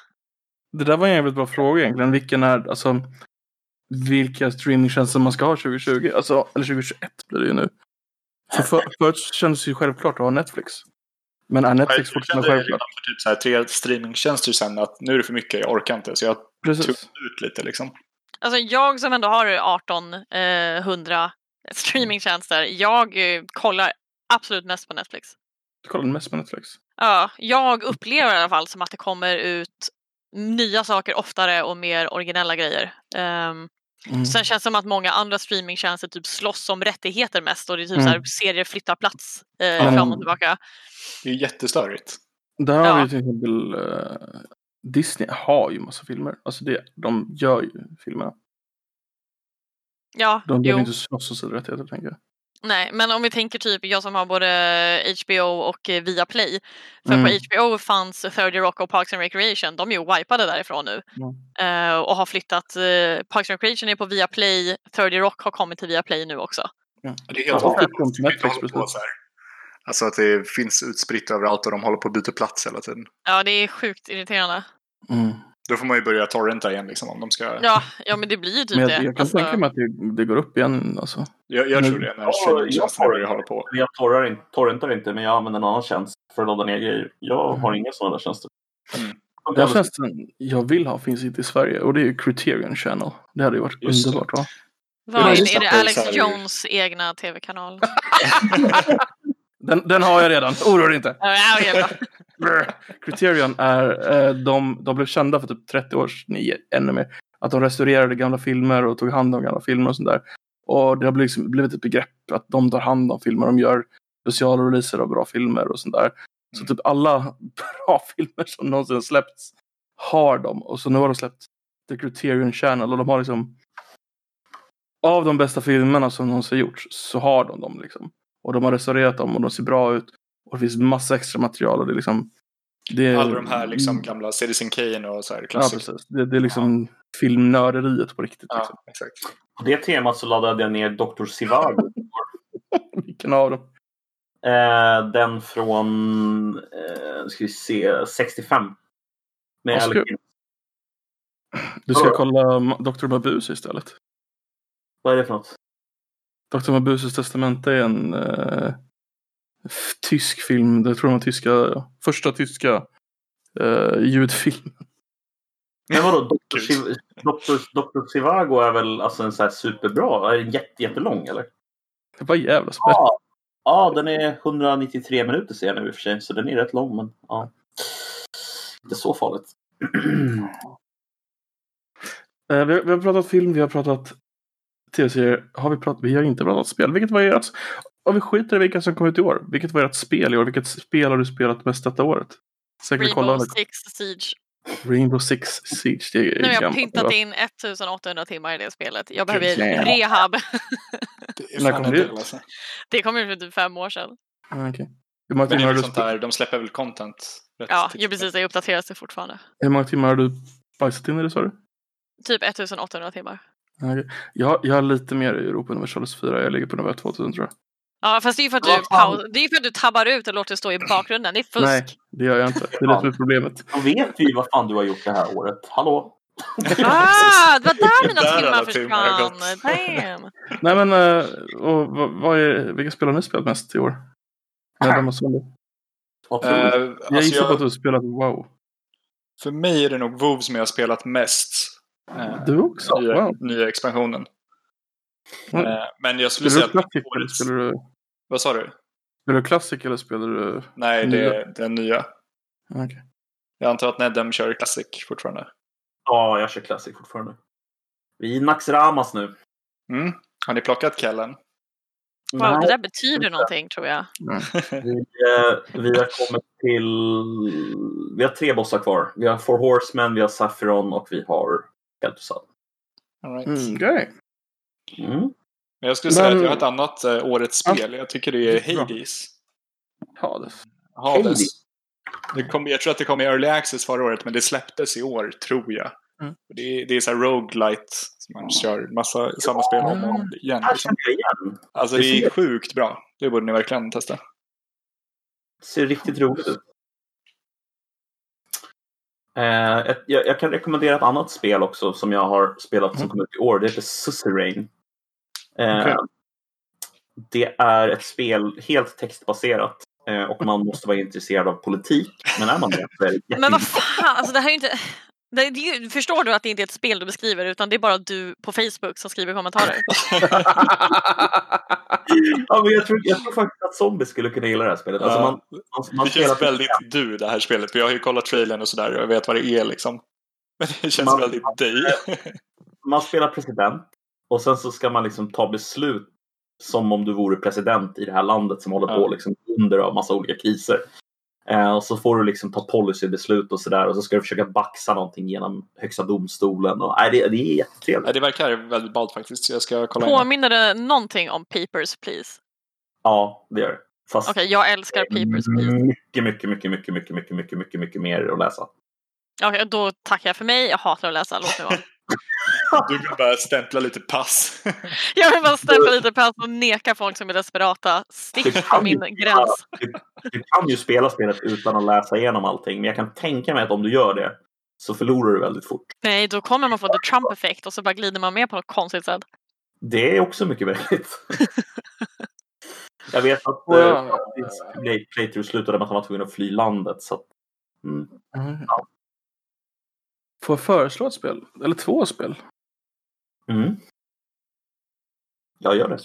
A: Det där var en jävligt bra fråga egentligen. Vilken är, alltså, vilka streamingtjänster man ska ha 2020? Alltså, eller 2021 blir det ju nu. För, för, förut kändes det ju självklart att ha Netflix. Men är Netflix
D: Jag
A: fortfarande
D: kände redan
A: självklart?
D: för typ så här tre streamingtjänster sen att nu är det för mycket, jag orkar inte. Så jag tog
A: Precis.
D: ut lite liksom.
C: Alltså jag som ändå har 1800 streamingtjänster, jag eh, kollar absolut mest på Netflix.
A: Du kollade mest på Netflix.
C: Ja, jag upplever i alla fall som att det kommer ut nya saker oftare och mer originella grejer. Ehm,
A: Mm.
C: Sen känns det som att många andra streamingtjänster typ slåss om rättigheter mest och det är typ
A: Mm.
C: så här, serier flyttar plats eh,
A: Ja.
C: fram och tillbaka.
D: Det är ju jättestörigt.
A: Där har
C: Ja.
A: vi ju till exempel eh, Disney har ju massa filmer. Alltså det, de gör ju filmerna.
C: Ja,
A: De
C: jo.
A: behöver inte slåss om sina rättigheter tänker jag.
C: Nej, men om vi tänker typ jag som har både HBO och eh, Viaplay. För
A: Mm.
C: på HBO fanns 30 Rock och Parks and Recreation. De är ju wipade därifrån nu.
A: Ja.
C: Eh, och har flyttat. eh, Parks and Recreation är på Viaplay. 30 Rock har kommit till Viaplay nu också.
D: Det är helt
B: Ja,
A: det
D: vanligt.
A: kom till
D: Vi inte
A: Netflix
D: håller på
A: precis.
D: så här. Alltså att det finns utspritt överallt och de håller på att byta plats hela tiden.
C: Ja, det är sjukt irriterande.
A: Mm.
C: Typ
D: Då får man ju börja torrenta igen liksom om de ska...
C: Ja, ja men det blir ju typ
A: Men jag,
C: det.
A: jag kan
C: Alltså,
A: tänka mig att det, det går upp igen alltså.
D: Jag, jag tror
A: Men-
D: det,
B: Ja,
D: när streamingtjänsterna
B: jag
D: börjar hålla på.
B: Jag torrar in, torrentar inte, men jag använder en annan tjänst för att ladda ner grejer. Jag
A: Mm.
B: har inga sådana tjänster.
D: Mm.
A: Den tjänsten jag vill ha finns inte i Sverige och det är ju Criterion Channel. Det hade ju varit
D: Just det.
A: underbart va?
C: vad
D: Ja,
C: är,
D: just
C: det? är det
D: det.
C: Alex
D: Så här är det ju.
C: Jones egna tv-kanal?
A: Den, den har jag redan, oroa dig inte.
C: Ja, ja, ja.
A: Brr. Criterion är, eh, de, de blev kända för typ 30 år sedan, nej, ännu mer. Att de restaurerade gamla filmer och tog hand om gamla filmer och sånt där. Och det har blivit, liksom, blivit ett begrepp att de tar hand om filmer, de gör specialreleaser av bra filmer och sånt där. Så
D: Mm.
A: typ alla bra filmer som någonsin släppts har de. Och så nu har de släppt The Criterion Channel och de har liksom av de bästa filmerna som någonsin gjorts så har de dem liksom. Och de har restaurerat dem och de ser bra ut. Och Och det finns massa extra material. Och det är liksom, det är,
D: Alla de här liksom, gamla Citizen Kane och så här
A: mm. Ja,
D: klassiker.
A: precis. Det, det är liksom filmnörderiet på riktigt.
D: Ja,
A: Liksom.
D: exakt.
B: På det temat så laddade jag ner Dr. Sivago.
A: Vilken av dem?
B: eh, den från, eh, ska vi se, 65. Med
A: Ja, så
B: Alec
A: kul.
B: Guinness.
A: Du ska
B: Ja.
A: kolla Ma- Dr. Mabuse istället.
B: Vad är det för något?
A: Dr. Mabuses testamente är en eh, f- tysk film. Det tror jag var tyska, första tyska eh, ljudfilm.
B: Men vadå, Dr.
D: Gud.
B: Siv- Dr. Dr. Sivago är väl alltså en så här superbra? Är den jätte, jättelång eller?
A: Det var jävla spel.
B: Ja, ja den är 193 minuter ser jag nu i och för sig, så den är rätt lång. Men ja. Inte så farligt.
A: Eh, vi, har, vi har pratat film, vi har pratat tv-serier. Har vi, pratat, vi har inte pratat spel. Vilket var ert... Om vi skiter i vilka som kom ut i år. Vilket var ert spel i år? Vilket spel har du spelat mest detta året? Säkert kolla
C: Rainbow Six Siege.
A: Rainbow Six Siege. Det är
C: Nu har jag
A: gammalt,
C: pyntat
A: va?
C: in 1800 timmar i det spelet. Jag behöver
A: jävlar.
C: rehab.
D: Det
A: När
D: fan
A: kom
D: en
A: det
D: del,
A: ut?
D: alltså.
C: Det kom ju för typ fem år sedan.
A: Ah, okej. Hur många
D: Men det
A: timmar
D: är
A: har
D: väl
A: du
D: sånt
A: spe-
D: där, de släpper väl content? rätt
C: Ja,
D: tidigt.
C: ju precis. Det uppdateras det fortfarande.
A: Hur många timmar har du bajsat in i det sa du?
C: Typ 1800 timmar.
A: Ah, okej. Jag, jag har lite mer i Europa Universalis 4. Jag ligger på nivå 2000 tror jag.
C: Ja, fast det är ju för att du,
B: Vad fan?
C: paus- det är ju för att du tabbar ut och låter det stå i bakgrunden. Det är fusk.
A: Nej, det gör jag inte. Det är det som är problemet.
B: Då vet vi vad fan du har gjort det här året. Hallå?
C: Ah, det var där mina
D: Där alla
C: timmar
D: timmar har
C: försvann.
D: gått.
C: Damn.
A: Nej men, eh, och, vad, vad är, vilka spel har ni spelat mest i år? Nej, vem har spelat?
B: Vad tror du?
D: Eh,
A: Jag
D: alltså
A: gissar på
D: jag,
A: att du har spelat WoW.
D: För mig är det nog WoW som jag har spelat mest. eh,
A: Du också?
D: nya,
A: Wow.
D: nya expansionen.
A: Mm.
D: Eh, men jag skulle säga
A: Spelar du
D: att
A: klassik eller
D: årets...
A: spelar du,
D: Vad sa du?
A: spelar du klassik eller spelar du...
D: Nej, det är den nya.
A: Okej.
D: Jag antar att Nedem kör Classic fortfarande.
B: Ja, jag kör Classic fortfarande. Vi är i Nax Ramas nu.
D: Mm. Har ni plockat Kellen?
C: Wow, det
B: Nej,
C: där betyder någonting tror jag.
B: eh, vi har kommit till... Vi har tre bossar kvar. Vi har Four Horsemen, vi har Saffron och vi har Keltusad.
D: All right.
A: Mm, okej.
B: Mm.
D: Men jag skulle säga
A: Men-
D: att jag har ett annat eh, årets
A: Ja.
D: spel. Jag tycker det är Hades.
A: Hades.
D: Hades.
B: Hades.
D: Det kom, jag tror att det kom i Early Access förra året, men det släpptes i år, tror jag.
A: Mm.
D: Och Det, är- det är så här roguelite, som man kör massa samma spel om och om igen.
B: Här
D: Liksom.
B: känner jag igen.
D: Alltså
B: Det är
D: det är
B: fint.
D: sjukt bra. Det borde ni verkligen testa.
B: Det ser riktigt roligt ut. Eh, ett, jag, jag kan rekommendera ett annat spel också som jag har spelat som
A: Mm.
B: kom ut i år. Det heter Suzerain. Eh,
D: Okej.
B: Det är ett spel helt textbaserat eh, och man måste vara intresserad av politik. Men är man det så är det
C: Men vad
B: jätteintressant.
C: fan, alltså det här är ju inte... Det, det är ju, förstår du att det inte är ett spel du beskriver utan det är bara du på Facebook som skriver kommentarer?
B: ja, men jag, tror, jag tror faktiskt att zombies skulle kunna gilla det här spelet. Alltså
D: Ja.
B: man, man, man
D: det
B: spelar-
D: känns väldigt du det här spelet, för jag har ju kollat trailern och sådär och jag vet vad det är liksom. Men det känns
B: Man-
D: väldigt dig.
B: man spelar president och sen så ska man liksom ta beslut som om du vore president i det här landet som håller
D: Ja.
B: på liksom under av massa olika kriser. Eh, och så får du liksom ta policybeslut och sådär och så ska du försöka baxa någonting genom högsta domstolen. Och, nej, det, det är
D: Ja,
B: jättetrevligt.
D: det verkar väldigt ballt faktiskt, så jag ska kolla in.
C: Påminner det någonting om Papers, please?
B: Ja, det gör det. Fast Mm,
C: Okej, jag älskar Papers,
D: Mm.
C: please.
B: mycket, mycket, mycket, mycket, mycket, mycket, mycket, mycket, mycket mer att läsa.
C: Okej, då tackar jag för mig. Jag hatar att läsa. Låt mig vara.
D: Du kan bara stämpla lite pass.
C: Jag vill bara stämpla lite pass och neka folk som är desperata. Stick från min gräns.
B: Du kan ju spela spelet utan att läsa igenom allting, men jag kan tänka mig att om du gör det så förlorar du väldigt fort.
C: Nej, då kommer man få the Trump effect och så bara glider man med på något konstigt sätt.
B: Det är också mycket möjligt. jag vet att
A: Och
B: eh,
A: jag-
B: Play- Playthrough slutade med att han var tvungen att fly landet. Så att, mm.
A: Mm. Får jag föreslå ett spel? Eller två spel?
B: Mm. Jag gör det.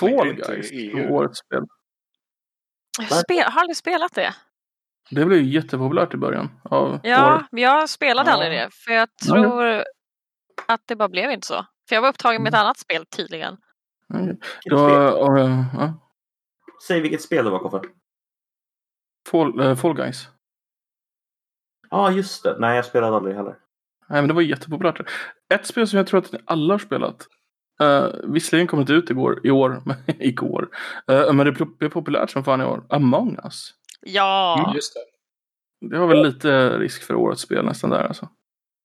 A: Fall
D: inte
A: Guys.
D: i
A: som
D: EU.
A: Årets spel.
C: Jag spel, har aldrig spelat det.
A: Det blev ju jättepopulärt i början av
C: Ja,
A: året.
C: men jag spelade
D: Ja.
C: aldrig det. För jag tror att det bara blev inte så. För jag var upptagen
D: Mm.
C: med ett annat spel tydligen.
A: Okej.
B: Vilket
A: Då,
B: spel?
A: och, eh, ja.
B: Säg vilket spel det var, Koffe.
A: Fall, eh, Fall Guys.
B: Ja, ah, just det. Nej, jag spelade aldrig heller.
A: Nej, men det var jättepopulärt. Ett spel som jag tror att ni alla har spelat. Uh, visserligen kom det inte Eh, ut igår, i år, men igår. Eh, men det blev populärt som fan i år. Among Us.
C: Ja,
D: Just det.
A: Det var väl lite risk för årets spel nästan där alltså.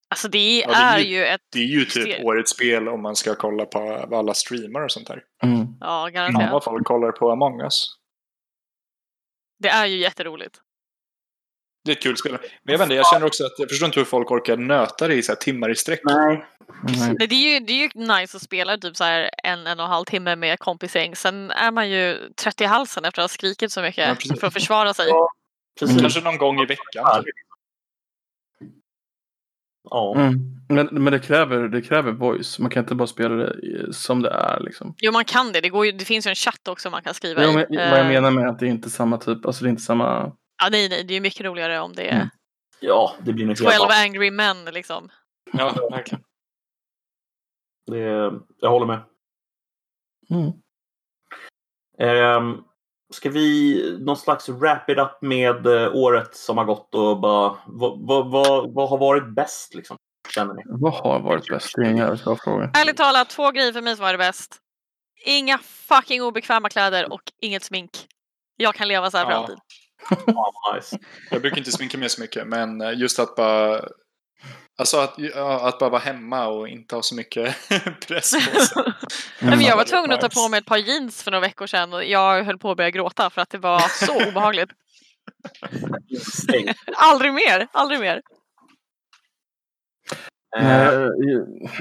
C: alltså det
D: det
C: är
D: är ju-
C: ju ett...
D: Det är ju typ
C: Ser-
D: årets spel om man ska kolla på alla streamar och sånt där.
A: Mm.
C: Ja,
D: Fan
C: garanterat.
D: vad folk kollar på Among Us.
C: Det är ju jätteroligt.
D: Det är ett kul spel. Men jag vet inte, jag känner också att jag förstår inte hur folk orkar nöta det i så här timmar i sträck.
B: Nej.
A: Nej.
C: Nej, det, är ju, det är ju nice att spela typ så här en, en och en halv timme med kompisgäng. Sen är man ju trött i halsen efter att ha skrikit så
D: Ja,
C: mycket
D: precis.
C: för att försvara sig.
B: Ja. Precis.
A: Mm.
D: Kanske någon gång i veckan. typ.
B: Ja.
A: Mm. Men, men det, kräver, det kräver voice. Man kan inte bara spela det i- som det är. Liksom.
C: Jo, man kan det. Det, går ju, det finns ju en chatt också man kan skriva
A: Jo,
C: i.
A: men, vad jag
C: Eh,
A: menar med att det är inte samma typ. Alltså det är inte samma...
C: ja, nej, nej, det är ju mycket roligare om det är
A: Mm.
B: ja, det blir något
C: 12
B: helt annat.
C: angry men liksom.
D: Ja, verkligen.
B: Det, jag håller med.
A: Mm.
B: Ehm, ska vi någon slags wrap it up med eh, året som har gått och bara vad, vad, vad, vad har varit bäst liksom? Känner ni?
A: Vad har varit bäst? Det är en jävligt bra fråga.
C: Ärligt talat, två grejer för mig som var det bäst. Inga fucking obekväma kläder och inget smink. Jag kan leva så här för
D: Ja.
C: alltid.
B: Fan, nice.
D: Jag brukar inte sminka mig så mycket, men eh, just att bara... Alltså att, ja, att bara vara hemma och inte ha så mycket press på sig.
C: Nej, men jag var
D: Mm.
C: tvungen att ta på mig ett par jeans för några veckor sedan och jag höll på att börja gråta för att det var så obehagligt.
B: Stäng.
C: Aldrig mer, aldrig mer.
B: Ehm,
A: Eh,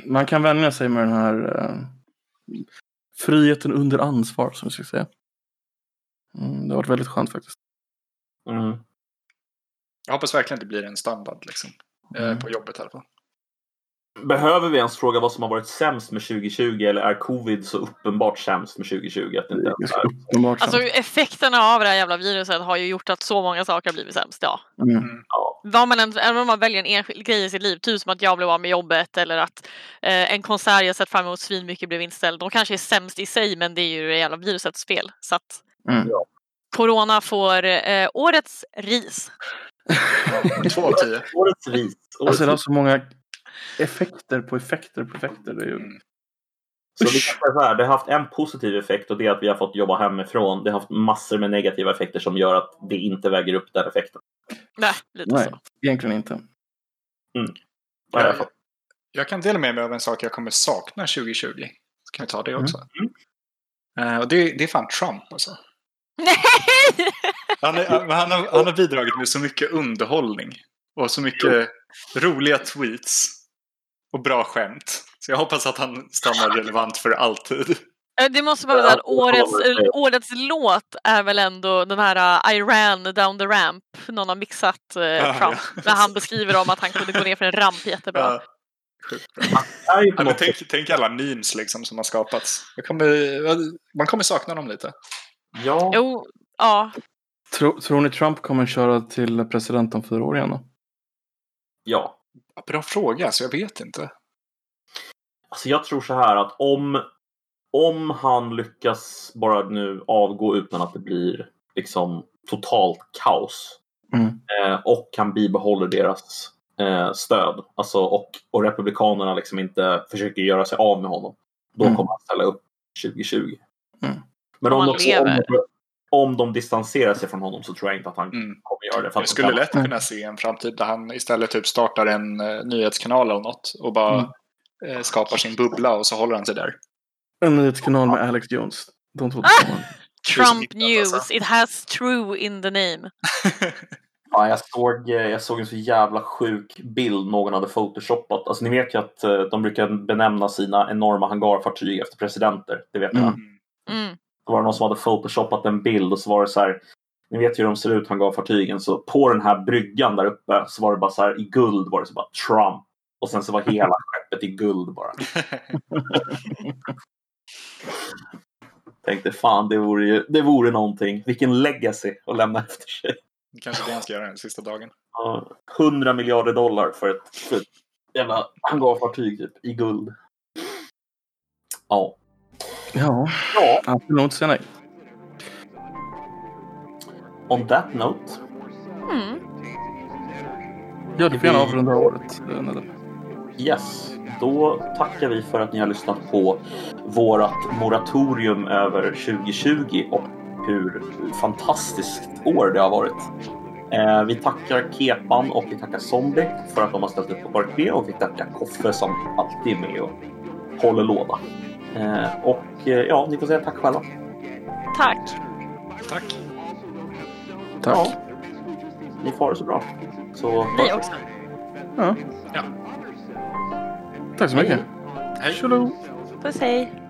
A: Man kan vänja sig med den här eh, friheten under ansvar som vi ska säga. Mm, det har varit väldigt skönt faktiskt.
B: mm.
D: Jag hoppas verkligen att det blir en standard liksom. Eh,
A: Mm.
D: På jobbet i alla fall.
B: Behöver vi ens fråga vad som har varit sämst med 2020 eller är covid så uppenbart sämst med 2020? Att det
A: Det
B: inte
A: är
B: ens
A: ganska
B: är.
A: uppenbart.
C: Alltså
A: sant.
C: effekterna av det här jävla viruset har ju gjort att så många saker har blivit sämst. Ja.
A: Mm.
C: Vad man än, även om man väljer en enskild grej i sitt liv, typ som att jag blev av med jobbet eller att eh, en konsert jag sett fram emot svinmycket blev inställd. De kanske är sämst i sig men det är ju det jävla virusets fel. Så att
A: Mm.
C: Corona får eh, årets ris.
D: Ja, Två av tio.
B: Årets vis. Årets
A: Alltså det har
B: vis.
A: så många effekter på effekter på effekter. Det är ju...
D: Mm.
B: Så vi kan säga så här, det har haft en positiv effekt och det är att vi har fått jobba hemifrån. Det har haft massor med negativa effekter som gör att det inte väger upp den effekten.
C: Nej, lite
A: Nej,
C: så.
A: egentligen inte.
B: Vad är det
D: Jag,
B: för-
D: jag kan dela med mig av en sak jag kommer sakna 2020. Så kan vi ta det också. Eh, och det, det är fan Trump alltså.
C: Nej!
D: Han, är, han, han, har, han har bidragit med så mycket underhållning. Och så mycket roliga tweets. Och bra skämt. Så jag hoppas att han stannar relevant för alltid.
C: Eh, Det måste man väl
B: Ja,
C: säga,
B: det
C: att
B: får man väl
C: årets,
B: säga.
C: eh, årets låt är väl ändå den här eh, I ran down the ramp. Någon har mixat eh,
D: Ja,
C: Trump.
D: ja.
C: När han beskriver om att han kunde gå ner för en ramp jättebra.
D: Ja, Eh, sjukt bra.
B: Det är ju på
D: Ja, men
B: något sätt-
D: tänk, tänk alla memes liksom som har skapats. Jag kommer, man kommer sakna dem lite.
B: Ja.
C: Jo, ja.
A: Tro, tror ni Trump kommer köra till president om fyra år igen då?
B: ja.
D: Bra fråga, så jag vet inte.
B: Alltså jag tror så här att om, om han lyckas bara nu avgå utan att det blir liksom totalt kaos
A: Mm.
B: eh, och han bibehåller deras eh, stöd alltså, och, och republikanerna liksom inte försöker göra sig av med honom då
A: Mm.
B: kommer han ställa upp 2020.
A: Mm.
B: Men
C: Om
B: om,
C: han
B: de, om,
C: lever.
B: de, om de distanserar sig från honom så tror jag inte att han
D: Mm.
B: kommer göra det. För
D: Jag
B: att- Mm.
D: skulle lätt kunna se en framtid där han istället typ startar en eh, nyhetskanal eller något och
B: Mm.
D: bara eh, skapar sin bubbla och så håller han sig där.
A: En nyhetskanal med Alex Jones. De två tillsammans.
C: Ah! Trump
D: Det är så
C: news,
B: alltså.
D: hittat,
C: it has true in the name.
B: Ja, jag, såg, eh, jag såg en så jävla sjuk bild någon hade photoshoppat. Alltså, ni vet ju att eh, de brukar benämna sina enorma hangarfartyg efter presidenter. Det vet ni
A: Mm.
B: va?
D: Mm.
C: Mm.
B: Då var det någon som hade photoshoppat en bild och så var det så här. Ni vet ju hur de ser ut, hangarfartygen. Så på den här bryggan där uppe så var det bara så här i guld var det så bara Trump. Och sen så var hela skeppet i guld bara. Tänkte fan, det vore ju det vore någonting. Vilken legacy att lämna efter sig.
D: Kanske det han ska göra den sista dagen.
B: Ja, 100 miljarder dollar för ett, för ett jävla hangarfartyg typ, i guld. Ja.
A: Ja,
B: ja.
A: han skulle nog inte säga nej.
B: On that note.
C: Mm.
A: Ja, du får gärna avrunda året. eh, Nadal.
B: Yes. Då tackar vi för att ni har lyssnat på vårat moratorium över 2020 och hur fantastiskt år det har varit. Eh, vi tackar Kepan och vi tackar Zombie för att de har ställt upp på Parkvé och vi tackar Koffe som alltid är med och håller låda. Eh, och eh, ja, ni får säga tack själva.
C: Tack!
D: Tack.
A: Tack.
B: Ja. Ni får ha det så bra. Så hörs
C: Ni
B: vi.
C: också.
A: Ja.
D: Ja.
A: Tack så mycket.
D: Hej.
A: Tjolå.
C: Puss hej!